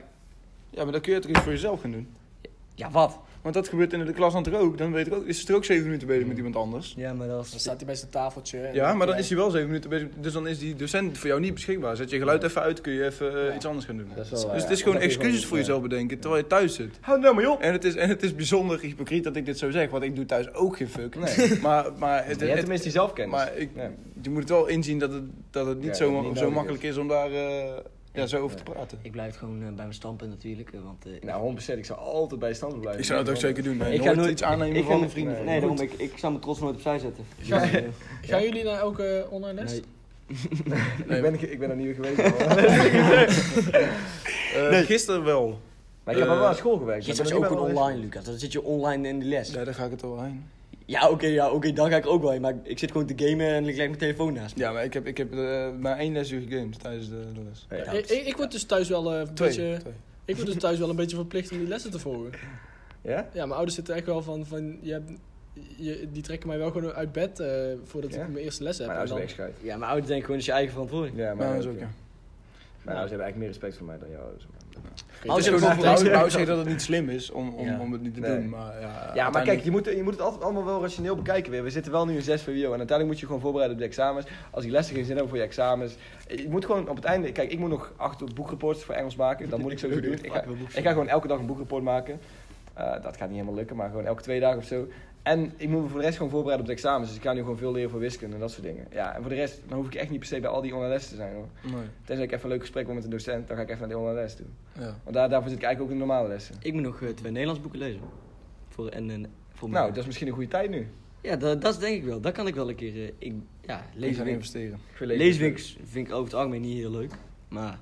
[SPEAKER 6] Ja, maar dan kun je toch iets voor jezelf gaan doen.
[SPEAKER 5] Ja, wat?
[SPEAKER 6] Want dat gebeurt in de klas dan toch ook. Dan weet ik ook, is het er ook zeven minuten bezig met
[SPEAKER 5] Mm.
[SPEAKER 6] iemand anders.
[SPEAKER 5] Ja, maar dat
[SPEAKER 4] Dan staat hij bij zijn tafeltje. en-
[SPEAKER 6] Ja, maar dan is hij wel zeven minuten bezig. Dus dan is die docent voor jou niet beschikbaar. Zet je geluid even uit, kun je even eh, iets anders gaan doen.
[SPEAKER 2] Dat is wel eh, waar,
[SPEAKER 6] Dus
[SPEAKER 2] ja.
[SPEAKER 6] het is gewoon
[SPEAKER 2] Omdat je
[SPEAKER 6] excuses voor
[SPEAKER 2] gewoon-
[SPEAKER 6] jezelf bedenken terwijl je thuis zit.
[SPEAKER 2] Hou nou maar op.
[SPEAKER 6] En het, is, en het is bijzonder hypocriet dat ik dit zo zeg, want ik doe thuis ook geen fuck. Nee. maar maar, het,
[SPEAKER 2] Je hebt
[SPEAKER 6] het-
[SPEAKER 2] tenminste die zelfkennis.
[SPEAKER 6] maar ik,
[SPEAKER 2] Ja.
[SPEAKER 6] je moet het wel inzien dat het, dat het niet
[SPEAKER 2] Ja,
[SPEAKER 6] zo,
[SPEAKER 2] dat het niet
[SPEAKER 6] zo
[SPEAKER 2] nodig
[SPEAKER 6] makkelijk is, om daar eh, ja, zo over te praten.
[SPEAKER 5] Ik blijf gewoon eh, bij mijn standpunt natuurlijk, eh, want
[SPEAKER 2] Nou, 100%. Ik zou altijd bij je stand blijven.
[SPEAKER 6] Ik zou het ook zeker doen. hè.
[SPEAKER 5] Ik ga
[SPEAKER 6] nooit
[SPEAKER 5] nooit-
[SPEAKER 6] iets aannemen
[SPEAKER 5] ik ga
[SPEAKER 6] van
[SPEAKER 5] nooit-
[SPEAKER 6] een
[SPEAKER 5] nee,
[SPEAKER 6] vrienden. van
[SPEAKER 5] nee,
[SPEAKER 6] me.
[SPEAKER 5] daarom, ik, ik zou mijn trots nooit opzij zetten.
[SPEAKER 4] Ja.
[SPEAKER 5] Dus, eh,
[SPEAKER 4] Gaan jullie naar elke online les?
[SPEAKER 5] Nee.
[SPEAKER 2] Ik ben, ik ben er niet meer geweest.
[SPEAKER 6] Eh, Gisteren wel.
[SPEAKER 2] maar ik heb
[SPEAKER 6] Eh,
[SPEAKER 2] wel aan school gewerkt.
[SPEAKER 5] Gisteren was je ook een online, Lucas. Dan zit je online in de les.
[SPEAKER 6] Ja, daar ga ik het al heen.
[SPEAKER 5] Ja, oké, ja, oké, dan ga ik er ook wel in. Maar ik zit gewoon te gamen en ik leg mijn telefoon naast me.
[SPEAKER 6] Ja, maar ik heb, ik heb eh, maar één lesuur gegamed tijdens de de les.
[SPEAKER 5] Ja,
[SPEAKER 4] Ik, ik, ik word dus thuis wel eh, een
[SPEAKER 6] Twee.
[SPEAKER 4] beetje...
[SPEAKER 6] twee.
[SPEAKER 4] Ik word dus thuis wel een beetje verplicht om die lessen te volgen.
[SPEAKER 2] Ja?
[SPEAKER 4] Ja, mijn ouders zitten echt wel van... van je hebt, je, die trekken mij wel gewoon uit bed eh, voordat
[SPEAKER 2] Ja?
[SPEAKER 4] ik mijn eerste les heb.
[SPEAKER 2] Mijn
[SPEAKER 4] En
[SPEAKER 2] ouders
[SPEAKER 4] dan-
[SPEAKER 2] zijn echt scheid.
[SPEAKER 5] Ja, mijn ouders denken gewoon, dat is je eigen verantwoording.
[SPEAKER 2] Ja,
[SPEAKER 6] Maar
[SPEAKER 2] maar
[SPEAKER 6] dat is ook, ja.
[SPEAKER 2] Mijn ouders hebben eigenlijk meer respect voor mij dan jouw ouders.
[SPEAKER 4] Maar als
[SPEAKER 3] je
[SPEAKER 4] je
[SPEAKER 3] gewoon
[SPEAKER 4] het
[SPEAKER 3] voor Wou-
[SPEAKER 4] laat lezen-
[SPEAKER 3] Wou zeggen dat het niet slim is om, om,
[SPEAKER 2] Ja.
[SPEAKER 3] om het niet te
[SPEAKER 2] Nee.
[SPEAKER 3] doen, maar ja...
[SPEAKER 2] Ja, maar kijk,
[SPEAKER 3] uiteindelijk-
[SPEAKER 2] je moet, je moet het altijd allemaal wel rationeel bekijken weer. We zitten wel nu in 6 VWO en uiteindelijk moet je gewoon voorbereiden op de examens. Als die lessen geen zin hebben voor je examens. Je moet gewoon op het einde... Kijk, ik moet nog acht boekrapports voor Engels maken. Dat moet ik sowieso doen. Ik ga, ik ga gewoon elke dag een boekrapport maken. Eh, dat gaat niet helemaal lukken, maar gewoon elke twee dagen of zo. En ik moet me voor de rest gewoon voorbereiden op de examens. Dus ik ga nu gewoon veel leren voor wiskunde en dat soort dingen. Ja, en voor de rest, dan hoef ik echt niet per se bij al die online lessen te zijn hoor.
[SPEAKER 3] Nee.
[SPEAKER 2] Tenzij ik even een leuk gesprek wil met een docent, dan ga ik even naar die online les toe.
[SPEAKER 3] Ja.
[SPEAKER 2] Want daar, daarvoor zit ik eigenlijk ook in de normale
[SPEAKER 3] Oh
[SPEAKER 2] lessen.
[SPEAKER 5] Ik moet nog eh, twee Nederlands boeken lezen. Voor, en, en, voor
[SPEAKER 2] Nou,
[SPEAKER 5] mijn-
[SPEAKER 2] dat is misschien een goede tijd nu.
[SPEAKER 5] Ja, dat, dat is denk ik wel. Dat kan ik wel een keer... eh, ik, ja,
[SPEAKER 3] Lees aan
[SPEAKER 5] lezen, vind,
[SPEAKER 3] investeren.
[SPEAKER 2] Ik wil
[SPEAKER 5] lezen vind, ik, vind ik over het algemeen niet heel leuk. Maar het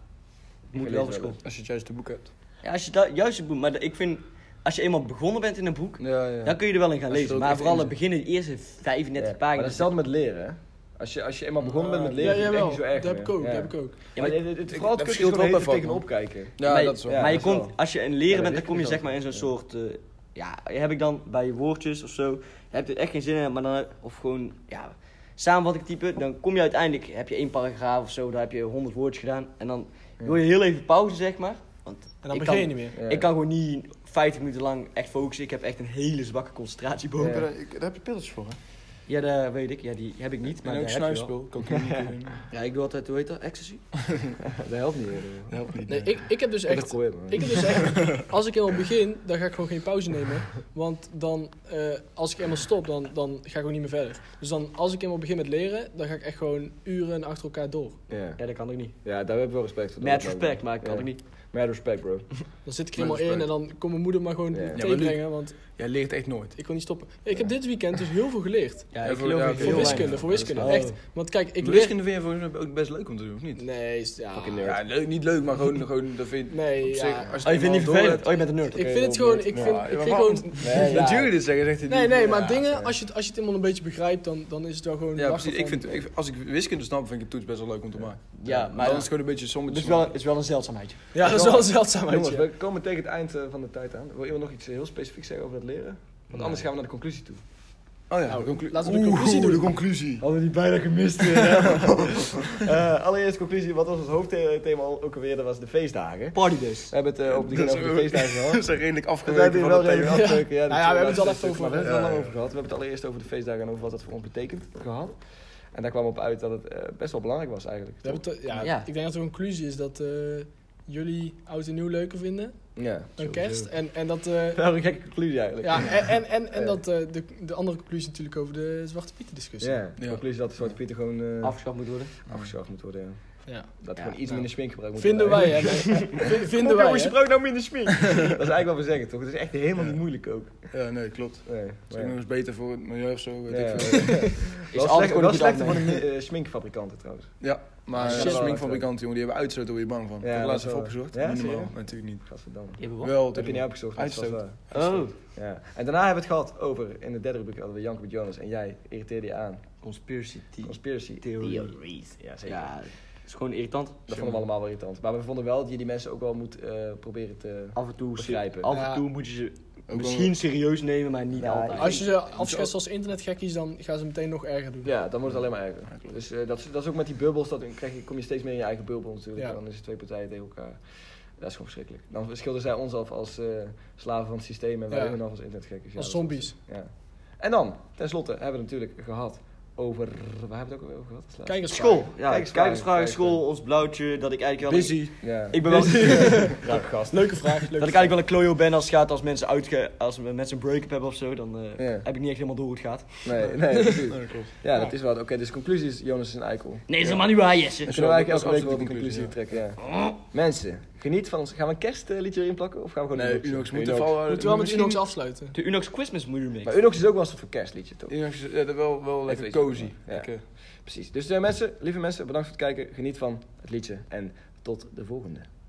[SPEAKER 5] moet
[SPEAKER 2] lees
[SPEAKER 5] wel voor
[SPEAKER 2] wel
[SPEAKER 5] school.
[SPEAKER 3] Als je het juiste boek hebt.
[SPEAKER 5] Ja, als je dat juist het boek... Maar dat- ik vind, als je eenmaal begonnen bent in een boek...
[SPEAKER 3] Ja, ja.
[SPEAKER 5] Dan kun je er wel in gaan
[SPEAKER 3] Als je er
[SPEAKER 5] lezen.
[SPEAKER 3] ook
[SPEAKER 5] Maar
[SPEAKER 3] echt
[SPEAKER 5] vooral
[SPEAKER 3] in
[SPEAKER 5] het beginnen, de eerste
[SPEAKER 2] Ja,
[SPEAKER 5] 35
[SPEAKER 2] Maar dat is
[SPEAKER 5] pagina's.
[SPEAKER 2] hetzelfde met leren, hè? Als je, als je eenmaal begonnen bent met leren,
[SPEAKER 4] ja,
[SPEAKER 2] is het echt
[SPEAKER 4] Ah, jawel.
[SPEAKER 2] niet zo erg
[SPEAKER 4] Dat heb
[SPEAKER 2] meer.
[SPEAKER 4] ik ook,
[SPEAKER 2] Ja.
[SPEAKER 4] dat heb ik ook.
[SPEAKER 5] Ja,
[SPEAKER 2] maar
[SPEAKER 5] maar-
[SPEAKER 2] het, het, het, vooral
[SPEAKER 3] dat
[SPEAKER 2] het kut is
[SPEAKER 3] verschilt
[SPEAKER 2] gewoon
[SPEAKER 3] wel
[SPEAKER 2] heel
[SPEAKER 3] per
[SPEAKER 2] veel
[SPEAKER 3] vak,
[SPEAKER 2] tegenop kijken.
[SPEAKER 3] Ja,
[SPEAKER 5] maar,
[SPEAKER 3] dat is wel.
[SPEAKER 2] ja.
[SPEAKER 5] maar je
[SPEAKER 2] dat is
[SPEAKER 5] komt,
[SPEAKER 2] wel.
[SPEAKER 5] als je een leren
[SPEAKER 2] Ja,
[SPEAKER 5] bent, dan
[SPEAKER 2] dat
[SPEAKER 5] kom je
[SPEAKER 2] weet ik
[SPEAKER 5] zeg maar in zo'n soort... eh, ja, heb ik dan bij woordjes of zo... Heb je er echt geen zin in, maar dan... Of gewoon, ja... Samenvatting typen, dan kom je uiteindelijk... Heb je één paragraaf of zo, daar heb je 100 woordjes gedaan. En dan wil je heel even pauze, zeg maar. Want
[SPEAKER 4] En dan
[SPEAKER 5] ik
[SPEAKER 4] begin je
[SPEAKER 5] kan,
[SPEAKER 4] niet meer.
[SPEAKER 2] Ja.
[SPEAKER 5] Ik kan gewoon niet 50 minuten lang echt focussen. Ik heb echt een hele zwakke concentratieboom.
[SPEAKER 2] Ja.
[SPEAKER 5] Ja,
[SPEAKER 6] Daar heb je pilletjes voor, hè?
[SPEAKER 5] dat weet ik. Ja, die heb ik niet, maar
[SPEAKER 3] En ook
[SPEAKER 5] die heb je wel.
[SPEAKER 3] snuifspul. Cocaïne.
[SPEAKER 5] Ja, ik doe altijd, hoe heet dat? Ecstasy?
[SPEAKER 2] Dat helpt niet. hoor.
[SPEAKER 6] Dat helpt niet.
[SPEAKER 4] Nee, ik, ik heb dus
[SPEAKER 2] Dat is een
[SPEAKER 4] echt...
[SPEAKER 2] probleem, hoor.
[SPEAKER 4] Ik heb dus echt... Als ik helemaal begin, dan ga ik gewoon geen pauze nemen. Want dan, eh, als ik eenmaal stop, dan, dan ga ik gewoon niet meer verder. Dus dan, als ik helemaal begin met leren, dan ga ik echt gewoon uren achter elkaar door.
[SPEAKER 2] Ja.
[SPEAKER 5] Ja, dat kan ik niet.
[SPEAKER 2] ja, daar heb ik wel respect voor.
[SPEAKER 5] Met respect, Oh, maar ik kan
[SPEAKER 2] Ja.
[SPEAKER 5] ik niet.
[SPEAKER 2] Met respect, bro.
[SPEAKER 4] Dan zit ik er
[SPEAKER 3] Met
[SPEAKER 4] helemaal in en
[SPEAKER 3] respect.
[SPEAKER 4] dan kon mijn moeder maar gewoon
[SPEAKER 2] Ja. Ja, maar
[SPEAKER 3] Luc-
[SPEAKER 4] tegenbrengen, want
[SPEAKER 3] Jij leert echt nooit.
[SPEAKER 4] ik kon niet stoppen. Ik heb dit weekend dus heel veel geleerd.
[SPEAKER 5] Ja,
[SPEAKER 3] Ja,
[SPEAKER 5] ik
[SPEAKER 3] voor-
[SPEAKER 5] geloof
[SPEAKER 3] ja,
[SPEAKER 5] ik
[SPEAKER 3] voor
[SPEAKER 4] voor
[SPEAKER 5] heel
[SPEAKER 4] wiskunde,
[SPEAKER 5] weinig.
[SPEAKER 4] voor wiskunde,
[SPEAKER 5] Oh.
[SPEAKER 4] echt. Want kijk, ik
[SPEAKER 3] Ik
[SPEAKER 4] leer...
[SPEAKER 3] wiskunde vind je volgens mij ook best leuk om te doen, of niet?
[SPEAKER 4] Nee, is- ja...
[SPEAKER 3] Ja, leuk, niet leuk, maar gewoon, gewoon dat vind je
[SPEAKER 4] Nee,
[SPEAKER 3] op
[SPEAKER 4] ja.
[SPEAKER 3] zich... Als
[SPEAKER 5] Oh, je vindt het niet
[SPEAKER 3] eenmaal door
[SPEAKER 5] vervelend?
[SPEAKER 3] hebt-
[SPEAKER 5] Oh, je bent een nerd.
[SPEAKER 4] Ik vind het gewoon... Ik vind,
[SPEAKER 3] Ja,
[SPEAKER 4] ik vind
[SPEAKER 3] waarom?
[SPEAKER 4] gewoon...
[SPEAKER 2] Nee,
[SPEAKER 3] Dat
[SPEAKER 2] ja.
[SPEAKER 3] jullie dit zeggen, zegt hij
[SPEAKER 4] Nee,
[SPEAKER 3] niet.
[SPEAKER 4] nee,
[SPEAKER 3] Ja,
[SPEAKER 4] maar dingen,
[SPEAKER 3] ja.
[SPEAKER 4] als je, het, als je het helemaal een beetje begrijpt, dan, dan is het wel gewoon...
[SPEAKER 3] Ja,
[SPEAKER 4] lachen
[SPEAKER 3] precies. Ik
[SPEAKER 4] van-
[SPEAKER 3] vind, ik- als ik wiskunde snap, vind ik het toets best wel leuk om te maken.
[SPEAKER 5] Ja,
[SPEAKER 3] Maar dan is
[SPEAKER 5] maar het
[SPEAKER 3] het gewoon een beetje
[SPEAKER 5] is
[SPEAKER 3] sommetjes.
[SPEAKER 5] wel, het is wel een zeldzaamheidje.
[SPEAKER 4] Ja, dat is wel een zeldzaamheid,
[SPEAKER 2] Jongens,
[SPEAKER 4] ja.
[SPEAKER 2] we komen tegen het eind eh, van de tijd aan. Wil iemand nog iets eh, heel specifieks zeggen over dat leren? Want anders gaan we naar de conclusie toe.
[SPEAKER 3] Oh ja, de conclu-
[SPEAKER 4] Laten we Nou, de conclusie doen.
[SPEAKER 6] conclusie.
[SPEAKER 2] Hadden we die bijna gemist. eh. allereerst conclusie, wat was ons hoofdthema ook alweer? Dat was de feestdagen.
[SPEAKER 5] Party dus.
[SPEAKER 2] We hebben het eh, op die
[SPEAKER 3] Dat is-
[SPEAKER 2] over de feestdagen gehad.
[SPEAKER 3] Dat is redelijk
[SPEAKER 2] We hebben
[SPEAKER 3] afgeweken
[SPEAKER 2] hier
[SPEAKER 3] van
[SPEAKER 2] wel
[SPEAKER 3] het thema.
[SPEAKER 2] redelijk afgeweken, ja.
[SPEAKER 4] Nou ja, we hebben het wel
[SPEAKER 2] al
[SPEAKER 4] even over
[SPEAKER 2] We hebben het
[SPEAKER 4] gehad.
[SPEAKER 2] wel lang over gehad. We hebben het allereerst over de feestdagen en over wat dat voor ons betekent gehad. En daar kwam op uit dat het eh, best wel belangrijk was eigenlijk.
[SPEAKER 4] We hebben het- ja,
[SPEAKER 5] Ja.
[SPEAKER 4] Ik denk dat de conclusie is dat eh, jullie oud en nieuw leuker vinden
[SPEAKER 2] Ja.
[SPEAKER 4] dan kerst. En, en dat... eh,
[SPEAKER 2] Wel een gekke conclusie eigenlijk.
[SPEAKER 4] ja, en, en, en, en
[SPEAKER 2] Ja.
[SPEAKER 4] dat eh, de, de andere conclusie natuurlijk over de Zwarte Pieten discussie.
[SPEAKER 2] Ja, de
[SPEAKER 3] Ja.
[SPEAKER 2] conclusie dat de Zwarte Pieter gewoon eh,
[SPEAKER 5] Afgeschaft moet worden.
[SPEAKER 2] afgeschaft moet worden. ja.
[SPEAKER 4] Ja.
[SPEAKER 2] Dat er
[SPEAKER 5] Ja,
[SPEAKER 2] gewoon iets
[SPEAKER 4] nou.
[SPEAKER 2] minder smink gebruikt moet
[SPEAKER 4] Vinden wij,
[SPEAKER 2] worden.
[SPEAKER 4] hè. V- Vinden
[SPEAKER 2] Hoe
[SPEAKER 4] wij,
[SPEAKER 2] kan je
[SPEAKER 4] hè.
[SPEAKER 2] gebruik nou minder smink? dat is eigenlijk wat we zeggen toch? Het is echt helemaal niet moeilijk ook.
[SPEAKER 3] Ja, nee, klopt.
[SPEAKER 2] Nee,
[SPEAKER 3] Het
[SPEAKER 2] maar
[SPEAKER 3] is
[SPEAKER 2] ja.
[SPEAKER 3] nog eens beter voor het milieu of zo, weet
[SPEAKER 2] Ja.
[SPEAKER 3] ik veel.
[SPEAKER 5] Is
[SPEAKER 2] Wel slecht,
[SPEAKER 5] altijd gewoon
[SPEAKER 2] wel
[SPEAKER 5] een goed
[SPEAKER 2] slechter voor de mi- eh, sminkfabrikanten trouwens.
[SPEAKER 3] Ja, maar
[SPEAKER 4] Shit.
[SPEAKER 3] de sminkfabrikanten, jongen, die hebben uitstoot, daar word je bang van.
[SPEAKER 2] Ja,
[SPEAKER 3] ik heb het laatst
[SPEAKER 2] dat
[SPEAKER 3] even
[SPEAKER 2] wel.
[SPEAKER 3] opgezocht.
[SPEAKER 2] Ja,
[SPEAKER 3] Niet
[SPEAKER 2] serieus?
[SPEAKER 3] normaal, natuurlijk niet.
[SPEAKER 2] Gadverdamme.
[SPEAKER 5] Je hebt
[SPEAKER 3] Wel,
[SPEAKER 2] Dat heb je niet opgestoken. dat is vast
[SPEAKER 3] Uitstoot.
[SPEAKER 2] waar.
[SPEAKER 5] Oh,
[SPEAKER 2] Ja, en daarna hebben we het gehad over, in de derde rubriek hadden we Janko met Jonas en jij irriteerde je aan.
[SPEAKER 5] conspiracy the-
[SPEAKER 2] Conspiracy theorie.
[SPEAKER 5] theories.
[SPEAKER 2] Ja, zeker.
[SPEAKER 5] Ja, dat is gewoon irritant.
[SPEAKER 2] Dat vonden we allemaal wel irritant. Maar we vonden wel dat je die mensen ook wel moet eh, proberen te...
[SPEAKER 5] Af en toe,
[SPEAKER 2] Begrijpen.
[SPEAKER 5] af en
[SPEAKER 4] Ja.
[SPEAKER 5] toe moet je ze
[SPEAKER 3] wel-
[SPEAKER 5] misschien serieus nemen, maar niet
[SPEAKER 2] Ja,
[SPEAKER 5] altijd.
[SPEAKER 4] Als je ze afschetst als internetgekkies, dan gaan ze meteen nog erger doen.
[SPEAKER 2] Ja, dan wordt het alleen maar erger. Dus eh, dat, is, dat is ook met die bubbels, dat, dan krijg je, kom je steeds meer in je eigen bubbel natuurlijk.
[SPEAKER 4] Ja.
[SPEAKER 2] En Dan is het twee partijen tegen elkaar. Dat is gewoon verschrikkelijk. Dan schilderen zij ons af als eh, slaven van het systeem en wij
[SPEAKER 4] Ja.
[SPEAKER 2] hun af als internetgekkers. Ja,
[SPEAKER 4] Als
[SPEAKER 2] dat is-
[SPEAKER 4] zombies.
[SPEAKER 2] Ja. En dan, tenslotte, hebben we het natuurlijk gehad over... Waar hebben we het ook over gehad? als laatste?
[SPEAKER 4] Kijkers
[SPEAKER 5] School. Ja,
[SPEAKER 2] Kijkersvragen,
[SPEAKER 5] kijkersvragen, school,
[SPEAKER 2] kijkersvragen.
[SPEAKER 5] ons blauwtje, dat ik eigenlijk wel...
[SPEAKER 3] Busy.
[SPEAKER 2] Ja.
[SPEAKER 5] Ik ben wel...
[SPEAKER 2] Raak gast.
[SPEAKER 4] Leuke vraag. Leuke
[SPEAKER 5] Dat ik
[SPEAKER 4] vraag.
[SPEAKER 5] eigenlijk wel een klojo ben als het gaat als mensen, uitge als we- mensen een break-up hebben of zo, dan eh,
[SPEAKER 2] Ja.
[SPEAKER 5] heb ik niet echt helemaal door hoe het gaat.
[SPEAKER 2] Nee, nee, precies.
[SPEAKER 3] Ja, klopt.
[SPEAKER 2] Ja, dat is wel. Oké, dus conclusie is Jonas is een eikel.
[SPEAKER 5] Nee, dat is helemaal niet waar, Jesse.
[SPEAKER 2] Kunnen we
[SPEAKER 3] dat
[SPEAKER 2] eigenlijk
[SPEAKER 3] is
[SPEAKER 2] elke week wel
[SPEAKER 3] absoluut
[SPEAKER 2] een
[SPEAKER 3] de
[SPEAKER 2] conclusie
[SPEAKER 3] conclusie,
[SPEAKER 2] trekken, ja. Mensen, geniet van ons. Gaan we een kerstliedje erin plakken of gaan we gewoon
[SPEAKER 3] Nee,
[SPEAKER 2] Unox?
[SPEAKER 3] Unox moet er vallen.
[SPEAKER 4] Moeten we wel met
[SPEAKER 3] misschien-
[SPEAKER 4] Unox afsluiten.
[SPEAKER 5] De Unox Christmas moet je doen,
[SPEAKER 2] Maar
[SPEAKER 5] mix.
[SPEAKER 2] Unox is ook wel een soort van kerstliedje, toch?
[SPEAKER 3] Unox is ja, dat wel, wel lekker
[SPEAKER 2] Even iets
[SPEAKER 3] cozy.
[SPEAKER 2] Ja.
[SPEAKER 3] Lekker.
[SPEAKER 2] Precies. Dus eh, mensen, lieve mensen, bedankt voor het kijken. Geniet van het liedje en tot de volgende.